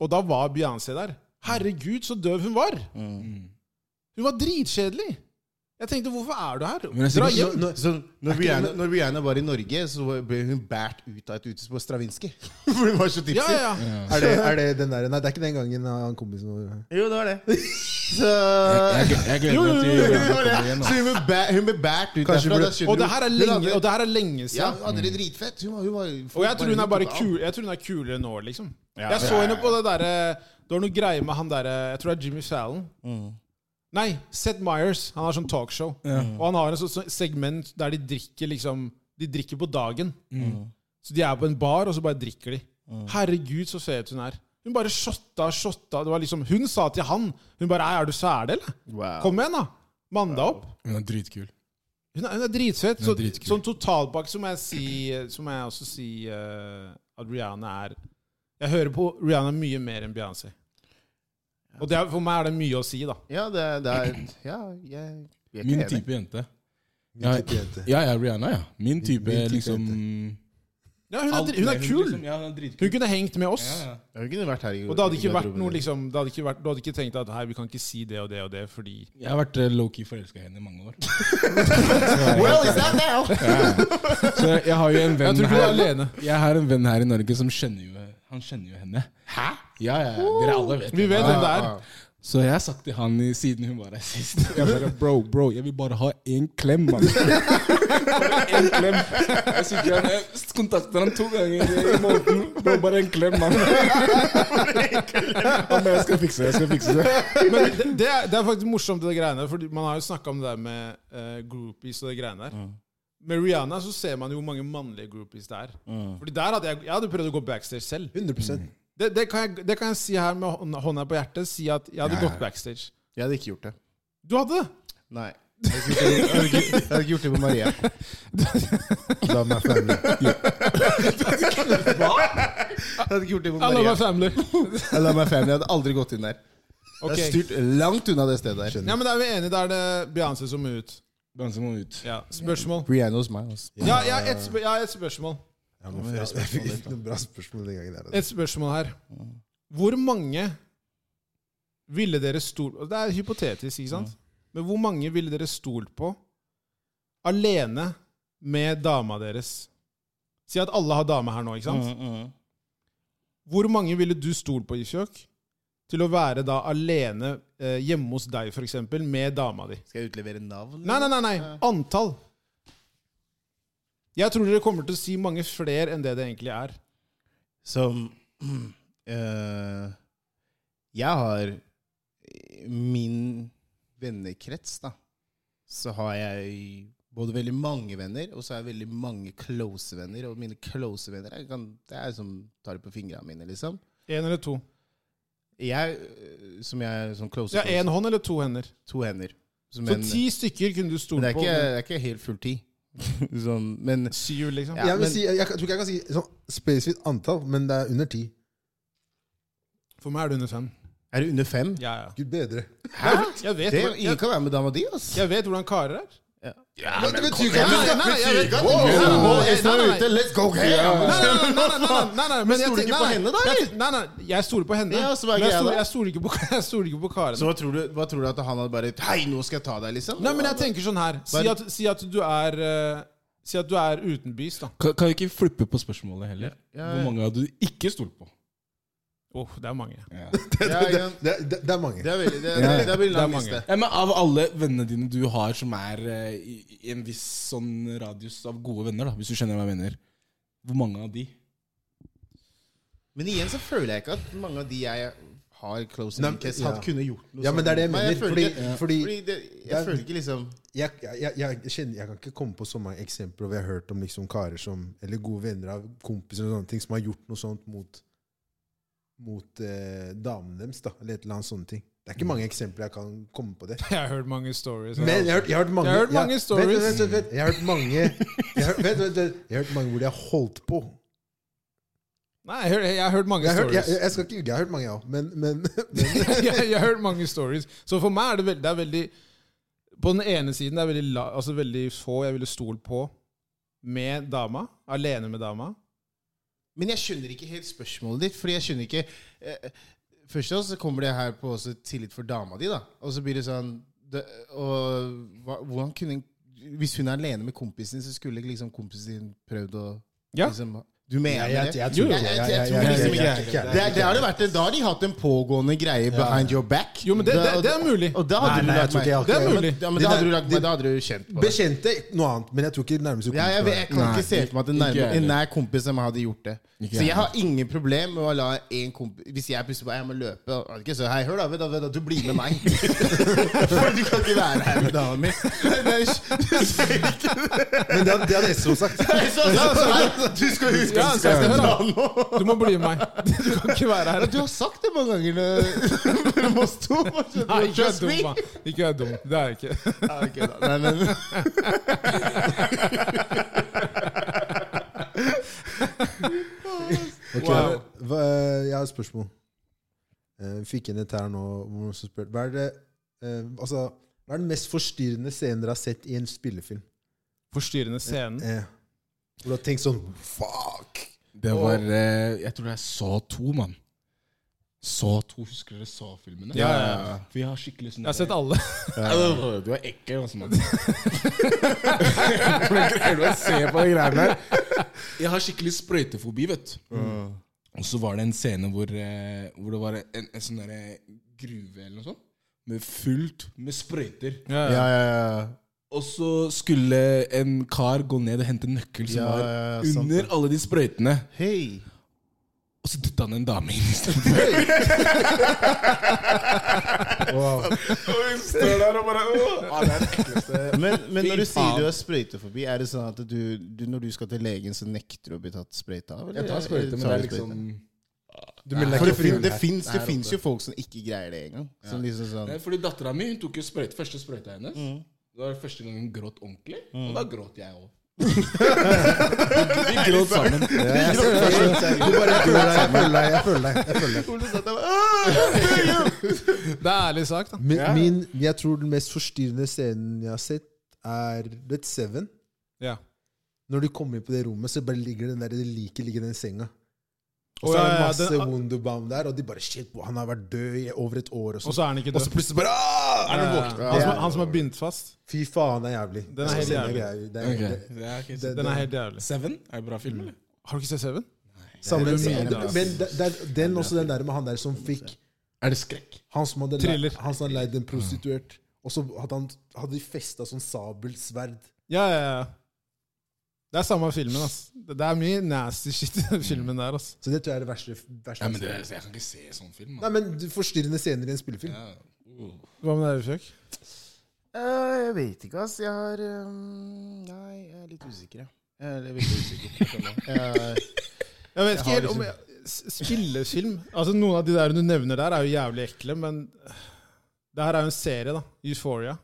[SPEAKER 2] og da var
[SPEAKER 4] Mm.
[SPEAKER 2] Beyoncé der. Herregud, så døv hun var! Hun var dritkjedelig! Jeg tenkte, hvorfor er du her?
[SPEAKER 4] Men jeg
[SPEAKER 2] Dra
[SPEAKER 4] sier-
[SPEAKER 2] hjem!
[SPEAKER 1] Når, så når, Rihanna, når Rihanna var i Norge, så ble hun båret ut av et utested på Stravinskij. For hun var så tipsy.
[SPEAKER 2] Ja, ja, ja.
[SPEAKER 3] Er det, er det den der Nei, det er ikke den gangen han kompisen vår
[SPEAKER 1] Jo, det var det. Så
[SPEAKER 4] Jeg, jeg, jeg gleder meg til
[SPEAKER 1] Det var
[SPEAKER 4] Rihanna
[SPEAKER 1] det.
[SPEAKER 4] kommer igjen.
[SPEAKER 1] Så hun ble bæ- hun ble båret ut
[SPEAKER 3] Kanskje
[SPEAKER 1] derfra.
[SPEAKER 3] ble-
[SPEAKER 1] da skjønner
[SPEAKER 2] Og
[SPEAKER 1] du-
[SPEAKER 2] det her er
[SPEAKER 1] hun
[SPEAKER 2] lenge,
[SPEAKER 1] hadde-
[SPEAKER 2] og det her er lenge
[SPEAKER 1] Ja,
[SPEAKER 2] siden.
[SPEAKER 1] hun hadde det dritfett. Hun var, hun var,
[SPEAKER 2] Og jeg tror hun er bare
[SPEAKER 1] tok av.
[SPEAKER 2] kul, jeg tror hun er kulere nå, liksom. Jeg så henne på det derre Det var noe greie med han derre Jeg tror det er Jimmy Fallon. Nei, Seth Meyers. Han har sånn talkshow. Og han har et sånt sånt segment der de drikker liksom De drikker på dagen.
[SPEAKER 4] Mm.
[SPEAKER 2] Så de er på en bar, og så bare drikker de. Herregud, så fet hun er. Hun bare shotta, shotta. Det var liksom, hun sa til han Hun bare «Ei, 'Er du ferdig, eller?'
[SPEAKER 1] Wow.
[SPEAKER 2] Kom igjen, da! Mann deg opp.
[SPEAKER 4] Hun er dritkul.
[SPEAKER 2] Hun er, hun er dritfett.
[SPEAKER 4] Hun er
[SPEAKER 2] Så,
[SPEAKER 4] dritkul.
[SPEAKER 2] sånn totalpakke så må jeg si Så må jeg også si eh, at Rihanna er Jeg hører på Rihanna mye mer enn Beyoncé. Og det er, for meg er det mye å si, da.
[SPEAKER 1] Ja, det, det er Ja, jeg, jeg er ikke
[SPEAKER 4] Min
[SPEAKER 1] enig.
[SPEAKER 4] type jente. Ja,
[SPEAKER 3] Min type jente.
[SPEAKER 4] ja, ja, Rihanna, ja. Min type,
[SPEAKER 3] min type
[SPEAKER 4] liksom
[SPEAKER 2] Ja, hun, er,
[SPEAKER 4] alt
[SPEAKER 2] dri- hun
[SPEAKER 4] det
[SPEAKER 2] er kul!
[SPEAKER 4] liksom, ja, hun er dritkul.
[SPEAKER 2] Hun kunne hengt med oss.
[SPEAKER 4] Ja, ja.
[SPEAKER 1] Hun kunne vært her i
[SPEAKER 2] Og det hadde
[SPEAKER 1] i
[SPEAKER 2] ikke vært
[SPEAKER 1] garderoben.
[SPEAKER 2] noe liksom det hadde ikke vært, Du hadde ikke tenkt at hei, vi kan ikke si det og det og det fordi
[SPEAKER 4] Jeg har vært eh, low-key forelska i henne i mange år.
[SPEAKER 1] Well, is that now?
[SPEAKER 4] Så jeg har jo en
[SPEAKER 2] Jeg
[SPEAKER 4] venn
[SPEAKER 2] tror ikke du er
[SPEAKER 4] her
[SPEAKER 2] alene.
[SPEAKER 4] Jeg har en venn her i Norge som kjenner jo Han kjenner jo henne. Hæ? Ja, ja, Dere alle vet
[SPEAKER 2] Vi vet
[SPEAKER 4] henne.
[SPEAKER 2] hvem det er.
[SPEAKER 4] Så jeg har sagt til han i- siden hun var her sist Jeg bare, Bro, bro, jeg vil bare ha én klem, mann. Bare én klem. Jeg sitter her jeg kontakter han to ganger i måneden. Bro, bare en klem, mann. Han bare, jeg skal fikse det, jeg skal fikse det.
[SPEAKER 2] Men det, det, er, det er faktisk morsomt, det greiene der. Fordi man har jo snakka om det der med eh, groupies og det greiene der. Med Rihanna så ser man jo hvor mange mannlige groupies det er. Fordi der hadde jeg, jeg hadde prøvd å gå backstage selv.
[SPEAKER 3] 100
[SPEAKER 1] Mm.
[SPEAKER 2] Det, det, kan jeg, det kan jeg si her med hånda- hånda på hjertet. Si at jeg hadde gått backstage.
[SPEAKER 1] Jeg hadde ikke gjort det.
[SPEAKER 2] Du hadde det!
[SPEAKER 1] Nei. Jeg hadde ikke gjort det, jeg hadde ikke, jeg hadde ikke gjort det på Maria.
[SPEAKER 3] La meg ferdig.
[SPEAKER 1] Jeg hadde ikke gjort det på
[SPEAKER 2] I love
[SPEAKER 1] Maria.
[SPEAKER 2] my family.
[SPEAKER 1] Jeg la meg fem, jeg hadde aldri gått inn der. Jeg har
[SPEAKER 2] Ok.
[SPEAKER 1] styrt langt unna det stedet der.
[SPEAKER 2] Ja, men da er vi enige. Da er det Beyoncé som må ut.
[SPEAKER 4] Danse må ut.
[SPEAKER 2] Ja, Spørsmål?
[SPEAKER 1] Rihanna hos meg, altså.
[SPEAKER 2] Ja, jeg har et, spør- jeg har et spørsmål.
[SPEAKER 3] Ja, men jeg, jeg fikk ikke noe bra spørsmål den gangen. Der, altså.
[SPEAKER 2] Et spørsmål her. Hvor mange ville dere stolt Det er hypotetisk, ikke sant? Men hvor mange ville dere stolt på alene med dama deres? Si at alle har dame her nå, ikke sant? Hvor mange ville du stolt på, Ifjok, til å være da alene eh, hjemme hos deg, f.eks., med dama di?
[SPEAKER 1] Skal jeg utlevere navn?
[SPEAKER 2] Nei, nei, nei, nei. Antall. Jeg tror dere kommer til å si mange flere enn det det egentlig er.
[SPEAKER 1] Som eh, Jeg har Min vennekrets, da. Så har jeg både veldig mange venner, og så har jeg veldig mange close venner. Og mine close venner jeg kan, det er som tar det på fingrene mine, liksom.
[SPEAKER 2] Én eller to?
[SPEAKER 1] Jeg, eh, som jeg som close,
[SPEAKER 2] Ja,
[SPEAKER 1] close
[SPEAKER 2] Én hånd eller to hender?
[SPEAKER 1] to hender. Så,
[SPEAKER 2] Så
[SPEAKER 1] men,
[SPEAKER 2] ti stykker kunne du
[SPEAKER 1] men
[SPEAKER 2] stolt
[SPEAKER 1] det, er
[SPEAKER 2] på.
[SPEAKER 1] ikke, det er ikke helt full ti. sånn, men
[SPEAKER 2] Syv, liksom.
[SPEAKER 1] Ja,
[SPEAKER 3] jeg,
[SPEAKER 1] men-
[SPEAKER 3] vil si, jeg, jeg tror ikke jeg kan si sånn spesifikt antall, men det er under ti.
[SPEAKER 2] For meg er det under fem.
[SPEAKER 1] er du under fem?
[SPEAKER 2] Ja, ja.
[SPEAKER 3] Gud bedre.
[SPEAKER 1] Hæ?
[SPEAKER 2] Jeg vet,
[SPEAKER 1] Det,
[SPEAKER 2] hvor-
[SPEAKER 1] ingen
[SPEAKER 2] jeg,
[SPEAKER 1] kan være med dama di, ass.
[SPEAKER 2] jeg vet hvordan karer er.
[SPEAKER 3] Men det betyr ikke at du
[SPEAKER 2] Nei,
[SPEAKER 3] skal
[SPEAKER 2] nei, nei, jeg vet-
[SPEAKER 1] Wow,
[SPEAKER 2] Nei, nei, nei,
[SPEAKER 1] wow,
[SPEAKER 2] nei,
[SPEAKER 1] Øystein er
[SPEAKER 2] nei, nei.
[SPEAKER 1] ute, let's go ham!
[SPEAKER 2] Nei, nei, nei, nei, nei, nei, nei, men jeg
[SPEAKER 1] stoler du
[SPEAKER 2] tenker-
[SPEAKER 1] ikke på
[SPEAKER 2] nei,
[SPEAKER 1] henne, da,
[SPEAKER 2] jeg- Nei, nei, jeg stoler på henne.
[SPEAKER 1] Ja, så hva er
[SPEAKER 2] Men jeg
[SPEAKER 1] greia
[SPEAKER 2] stoler-
[SPEAKER 1] da?
[SPEAKER 2] jeg stoler ikke på, jeg stoler ikke på karene.
[SPEAKER 1] Så hva tror, du, hva tror du at han hadde bare Hei, nå skal jeg ta deg, liksom?
[SPEAKER 2] Nei, men jeg tenker sånn her. Si at, si at du er eh, Si at du er utenbys, da.
[SPEAKER 4] Kan, kan vi ikke flippe på spørsmålet heller?
[SPEAKER 1] Ja, ja.
[SPEAKER 4] Hvor mange hadde du ikke stolt på?
[SPEAKER 2] Åh, det er mange.
[SPEAKER 1] Ja,
[SPEAKER 3] det,
[SPEAKER 1] ja.
[SPEAKER 3] det, det, det er mange.
[SPEAKER 1] Det er veldig Det, det, det er veldig lang
[SPEAKER 2] Det er
[SPEAKER 1] liste.
[SPEAKER 4] Ja, men Av alle vennene dine du har som er eh, i i en viss sånn radius av gode venner, da, hvis du skjønner hva jeg mener, hvor mange av de?
[SPEAKER 1] Men igjen så føler jeg ikke at mange av de jeg har close
[SPEAKER 3] Nei,
[SPEAKER 1] in case,
[SPEAKER 3] ja.
[SPEAKER 1] hadde kunne gjort noe sånn.
[SPEAKER 3] Ja, men det er det jeg
[SPEAKER 1] Nei,
[SPEAKER 3] mener,
[SPEAKER 1] føler ikke-
[SPEAKER 3] fordi-
[SPEAKER 1] fordi,
[SPEAKER 3] fordi-
[SPEAKER 1] det, jeg
[SPEAKER 3] det er-
[SPEAKER 1] føler ikke liksom
[SPEAKER 3] jeg, jeg, jeg, jeg, kjenner, jeg kan ikke komme på så mange eksempler hvor jeg har hørt om liksom karer som, eller gode venner av kompiser og sånne ting, som har gjort noe sånt mot, mot eh, damene deres. da, Eller et eller annet sånne ting. Det er ikke mange eksempler jeg kan komme på det.
[SPEAKER 2] Jeg har hørt mange stories.
[SPEAKER 3] Men jeg har hørt, jeg har hørt mange
[SPEAKER 2] Jeg har hørt mange stories.
[SPEAKER 3] Vent, vent, vent, vent. Jeg har hørt mange jeg har, vent, vent, vent. Jeg har hørt mange hvor de har holdt på.
[SPEAKER 2] Nei, jeg, har- jeg har hørt mange
[SPEAKER 3] Jeg har hørt,
[SPEAKER 2] stories.
[SPEAKER 3] jeg, jeg, jeg skal ikke ljuge, jeg har hørt mange, jeg òg. Men, men, men
[SPEAKER 2] jeg, jeg har hørt mange stories. Så for meg er det veldig, det er veldig På den ene siden det er veldig, la, altså veldig få jeg ville stolt på med dama. Alene med dama.
[SPEAKER 1] Men jeg skjønner ikke helt spørsmålet ditt, fordi jeg skjønner ikke eh, Først av alt så kommer det her på også tillit for dama di, da. Og så blir det sånn det, og hva, hvordan kunne en- Hvis hun er alene med kompisen, så skulle ikke liksom kompisen din prøvd å
[SPEAKER 4] Ja.
[SPEAKER 1] liksom, Du mener
[SPEAKER 3] Jeg, jeg,
[SPEAKER 1] det?
[SPEAKER 3] jeg
[SPEAKER 4] Jo,
[SPEAKER 3] tror
[SPEAKER 4] jo.
[SPEAKER 3] ikke- jeg- jeg- jeg-
[SPEAKER 1] Jeg- jeg-
[SPEAKER 3] jeg-
[SPEAKER 1] jeg-
[SPEAKER 3] jeg- jeg-
[SPEAKER 1] Det, det hadde vært det. Da har de hatt en pågående greie behind your back.
[SPEAKER 2] Jo, men det, det, det er mulig.
[SPEAKER 1] Og da hadde
[SPEAKER 3] Nei,
[SPEAKER 1] du
[SPEAKER 3] nei, jeg
[SPEAKER 1] lagt
[SPEAKER 3] tror ikke jeg
[SPEAKER 1] meg
[SPEAKER 3] har ikke-
[SPEAKER 1] Ja, men,
[SPEAKER 2] mulig.
[SPEAKER 1] ja, men
[SPEAKER 3] Det
[SPEAKER 1] da hadde
[SPEAKER 3] der-
[SPEAKER 1] du lagt meg, da hadde du kjent på det.
[SPEAKER 3] Bekjente noe annet, men jeg tror ikke nærmeste
[SPEAKER 1] Ja, jeg, vet- jeg kan ikke se for meg at en,
[SPEAKER 4] ikke
[SPEAKER 1] nærme,
[SPEAKER 4] jeg
[SPEAKER 1] en nær kompis som hadde gjort det.
[SPEAKER 4] Ikke
[SPEAKER 1] Så
[SPEAKER 4] jeg
[SPEAKER 1] jeg har ingen problem med å la en kompis Hvis jeg plutselig bare jeg må løpe og er det ikke så, Hei, hør da, vet du, vet du, du blir med meg. For du kan ikke være her med dama mi.
[SPEAKER 3] Men det, hadde- det hadde Esso sagt.
[SPEAKER 1] Du skal huske
[SPEAKER 2] Ja,
[SPEAKER 1] at
[SPEAKER 2] så
[SPEAKER 1] du skal
[SPEAKER 2] hør
[SPEAKER 1] dra
[SPEAKER 2] da.
[SPEAKER 1] nå.
[SPEAKER 2] Du må bli med meg. Du kan ikke være her.
[SPEAKER 1] Ja, Du har sagt det mange ganger eh, mellom oss to.
[SPEAKER 2] Nei, ikke vær
[SPEAKER 1] Trust
[SPEAKER 2] dum.
[SPEAKER 1] me.
[SPEAKER 2] mann. Ikke vær dum. Det er jeg ikke.
[SPEAKER 1] Ja, ok da. Nei, men
[SPEAKER 3] Ok,
[SPEAKER 2] Wow.
[SPEAKER 3] hva, Jeg har et spørsmål. Eh, Fikk inn et her nå. hvor noen som spør- Hva er, det, eh, altså, hva er den mest forstyrrende scenen dere har sett i en spillefilm?
[SPEAKER 2] Forstyrrende scenen.
[SPEAKER 3] Eh, hvor du har tenkt sånn Fuck!
[SPEAKER 4] Det var eh, Jeg tror det er Saw 2, mann. Saw 2. Husker dere Saw-filmene?
[SPEAKER 2] Ja, ja, ja.
[SPEAKER 4] For jeg har skikkelig sånn
[SPEAKER 2] Jeg har sett alle.
[SPEAKER 4] Ja, Du er ekkel, altså, mann. Hvordan greier du å se på de greiene der? Jeg har skikkelig sprøytefobi, vet du.
[SPEAKER 1] Mm.
[SPEAKER 4] Og så var det en scene hvor, eh, hvor det var en, en sånn derre gruve eller noe sånt. Med fullt med sprøyter.
[SPEAKER 2] Ja,
[SPEAKER 1] Ja,
[SPEAKER 2] ja.
[SPEAKER 1] ja, ja.
[SPEAKER 4] Og så skulle en kar gå ned og hente nøkkel som
[SPEAKER 1] Ja,
[SPEAKER 4] var
[SPEAKER 1] ja, ja, sant
[SPEAKER 4] under
[SPEAKER 1] det.
[SPEAKER 4] alle de sprøytene.
[SPEAKER 1] Hei.
[SPEAKER 4] Og så dytta han en dame inn i stedet.
[SPEAKER 3] Wow.
[SPEAKER 1] Men, men når du
[SPEAKER 4] faen.
[SPEAKER 1] sier du er sprøyteforbi, er det sånn at du, du når du skal til legen, så nekter du å bli tatt sprøyta av? eller?
[SPEAKER 4] Jeg tar sprøyte, men det
[SPEAKER 1] Tar
[SPEAKER 4] er
[SPEAKER 1] du sprøyte?
[SPEAKER 4] liksom
[SPEAKER 3] Du melder
[SPEAKER 1] For det, fin,
[SPEAKER 3] ikke frivillig.
[SPEAKER 1] det, fins, det
[SPEAKER 3] Her
[SPEAKER 1] fins
[SPEAKER 3] oppe.
[SPEAKER 1] jo folk som ikke greier det engang. Som liksom sånn
[SPEAKER 4] Nei, Fordi dattera mi tok jo sprøyte, første sprøyta hennes.
[SPEAKER 1] Mm.
[SPEAKER 4] Det var første gang hun gråt ordentlig, og da gråt jeg òg. Vi gråt sammen.
[SPEAKER 3] Jeg ser det, jeg ser det. Du bare føler deg, jeg føler deg, jeg føler deg. Jeg føler deg.
[SPEAKER 2] Det er ærlig sagt, da.
[SPEAKER 3] Min, min, jeg tror den mest forstyrrende scenen jeg har sett, er Red Seven.
[SPEAKER 2] Ja.
[SPEAKER 3] Når de kommer inn på det rommet, så bare ligger den der, det liket ligger i den senga.
[SPEAKER 2] Å,
[SPEAKER 3] Og så
[SPEAKER 2] ja,
[SPEAKER 3] er det
[SPEAKER 2] ja,
[SPEAKER 3] masse
[SPEAKER 2] den-
[SPEAKER 3] Wunderbaum der, og de bare Shit, bro, han har vært død i over et år. Og
[SPEAKER 2] Og
[SPEAKER 3] sånn.
[SPEAKER 2] så er han ikke
[SPEAKER 3] Og så
[SPEAKER 2] død.
[SPEAKER 3] plutselig bare «Ah!»
[SPEAKER 2] Ja, ja. Han som, han som er bindt fast.
[SPEAKER 3] Fy faen, det er jævlig.
[SPEAKER 2] Den er
[SPEAKER 3] Jeg skal
[SPEAKER 2] helt
[SPEAKER 3] sende
[SPEAKER 2] jævlig.
[SPEAKER 3] deg- Det er,
[SPEAKER 4] Ok.
[SPEAKER 3] det,
[SPEAKER 4] Ja, ok, så-
[SPEAKER 3] det,
[SPEAKER 2] Den er helt jævlig.
[SPEAKER 4] Seven er en bra film, eller?
[SPEAKER 2] Har du ikke sett Seven?
[SPEAKER 3] samme,
[SPEAKER 2] det er mye,
[SPEAKER 3] men
[SPEAKER 2] ass.
[SPEAKER 3] det- det er- den også den der med han der som fikk
[SPEAKER 4] Er det skrekk?
[SPEAKER 3] Han som hadde
[SPEAKER 2] Thriller.
[SPEAKER 3] leid, han som hadde leid
[SPEAKER 1] Mm.
[SPEAKER 3] en prostituert, og så hadde, han, hadde de festa sånn sabelsverd.
[SPEAKER 2] Ja, ja, ja. Det er samme filmen, ass. Det det er mye nasty shit i den filmen der, ass.
[SPEAKER 3] Så det tror jeg er det verste. verste.
[SPEAKER 4] Ja, men det, jeg kan ikke se sånn film.
[SPEAKER 3] Nei, men du- Forstyrrende scener i en spillefilm.
[SPEAKER 4] Ja.
[SPEAKER 2] Hva med deg, Fjøk?
[SPEAKER 1] Eh, Jeg vet ikke, ass. Jeg har ehm, Nei, jeg er litt usikker, jeg. Jeg er veldig usikker. Jeg-
[SPEAKER 2] Jeg vet ikke
[SPEAKER 1] har
[SPEAKER 2] helt om jeg, s- Spillefilm Altså Noen av de der du nevner der, er jo jævlig ekle, men det her er jo en serie, da. Euphoria.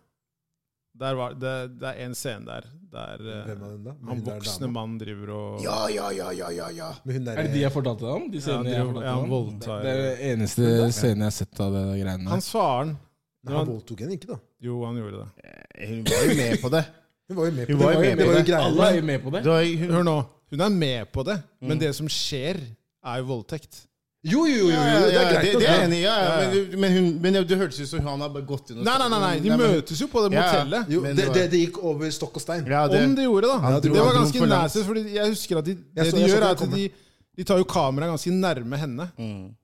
[SPEAKER 2] Der var, det, det er en scene der der eh,
[SPEAKER 3] Hvem er den da? Med
[SPEAKER 2] han
[SPEAKER 3] hun der
[SPEAKER 2] voksne
[SPEAKER 3] dama.
[SPEAKER 2] mannen driver og
[SPEAKER 1] Ja, ja, ja, ja, ja. ja.
[SPEAKER 3] Med hun der,
[SPEAKER 4] Er det de jeg fortalte deg om? De
[SPEAKER 2] Ja,
[SPEAKER 4] scenene
[SPEAKER 2] driver-
[SPEAKER 4] jeg har fortalt
[SPEAKER 2] ja,
[SPEAKER 4] deg
[SPEAKER 2] han
[SPEAKER 4] om?
[SPEAKER 2] voldtar
[SPEAKER 4] Det er det eneste scenen jeg har sett av det greiene der.
[SPEAKER 2] Hans faren
[SPEAKER 3] Nei, han voldtok henne ikke, da.
[SPEAKER 2] Jo, han gjorde det.
[SPEAKER 1] Eh, Hun var jo med på det.
[SPEAKER 3] Hun var jo med på
[SPEAKER 1] Hun
[SPEAKER 3] det.
[SPEAKER 1] var jo med
[SPEAKER 3] det
[SPEAKER 1] på
[SPEAKER 3] var jo
[SPEAKER 1] det.
[SPEAKER 3] greia.
[SPEAKER 4] Alle er jo med på det.
[SPEAKER 1] Da, hun,
[SPEAKER 2] Hør nå. Hun er med på det, men det som skjer, er jo voldtekt.
[SPEAKER 3] Jo, jo, jo, jo,
[SPEAKER 1] ja,
[SPEAKER 3] jo, det er
[SPEAKER 1] ja,
[SPEAKER 3] greit.
[SPEAKER 1] det, det er jeg
[SPEAKER 3] nok,
[SPEAKER 1] enig i, ja, ja. Men, du- men, hun, men det hørtes ut som han har bare gått inn og
[SPEAKER 2] Nei, nei, nei, nei. de
[SPEAKER 1] Altså, men-
[SPEAKER 2] møtes jo på det
[SPEAKER 1] Ja, ja.
[SPEAKER 2] motellet.
[SPEAKER 3] Jo,
[SPEAKER 1] Men
[SPEAKER 3] det,
[SPEAKER 1] det var-
[SPEAKER 3] det, det gikk over stokk og stein.
[SPEAKER 1] Ja, det,
[SPEAKER 2] Om de gjorde, da.
[SPEAKER 1] Han
[SPEAKER 2] det
[SPEAKER 1] dro- han
[SPEAKER 2] var
[SPEAKER 1] dro
[SPEAKER 2] ganske
[SPEAKER 1] for langt.
[SPEAKER 2] nasty, fordi jeg husker at de, det
[SPEAKER 3] Jeg
[SPEAKER 2] de
[SPEAKER 3] så- jeg så
[SPEAKER 2] gjør,
[SPEAKER 3] det
[SPEAKER 2] er at
[SPEAKER 3] komme.
[SPEAKER 2] de, de tar jo kameraet ganske nærme henne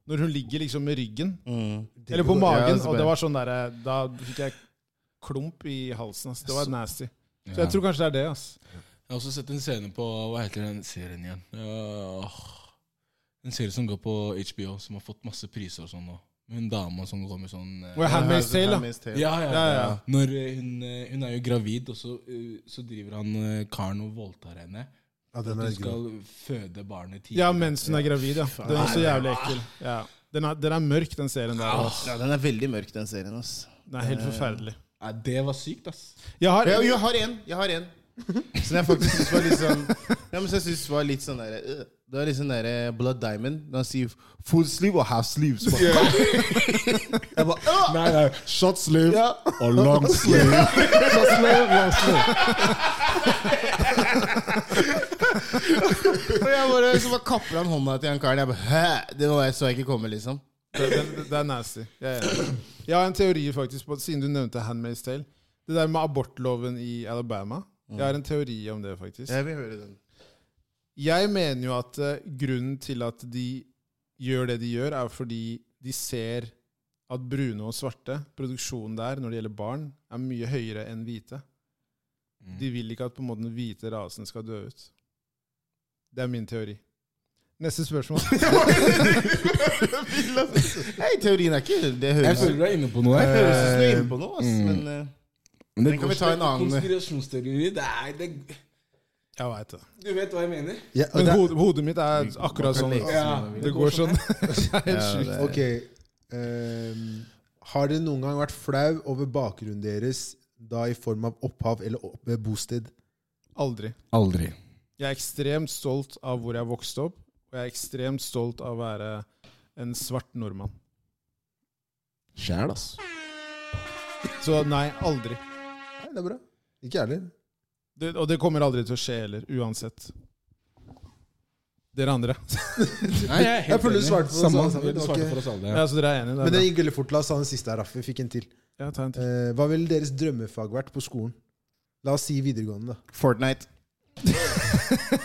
[SPEAKER 2] når hun ligger liksom med ryggen. Eller på
[SPEAKER 1] Ja,
[SPEAKER 2] magen.
[SPEAKER 1] så
[SPEAKER 2] og
[SPEAKER 1] bare-
[SPEAKER 2] det var sånn der, Da fikk jeg klump i halsen. ass. Det var nasty. Så jeg tror kanskje det er det. ass.
[SPEAKER 4] Jeg har også sett en scene på Hva heter den serien igjen? Åh, en serie som går på HBO, som har fått masse priser og sånn nå. Hun dama som går med sånn eh,
[SPEAKER 2] Og Handmaid's Tale, da.
[SPEAKER 1] altså, Handmaid's Tale.
[SPEAKER 4] ja, ja, ja,
[SPEAKER 2] Ja, ja.
[SPEAKER 4] Når eh, hun, eh, hun er jo gravid, og så, eh, så driver han eh, karen og voldtar henne.
[SPEAKER 3] Ja, den
[SPEAKER 4] Hun
[SPEAKER 3] er grå.
[SPEAKER 4] skal føde barnet tidlig.
[SPEAKER 2] Ja, mens hun er gravid, ja. Den er så jævlig ekkel. Ja. Den, er, den er mørk, den serien der. ass.
[SPEAKER 1] Ja, den er veldig mørk, den serien. ass.
[SPEAKER 2] Den er helt forferdelig.
[SPEAKER 4] Nei, det var sykt, ass.
[SPEAKER 2] Jeg har,
[SPEAKER 1] Ja, jo, jeg har en. Jeg har en. Som jeg faktisk syns var litt sånn Ja, men som jeg synes var litt sånn der, øh. Det var litt sånn der eh, Blood Diamond. Når han sier 'full sleeve' og 'half sleeve'. Så bare, jeg bare, øh.
[SPEAKER 4] Nei,
[SPEAKER 2] Eh,
[SPEAKER 4] nei.
[SPEAKER 3] Shot sleeve
[SPEAKER 1] Ja.
[SPEAKER 3] og long sleeve.
[SPEAKER 1] Og jeg bare, så bare kapper han hånda til han karen. Jeg bare, Hæ? Det var jeg så jeg ikke komme, liksom.
[SPEAKER 2] Det, det, det er nasty. Jeg er enig. Jeg har en teori, faktisk, på, siden du nevnte Handmaid's Tale. Det der med abortloven i Alabama. Jeg har en teori om det, faktisk.
[SPEAKER 1] Jeg vil høre den.
[SPEAKER 2] Jeg mener jo at eh, grunnen til at de gjør det de gjør, er fordi de ser at brune og svarte, produksjonen der når det gjelder barn, er mye høyere enn hvite. De vil ikke at på en måte den hvite rasen skal dø ut. Det er min teori. Neste spørsmål.
[SPEAKER 1] Nei, teorien er ikke Det
[SPEAKER 4] Jeg
[SPEAKER 1] høres
[SPEAKER 4] føler du er inne på noe.
[SPEAKER 1] Det høres ut som du er
[SPEAKER 4] her.
[SPEAKER 1] inne på noe, ass,
[SPEAKER 4] Mm.
[SPEAKER 1] men eh,
[SPEAKER 4] Men det
[SPEAKER 1] Den kan vi ta en annen- øh,
[SPEAKER 4] Konspirasjonsteori det er, det,
[SPEAKER 2] Jeg vet det.
[SPEAKER 4] Du vet hva jeg mener?
[SPEAKER 3] Ja, og
[SPEAKER 2] Men
[SPEAKER 3] det er-
[SPEAKER 2] hodet, hodet mitt er akkurat sånn. Det går sånn. Det er helt
[SPEAKER 1] Ja,
[SPEAKER 2] sjukt.
[SPEAKER 1] det-
[SPEAKER 3] Ok. ehm, har dere noen gang vært flau over bakgrunnen deres, da i form av opphav eller opp, eh, bosted?
[SPEAKER 2] Aldri.
[SPEAKER 4] Aldri.
[SPEAKER 2] Jeg er ekstremt stolt av hvor jeg vokste opp, og jeg er ekstremt stolt av å være en svart nordmann.
[SPEAKER 4] Sjæl, ass.
[SPEAKER 2] Så nei, aldri.
[SPEAKER 3] Nei, det er bra. Ikke jeg heller.
[SPEAKER 2] Det, og det kommer aldri til å skje heller, uansett. Dere andre.
[SPEAKER 4] Nei, jeg er
[SPEAKER 3] Jeg føler du svarte for oss alle sammen.
[SPEAKER 4] Du
[SPEAKER 3] Det var
[SPEAKER 4] svarte
[SPEAKER 3] ikke-
[SPEAKER 4] for oss alle.
[SPEAKER 2] Ja, så dere er enige?
[SPEAKER 3] Men
[SPEAKER 2] Det er
[SPEAKER 3] det
[SPEAKER 2] bra.
[SPEAKER 3] gikk veldig fort. La oss ta den siste her, Raffi. Vi Fikk en til.
[SPEAKER 2] Ja, ta en til.
[SPEAKER 3] Eh, hva ville deres drømmefag vært på skolen? La oss si videregående, da.
[SPEAKER 1] Fortnite.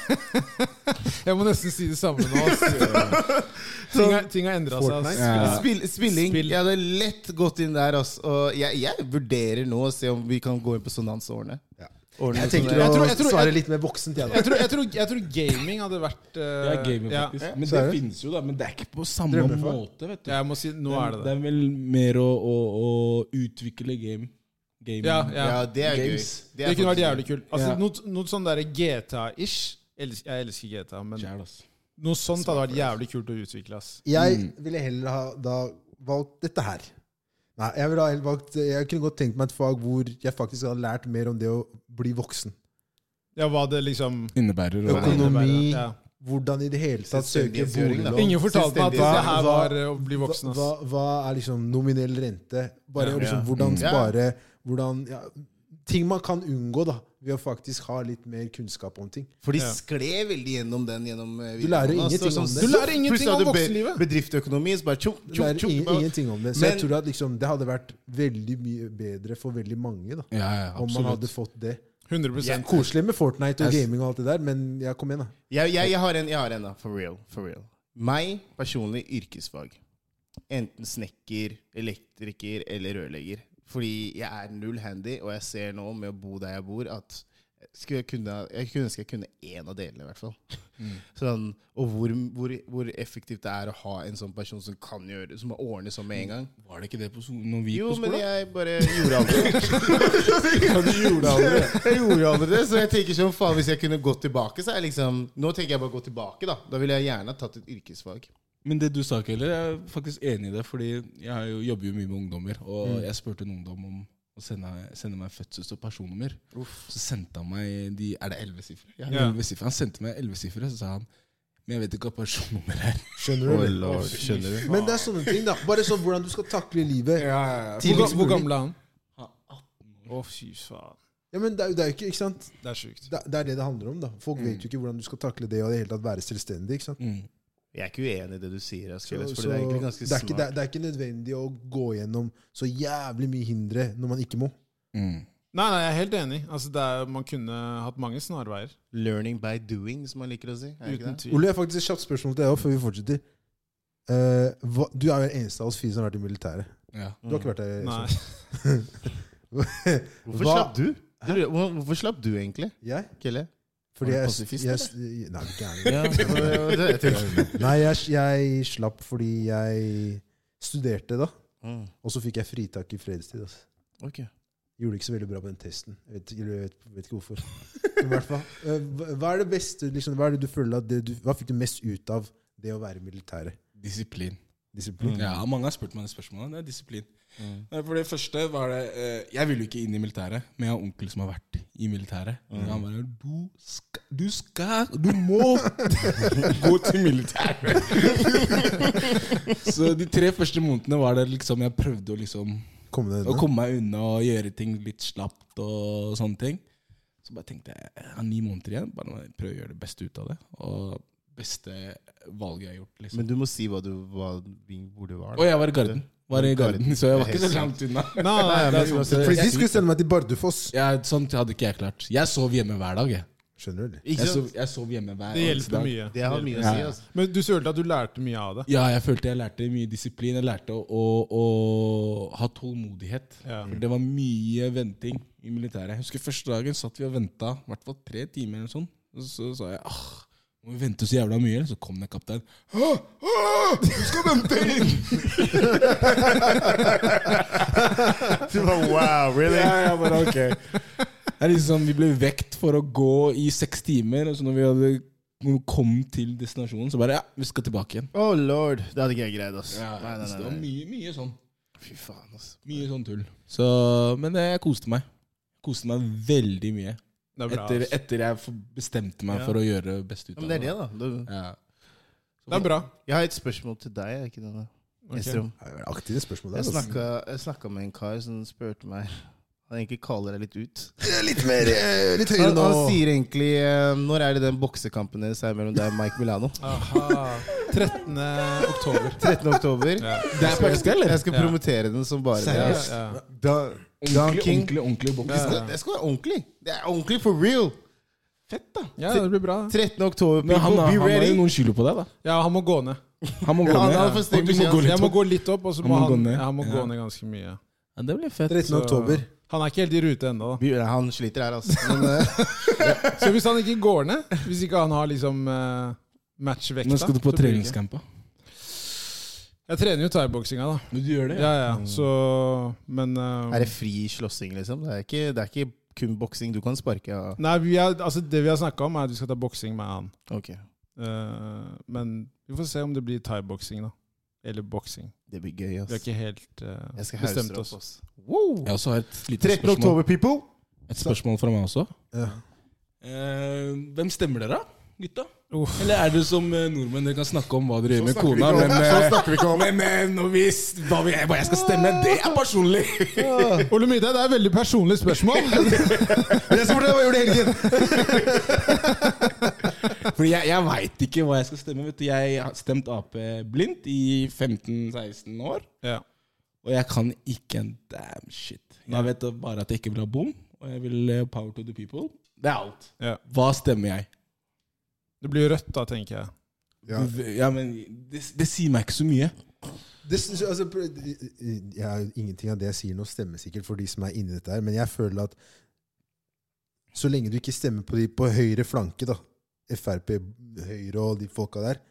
[SPEAKER 2] Jeg må nesten si det samme nå. ass. Ting har- Ting har endra seg. altså. ass.
[SPEAKER 4] Ja.
[SPEAKER 1] Spill, spilling.
[SPEAKER 2] Spill.
[SPEAKER 1] Jeg hadde lett gått inn der, ass. Og jeg, jeg vurderer nå å se om vi kan gå inn på sonansårene.
[SPEAKER 3] Ja.
[SPEAKER 1] Ordne
[SPEAKER 3] Jeg
[SPEAKER 1] sånn
[SPEAKER 3] tenker
[SPEAKER 1] der.
[SPEAKER 2] Jeg
[SPEAKER 3] å
[SPEAKER 2] tror- jeg tror-
[SPEAKER 3] svare litt mer voksent, jeg, da.
[SPEAKER 2] Jeg tror, jeg, tror, jeg tror gaming hadde vært eh,
[SPEAKER 4] Jeg er gamer,
[SPEAKER 2] ja.
[SPEAKER 4] faktisk. Men
[SPEAKER 3] Så
[SPEAKER 4] det
[SPEAKER 3] er det.
[SPEAKER 4] finnes jo, da. Men det er ikke på samme
[SPEAKER 3] Drømmefag.
[SPEAKER 4] måte, vet du.
[SPEAKER 2] Jeg må si, nå er det det.
[SPEAKER 4] er vel mer å, å, å utvikle game. Gaming.
[SPEAKER 2] Ja, ja.
[SPEAKER 1] Ja, det er
[SPEAKER 4] Games.
[SPEAKER 1] gøy.
[SPEAKER 2] Det kunne vært jævlig kult. Altså,
[SPEAKER 4] Ja.
[SPEAKER 2] noe, noe sånn derre GTA-ish. Elsk- Jeg elsker GTA, men
[SPEAKER 4] Sjæl, ass.
[SPEAKER 2] noe sånt hadde vært jævlig kult å utvikle. ass.
[SPEAKER 3] Jeg
[SPEAKER 2] Mm.
[SPEAKER 3] ville heller ha da valgt dette her. Nei, jeg, ville ha heller valgt, jeg kunne godt tenkt meg et fag hvor jeg faktisk hadde lært mer om det å bli voksen.
[SPEAKER 2] Ja, hva det liksom
[SPEAKER 4] Innebærer å
[SPEAKER 3] Økonom- Økonomi.
[SPEAKER 2] Ja.
[SPEAKER 3] Hvordan i det hele tatt søke
[SPEAKER 1] Selvstendighetsgjøring, da.
[SPEAKER 3] boliglån.
[SPEAKER 2] Ingen fortalte meg
[SPEAKER 1] Selvstendig.
[SPEAKER 2] at det her
[SPEAKER 3] Hva-
[SPEAKER 2] var eh, å bli voksen.
[SPEAKER 3] Hva,
[SPEAKER 2] ass.
[SPEAKER 3] hva er liksom nominell rente? Bare
[SPEAKER 2] Ja.
[SPEAKER 3] liksom
[SPEAKER 1] Ja.
[SPEAKER 3] hvordan
[SPEAKER 4] Mm.
[SPEAKER 3] spare hvordan, ja, Ting man kan unngå da ved å faktisk ha litt mer kunnskap om ting.
[SPEAKER 1] For de
[SPEAKER 2] Ja.
[SPEAKER 1] skled veldig gjennom den gjennom eh,
[SPEAKER 3] Du
[SPEAKER 1] videregående,
[SPEAKER 3] lærer
[SPEAKER 1] ass.
[SPEAKER 3] ingenting
[SPEAKER 1] Det var
[SPEAKER 3] om
[SPEAKER 1] sånn-
[SPEAKER 3] det.
[SPEAKER 2] Du lærer ingenting
[SPEAKER 1] Plutselig
[SPEAKER 2] om
[SPEAKER 1] hadde be-
[SPEAKER 2] voksenlivet.
[SPEAKER 1] Bedriftsøkonomi, så bare tjokk,
[SPEAKER 3] Du
[SPEAKER 1] tjokk,
[SPEAKER 3] lærer
[SPEAKER 1] tjokk.
[SPEAKER 3] ing-
[SPEAKER 1] bare-
[SPEAKER 3] ingenting om det. Så
[SPEAKER 1] Men-
[SPEAKER 3] jeg tror at liksom, det hadde vært veldig mye bedre for veldig mange da,
[SPEAKER 4] Ja, ja,
[SPEAKER 3] om man
[SPEAKER 4] absolutt.
[SPEAKER 3] hadde fått det.
[SPEAKER 2] 100
[SPEAKER 3] Det er koselig med Fortnite og gaming og alt det der, men ja, kom igjen, da.
[SPEAKER 1] Jeg, jeg, jeg har en, jeg har en da. For real. For real. Meg, personlig, yrkesfag. Enten snekker, elektriker eller rørlegger. Fordi jeg er null handy, og jeg ser nå, med å bo der jeg bor, at skulle jeg, kunne, jeg kunne ønske jeg kunne én av delene, i hvert fall. Sånn, og hvor, hvor, hvor effektivt det er å ha en sånn person som kan gjøre Som ordner sånn med en gang.
[SPEAKER 4] Var det ikke det på so- når vi
[SPEAKER 1] Jo,
[SPEAKER 4] gikk på
[SPEAKER 1] men
[SPEAKER 4] skolen?
[SPEAKER 1] jeg bare gjorde aldri det. Jeg gjorde aldri det, så jeg tenker sånn, faen, hvis jeg kunne gått tilbake, så er jeg liksom Nå tenker jeg bare gå tilbake, da. Da ville jeg gjerne ha tatt et yrkesfag.
[SPEAKER 4] Men det du sa, Keller, jeg er faktisk enig i det. Fordi jeg har jo, jobber jo mye med ungdommer. Og
[SPEAKER 2] Mm.
[SPEAKER 4] jeg spurte en ungdom om å sende, sende meg fødsels- og personnummer. Så sendte han meg de Er det elleve sifre? Ja,
[SPEAKER 2] Ja.
[SPEAKER 4] 11 sifre. Han sendte meg elleve sifre, så sa han Men jeg vet ikke hva personnummer er.
[SPEAKER 3] Skjønner du? eller?
[SPEAKER 1] skjønner du?
[SPEAKER 3] Men det er sånne ting, da. Bare sånn hvordan du skal takle livet.
[SPEAKER 4] Ja,
[SPEAKER 2] Hvor, ga-
[SPEAKER 3] Tidligst
[SPEAKER 2] hvor
[SPEAKER 3] mulig.
[SPEAKER 2] gammel er han? Å, fy faen.
[SPEAKER 3] Ja, men det er, det er jo ikke, ikke sant?
[SPEAKER 2] Det er sjukt.
[SPEAKER 3] Det, det er det det handler om, da. Folk
[SPEAKER 1] Mm.
[SPEAKER 3] vet jo ikke hvordan du skal takle det og i det hele tatt være selvstendig. ikke sant?
[SPEAKER 4] Mm.
[SPEAKER 1] Jeg er ikke uenig i det du sier, Asker,
[SPEAKER 3] Så-
[SPEAKER 1] for
[SPEAKER 3] så
[SPEAKER 1] det er egentlig ganske
[SPEAKER 3] det, er ikke, det,
[SPEAKER 1] smart.
[SPEAKER 3] er, det er ikke nødvendig å gå gjennom så jævlig mye hindre når man ikke må.
[SPEAKER 4] Mm.
[SPEAKER 2] Nei, nei, jeg er helt enig. Altså, det er, man kunne hatt mange snarveier.
[SPEAKER 1] Learning by doing, som man liker å si. Er det ikke
[SPEAKER 2] Uten
[SPEAKER 1] det?
[SPEAKER 2] tvil.
[SPEAKER 3] Ole, jeg har faktisk et kjapt spørsmål til deg også, før vi fortsetter. Eh, hva, du er jo den eneste av oss fire som har vært i militæret.
[SPEAKER 4] Ja.
[SPEAKER 3] Du har ikke vært der?
[SPEAKER 2] Nei.
[SPEAKER 3] Espen.
[SPEAKER 1] Hvorfor
[SPEAKER 3] Hva-
[SPEAKER 1] slapp du? Du, hvor- Hvorfor slapp du egentlig,
[SPEAKER 3] Jeg?
[SPEAKER 1] Kelle?
[SPEAKER 3] Fordi
[SPEAKER 1] Var du
[SPEAKER 3] jeg,
[SPEAKER 1] pasifist,
[SPEAKER 3] jeg, jeg Nei, ikke jeg.
[SPEAKER 1] Det- det-
[SPEAKER 3] Nei, jeg, jeg slapp fordi jeg studerte da,
[SPEAKER 1] Mm,
[SPEAKER 3] og så fikk jeg fritak i fredstid. Altså.
[SPEAKER 1] ok.
[SPEAKER 3] Gjorde ikke så veldig bra på den testen. Jeg vet, ikke- jeg vet, vet ikke hvorfor. Men i hvert fall, eh, hva- hva er det beste, liksom, hva er det du føler at det du, hva fikk du mest ut av det å være i militæret?
[SPEAKER 4] Disiplin.
[SPEAKER 3] Disiplin?
[SPEAKER 4] Ja, Mange har spurt meg det spørsmålet. Det er disiplin. Eh, For det første var det eh, Jeg ville jo ikke inn i militæret, men jeg har en onkel som har vært i militæret. Han bare du skal, du skal Du må gå til militæret! Så de tre første månedene var det liksom Jeg prøvde å liksom
[SPEAKER 3] Kom det
[SPEAKER 4] å
[SPEAKER 3] unna?
[SPEAKER 4] komme meg unna og gjøre ting litt slapt og sånne ting. Så bare tenkte jeg jeg har ni måneder igjen, bare prøv å gjøre det beste ut av det. Og beste valget jeg har gjort. liksom.
[SPEAKER 1] Men du må si hva du, hva, vi- hvor du var.
[SPEAKER 4] Og jeg var i Garden. Var i Garden, Så jeg var ikke så langt unna. sånn
[SPEAKER 2] Nei, nei,
[SPEAKER 1] Nei,
[SPEAKER 2] det
[SPEAKER 1] men-
[SPEAKER 2] er sant.
[SPEAKER 3] For de skulle sende meg til Bardufoss.
[SPEAKER 4] Jeg, sånt hadde ikke jeg klart. Jeg sov hjemme hver dag. Jeg,
[SPEAKER 3] Skjønner du? eller?
[SPEAKER 1] Ikke
[SPEAKER 4] jeg,
[SPEAKER 1] sant?
[SPEAKER 4] sov, jeg sov hjemme hver
[SPEAKER 2] det
[SPEAKER 4] eneste dag.
[SPEAKER 2] hjelper mye.
[SPEAKER 1] Det har mye å
[SPEAKER 4] Ja.
[SPEAKER 1] si. altså.
[SPEAKER 2] Men du følte at du lærte mye av det?
[SPEAKER 4] Ja, jeg følte jeg lærte mye disiplin. Jeg lærte å, å, å ha tålmodighet.
[SPEAKER 2] Ja.
[SPEAKER 4] For det var mye venting i militæret. Jeg husker første dagen satt vi og venta i hvert fall tre timer. eller sånn. Og så sa jeg ah, må vi vente så jævla mye? Så kom det en kaptein. «Hå, hå, Du skal vente inn!
[SPEAKER 1] Du bare, wow, really?
[SPEAKER 4] Ja, ja, bare ok. Det er liksom, vi ble vekt for å gå i seks timer, og så når vi hadde når vi kom til destinasjonen, så bare ja, vi skal tilbake igjen.
[SPEAKER 1] Oh lord. Det hadde ikke jeg greid, ass. nei,
[SPEAKER 4] så det
[SPEAKER 1] nei,
[SPEAKER 4] var
[SPEAKER 1] nei.
[SPEAKER 4] mye, mye sånn.
[SPEAKER 1] Fy faen, ass.
[SPEAKER 4] Mye sånn tull. Så, men jeg koste meg. Koste meg veldig mye.
[SPEAKER 2] Det er bra.
[SPEAKER 4] Etter,
[SPEAKER 2] ass.
[SPEAKER 4] etter jeg for- bestemte meg
[SPEAKER 2] Ja.
[SPEAKER 4] for å gjøre best ut
[SPEAKER 1] Ja,
[SPEAKER 4] av
[SPEAKER 1] men det er det, da. Du,
[SPEAKER 4] Ja.
[SPEAKER 2] Det er bra.
[SPEAKER 1] jeg har et spørsmål til deg. er det Ikke det, da?
[SPEAKER 2] Ok.
[SPEAKER 1] Estrom.
[SPEAKER 3] Det er Aktive spørsmål
[SPEAKER 1] Jeg
[SPEAKER 3] der. altså.
[SPEAKER 1] snakka, jeg snakka med en kar som spurte meg Han egentlig kaller deg litt ut.
[SPEAKER 3] Litt mer, eh, litt høyere
[SPEAKER 1] Han,
[SPEAKER 3] nå.
[SPEAKER 1] han sier egentlig eh, Når er det den boksekampen deres er mellom deg og Mike Milano?
[SPEAKER 2] Aha. 13. oktober.
[SPEAKER 1] 13. oktober.
[SPEAKER 2] Ja.
[SPEAKER 4] Det er på ekte, eller?
[SPEAKER 1] Jeg skal
[SPEAKER 2] Ja.
[SPEAKER 1] promotere den som bare det.
[SPEAKER 2] Ja,
[SPEAKER 1] ass.
[SPEAKER 2] ja.
[SPEAKER 3] Da,
[SPEAKER 4] Ordentlig, ordentlig, ordentlig boks.
[SPEAKER 1] Det skal- Det skal være ordentlig. Det er ordentlig for real.
[SPEAKER 4] Fett, da.
[SPEAKER 2] ja, det blir bra.
[SPEAKER 1] 13. oktober,
[SPEAKER 4] Men han,
[SPEAKER 1] people,
[SPEAKER 4] han
[SPEAKER 1] be
[SPEAKER 4] har
[SPEAKER 1] ready.
[SPEAKER 4] jo noen kilo på deg, da.
[SPEAKER 2] Ja, han må gå ned.
[SPEAKER 4] Han må gå
[SPEAKER 1] Ja, han
[SPEAKER 4] ned.
[SPEAKER 1] har fått
[SPEAKER 4] Og du må
[SPEAKER 1] beskjed.
[SPEAKER 4] gå
[SPEAKER 2] Jeg
[SPEAKER 4] litt
[SPEAKER 2] må
[SPEAKER 4] opp.
[SPEAKER 2] gå litt opp, og så
[SPEAKER 4] Han
[SPEAKER 2] må
[SPEAKER 4] må gå
[SPEAKER 2] han,
[SPEAKER 4] ned.
[SPEAKER 2] ja, han må gå
[SPEAKER 4] Ja.
[SPEAKER 2] ned ganske mye.
[SPEAKER 4] Ja, det blir fett.
[SPEAKER 3] 13.
[SPEAKER 2] Så-
[SPEAKER 3] oktober.
[SPEAKER 2] Han er ikke helt i rute ennå, da.
[SPEAKER 1] Vi- Han sliter her, altså. Men, eh,
[SPEAKER 2] Så hvis han ikke går ned, hvis ikke han har liksom eh, matchvekta
[SPEAKER 4] Nå skal du på
[SPEAKER 2] så blir det ikke.
[SPEAKER 4] treningscamp. da.
[SPEAKER 2] Jeg trener jo thaiboksinga, da.
[SPEAKER 4] Men du gjør det,
[SPEAKER 2] Ja, ja, så Men eh,
[SPEAKER 1] er det fri slåssing, liksom? Det er ikke, det er ikke kun boksing. Du kan sparke. Ja.
[SPEAKER 2] Nei, vi er, altså, det vi har snakka om, er at vi skal ta boksing med han.
[SPEAKER 1] Ok,
[SPEAKER 2] Eh, men vi får se om det blir thaiboksing, da. Eller boksing.
[SPEAKER 1] Det blir gøy,
[SPEAKER 2] Vi har
[SPEAKER 1] ass.
[SPEAKER 2] ikke helt eh,
[SPEAKER 1] Jeg skal hausse
[SPEAKER 2] bestemt
[SPEAKER 1] dere
[SPEAKER 2] oss.
[SPEAKER 1] opp, ass. Wow.
[SPEAKER 4] Jeg også har et lite
[SPEAKER 1] 13.
[SPEAKER 4] spørsmål.
[SPEAKER 1] oktober, people.
[SPEAKER 4] Et spørsmål fra meg også.
[SPEAKER 3] Ja.
[SPEAKER 4] Eh, hvem stemmer dere, da? Gutta?
[SPEAKER 2] Uff.
[SPEAKER 4] Eller er det som eh, nordmenn, dere kan snakke om hva dere gjør med
[SPEAKER 3] snakker vi
[SPEAKER 4] kona,
[SPEAKER 3] ikke om-
[SPEAKER 4] men,
[SPEAKER 3] så
[SPEAKER 4] eh,
[SPEAKER 3] Sånn snakker vi ikke om-
[SPEAKER 4] men eh, når vi, s- hva, vi, hva jeg skal stemme, det er personlig!
[SPEAKER 2] Ole Mida, det er et veldig personlig spørsmål.
[SPEAKER 3] Men jeg skal fortelle deg hva jeg gjorde i helgen!
[SPEAKER 4] For jeg, jeg veit ikke hva jeg skal stemme. Vet du. Jeg har stemt Ap blindt i 15-16 år,
[SPEAKER 2] ja.
[SPEAKER 4] og jeg kan ikke en damn shit. Jeg vet bare at jeg ikke vil ha bom, og jeg vil eh, power to the people. Det er alt.
[SPEAKER 2] Ja.
[SPEAKER 4] Hva stemmer jeg?
[SPEAKER 2] Det blir rødt, da, tenker jeg.
[SPEAKER 3] Ja.
[SPEAKER 4] Ja, men det, det sier meg ikke så mye.
[SPEAKER 3] Det, syns jeg- altså, jeg, ingenting av det jeg sier nå, stemmer sikkert for de som er inni dette her, men jeg føler at så lenge du ikke stemmer på de på høyre flanke, da, Frp, Høyre og de folka der,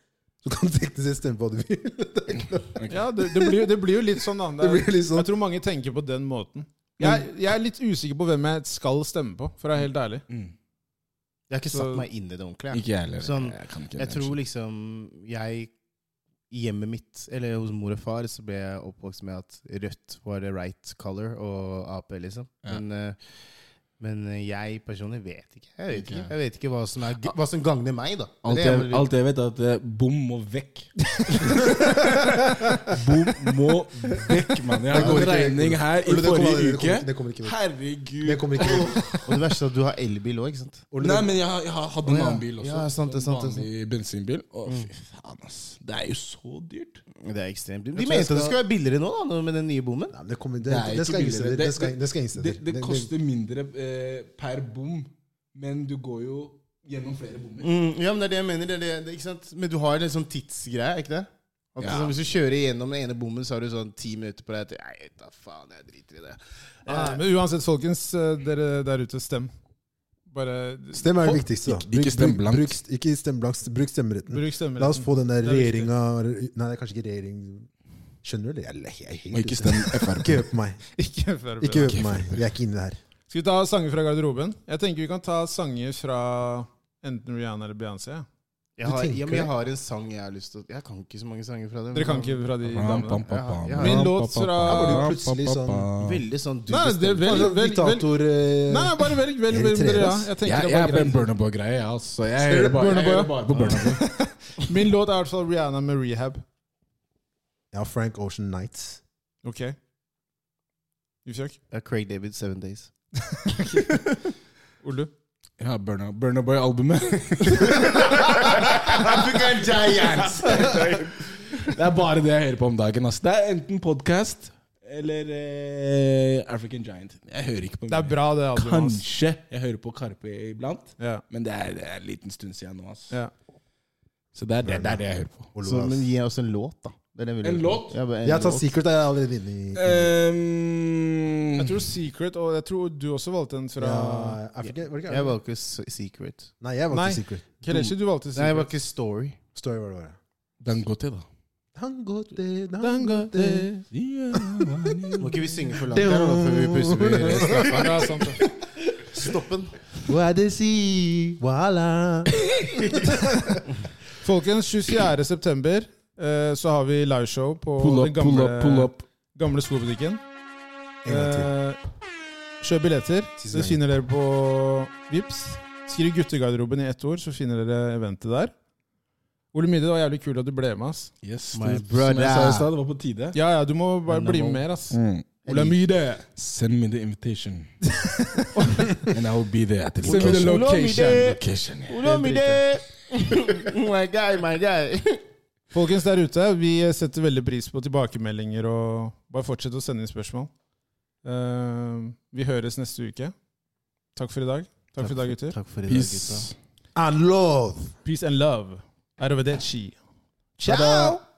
[SPEAKER 3] så kan du teknisk sett stemme på hva du vil. Det, er ikke noe-
[SPEAKER 2] Ja, det, det, blir, det blir jo litt sånn, da. Det
[SPEAKER 3] det
[SPEAKER 2] er-
[SPEAKER 3] blir litt
[SPEAKER 2] Jeg
[SPEAKER 3] sånn.
[SPEAKER 2] tror mange tenker på den måten. Jeg, jeg er litt usikker på hvem jeg skal stemme på, for å være helt ærlig.
[SPEAKER 1] Jeg har ikke
[SPEAKER 2] Så-
[SPEAKER 1] satt meg inn i det ordentlig. Jeg,
[SPEAKER 4] Mm. Ikke jeg heller.
[SPEAKER 1] Sånn,
[SPEAKER 4] jeg kan ikke
[SPEAKER 1] jeg tror liksom jeg i hjemmet mitt, eller hos mor og far, så ble jeg oppvokst med at rødt var the right color, og Ap, liksom.
[SPEAKER 4] Ja.
[SPEAKER 1] Men, eh, men jeg personlig vet ikke. Jeg vet
[SPEAKER 4] Ikke
[SPEAKER 1] ikke,
[SPEAKER 4] jeg.
[SPEAKER 1] jeg vet ikke hva, som er, g- hva som gagner meg, da.
[SPEAKER 4] Alt
[SPEAKER 1] Det er
[SPEAKER 4] jeg,
[SPEAKER 1] vel-
[SPEAKER 4] alt jeg vet, er at eh, bom må vekk. bom må vekk, mann. Jeg har
[SPEAKER 3] Det går
[SPEAKER 4] hatt
[SPEAKER 3] ikke.
[SPEAKER 4] regning her i
[SPEAKER 3] Ole, det kommer aldri-
[SPEAKER 4] forrige
[SPEAKER 3] det kommer ikke-
[SPEAKER 4] uke.
[SPEAKER 3] Det kommer ikke vekk. Det
[SPEAKER 4] Herregud.
[SPEAKER 3] kommer ikke vekk.
[SPEAKER 1] Og det verste er at du har elbil òg, ikke sant?
[SPEAKER 3] Ole,
[SPEAKER 4] Nei,
[SPEAKER 3] det-
[SPEAKER 4] men jeg, har- jeg har- hadde
[SPEAKER 1] Å,
[SPEAKER 4] en
[SPEAKER 1] ja.
[SPEAKER 4] annen bil også.
[SPEAKER 1] Ja, sant det, sant det, sant
[SPEAKER 4] Vanlig bensinbil. Å, fy faen, ass. Det er jo så dyrt.
[SPEAKER 1] Det er ekstremt dyrt.
[SPEAKER 4] Jeg
[SPEAKER 1] De mente
[SPEAKER 4] tror jeg skal-
[SPEAKER 1] det skulle være billigere nå, da, nå med den nye bommen.
[SPEAKER 3] Nei, men det, kommer, det,
[SPEAKER 4] Det er
[SPEAKER 3] det,
[SPEAKER 4] ikke
[SPEAKER 3] skal ingen
[SPEAKER 4] billigere.
[SPEAKER 3] steder. Det skal, det skal ingen steder.
[SPEAKER 4] Det, det koster mindre eh, per bom, men du går jo gjennom flere bommer.
[SPEAKER 1] Mm, ja, men det er det jeg mener. Det er det, det, ikke sant? Men du har en sånn tidsgreie, ikke det? At
[SPEAKER 4] Ja.
[SPEAKER 1] sånn, hvis du kjører gjennom den ene bommen, så har du sånn ti minutter på deg til Nei, da faen, jeg driter i det. Eh,
[SPEAKER 2] Nei, Men uansett, folkens, eh, dere der ute, stem. Bare
[SPEAKER 3] Stem er det viktigste, da.
[SPEAKER 4] Ikke stem blankt.
[SPEAKER 3] Bruk, bruk, ikke stem blankt. Bruk stemmeretten.
[SPEAKER 2] bruk stemmeretten.
[SPEAKER 3] La oss få den der
[SPEAKER 2] Det er viktig.
[SPEAKER 3] regjeringa Nei, det er kanskje ikke regjering Skjønner du det? Jeg, jeg, er helt
[SPEAKER 4] Og ikke
[SPEAKER 3] ute.
[SPEAKER 4] stem Frp.
[SPEAKER 3] Ikke hør på meg.
[SPEAKER 2] Ikke før det
[SPEAKER 3] Ikke
[SPEAKER 2] blir-
[SPEAKER 3] hør på meg. Jeg er ikke inne her.
[SPEAKER 2] Skal vi ta sanger fra garderoben? Jeg tenker vi kan ta sanger fra enten Rihanna eller Beyoncé.
[SPEAKER 1] Jeg har,
[SPEAKER 3] tenker
[SPEAKER 1] ja, men jeg
[SPEAKER 3] det?
[SPEAKER 1] har en sang jeg har lyst til å Jeg kan ikke så mange sanger fra dem.
[SPEAKER 2] Dere kan ikke fra de damene?
[SPEAKER 1] Min
[SPEAKER 2] låt fra-
[SPEAKER 3] Her var det jo plutselig sånn-
[SPEAKER 1] Veldig sånn du
[SPEAKER 2] Nei, det er
[SPEAKER 1] bestemmer.
[SPEAKER 2] vel-
[SPEAKER 3] Altså,
[SPEAKER 2] vel-
[SPEAKER 3] diktator
[SPEAKER 2] Nei,
[SPEAKER 3] eh,
[SPEAKER 2] nei, bare velg velg, velg,
[SPEAKER 3] Eritrea,
[SPEAKER 2] dere, ja.
[SPEAKER 3] ass.
[SPEAKER 2] Jeg
[SPEAKER 4] Jeg,
[SPEAKER 2] tenker det er
[SPEAKER 4] jeg
[SPEAKER 2] bare
[SPEAKER 4] er på en
[SPEAKER 2] greit.
[SPEAKER 4] Burner Boy-greie. Altså. Jeg
[SPEAKER 2] Ser
[SPEAKER 4] hører
[SPEAKER 2] du
[SPEAKER 4] bare,
[SPEAKER 2] Burna
[SPEAKER 4] jeg
[SPEAKER 2] Boy,
[SPEAKER 4] hører
[SPEAKER 2] ja?
[SPEAKER 4] bare på Burner Boy.
[SPEAKER 2] Min låt er i hvert fall Rihanna med 'Rehab'.
[SPEAKER 3] Ja, Frank Ocean Nights.
[SPEAKER 2] Ok? Ufjøk?
[SPEAKER 1] Ja, Craig David, Seven Days.
[SPEAKER 2] Olu?
[SPEAKER 4] Ja, Burna, Burna Boy-albumet.
[SPEAKER 1] African Giants!
[SPEAKER 4] Det er bare det jeg hører på om dagen. ass. Det er enten podcast eller eh, African Giant. Jeg hører ikke på
[SPEAKER 2] Det er bra, det. albumet, ass.
[SPEAKER 4] Kanskje jeg hører på Karpe iblant,
[SPEAKER 2] Ja.
[SPEAKER 4] men det er, det er en liten stund siden nå. ass.
[SPEAKER 2] Ja.
[SPEAKER 4] Så det er det, det er det jeg hører på.
[SPEAKER 1] Så, men gi oss en låt, da. Det er det jeg vil
[SPEAKER 4] En
[SPEAKER 1] høre.
[SPEAKER 4] låt?
[SPEAKER 1] Ja, bare en
[SPEAKER 3] Jeg tar
[SPEAKER 1] låt.
[SPEAKER 3] Secret, jeg er allerede
[SPEAKER 1] Eh,
[SPEAKER 3] inne i
[SPEAKER 4] Ehm,
[SPEAKER 2] Jeg tror Secret, og jeg tror du også valgte en fra
[SPEAKER 3] ja, Africa, var det ikke
[SPEAKER 1] Jeg
[SPEAKER 3] Africa?
[SPEAKER 1] valgte s- Secret.
[SPEAKER 3] Nei, jeg var
[SPEAKER 2] Nei.
[SPEAKER 3] ikke Secret.
[SPEAKER 2] Kelechi, du valgte
[SPEAKER 1] Nei, jeg
[SPEAKER 2] Secret.
[SPEAKER 1] valgte Story.
[SPEAKER 3] Story var det bare.
[SPEAKER 4] Dangote, da.
[SPEAKER 3] Dangote,
[SPEAKER 2] Dangote.
[SPEAKER 3] dangote.
[SPEAKER 1] Må ikke vi synge for langt her, da, før vi plutselig blir straffa?
[SPEAKER 2] Ja, sant det.
[SPEAKER 1] Stopp den.
[SPEAKER 3] What is he? Voila.
[SPEAKER 2] Folkens, 24. september eh, så har vi liveshow på
[SPEAKER 4] Pull up,
[SPEAKER 2] den
[SPEAKER 4] pull
[SPEAKER 2] gamle,
[SPEAKER 4] up, pull up.
[SPEAKER 2] gamle skobutikken.
[SPEAKER 3] En gang til.
[SPEAKER 2] Eh, kjøp billetter.
[SPEAKER 3] Siste
[SPEAKER 2] Det
[SPEAKER 3] gang.
[SPEAKER 2] finner dere på Vips. Skriv 'guttegarderoben' i ett ord, så finner dere eventet der. Ole Myhre, det var jævlig kult at du ble med. ass
[SPEAKER 4] Yes,
[SPEAKER 1] My
[SPEAKER 4] det, Som
[SPEAKER 1] brother.
[SPEAKER 4] jeg sa i stad, det var på tide.
[SPEAKER 2] Ja, ja, du må bare
[SPEAKER 1] Men det
[SPEAKER 2] bli
[SPEAKER 1] må-
[SPEAKER 2] med mer, ass.
[SPEAKER 4] Mm.
[SPEAKER 2] Ole Myhre!
[SPEAKER 4] Send me the invitation. And I will be there at the
[SPEAKER 2] Send me the
[SPEAKER 4] location.
[SPEAKER 2] location.
[SPEAKER 4] Location, yeah.
[SPEAKER 1] my guy, my guy.
[SPEAKER 2] Folkens der ute, vi setter veldig pris på tilbakemeldinger, og bare fortsett å sende inn spørsmål. Eh, vi høres neste uke. Takk for i dag. Takk for i dag, gutter.
[SPEAKER 1] Takk for i dag, gutta.
[SPEAKER 4] Peace.
[SPEAKER 3] And love.
[SPEAKER 2] Peace and love. Arrivederci.
[SPEAKER 3] Ciao.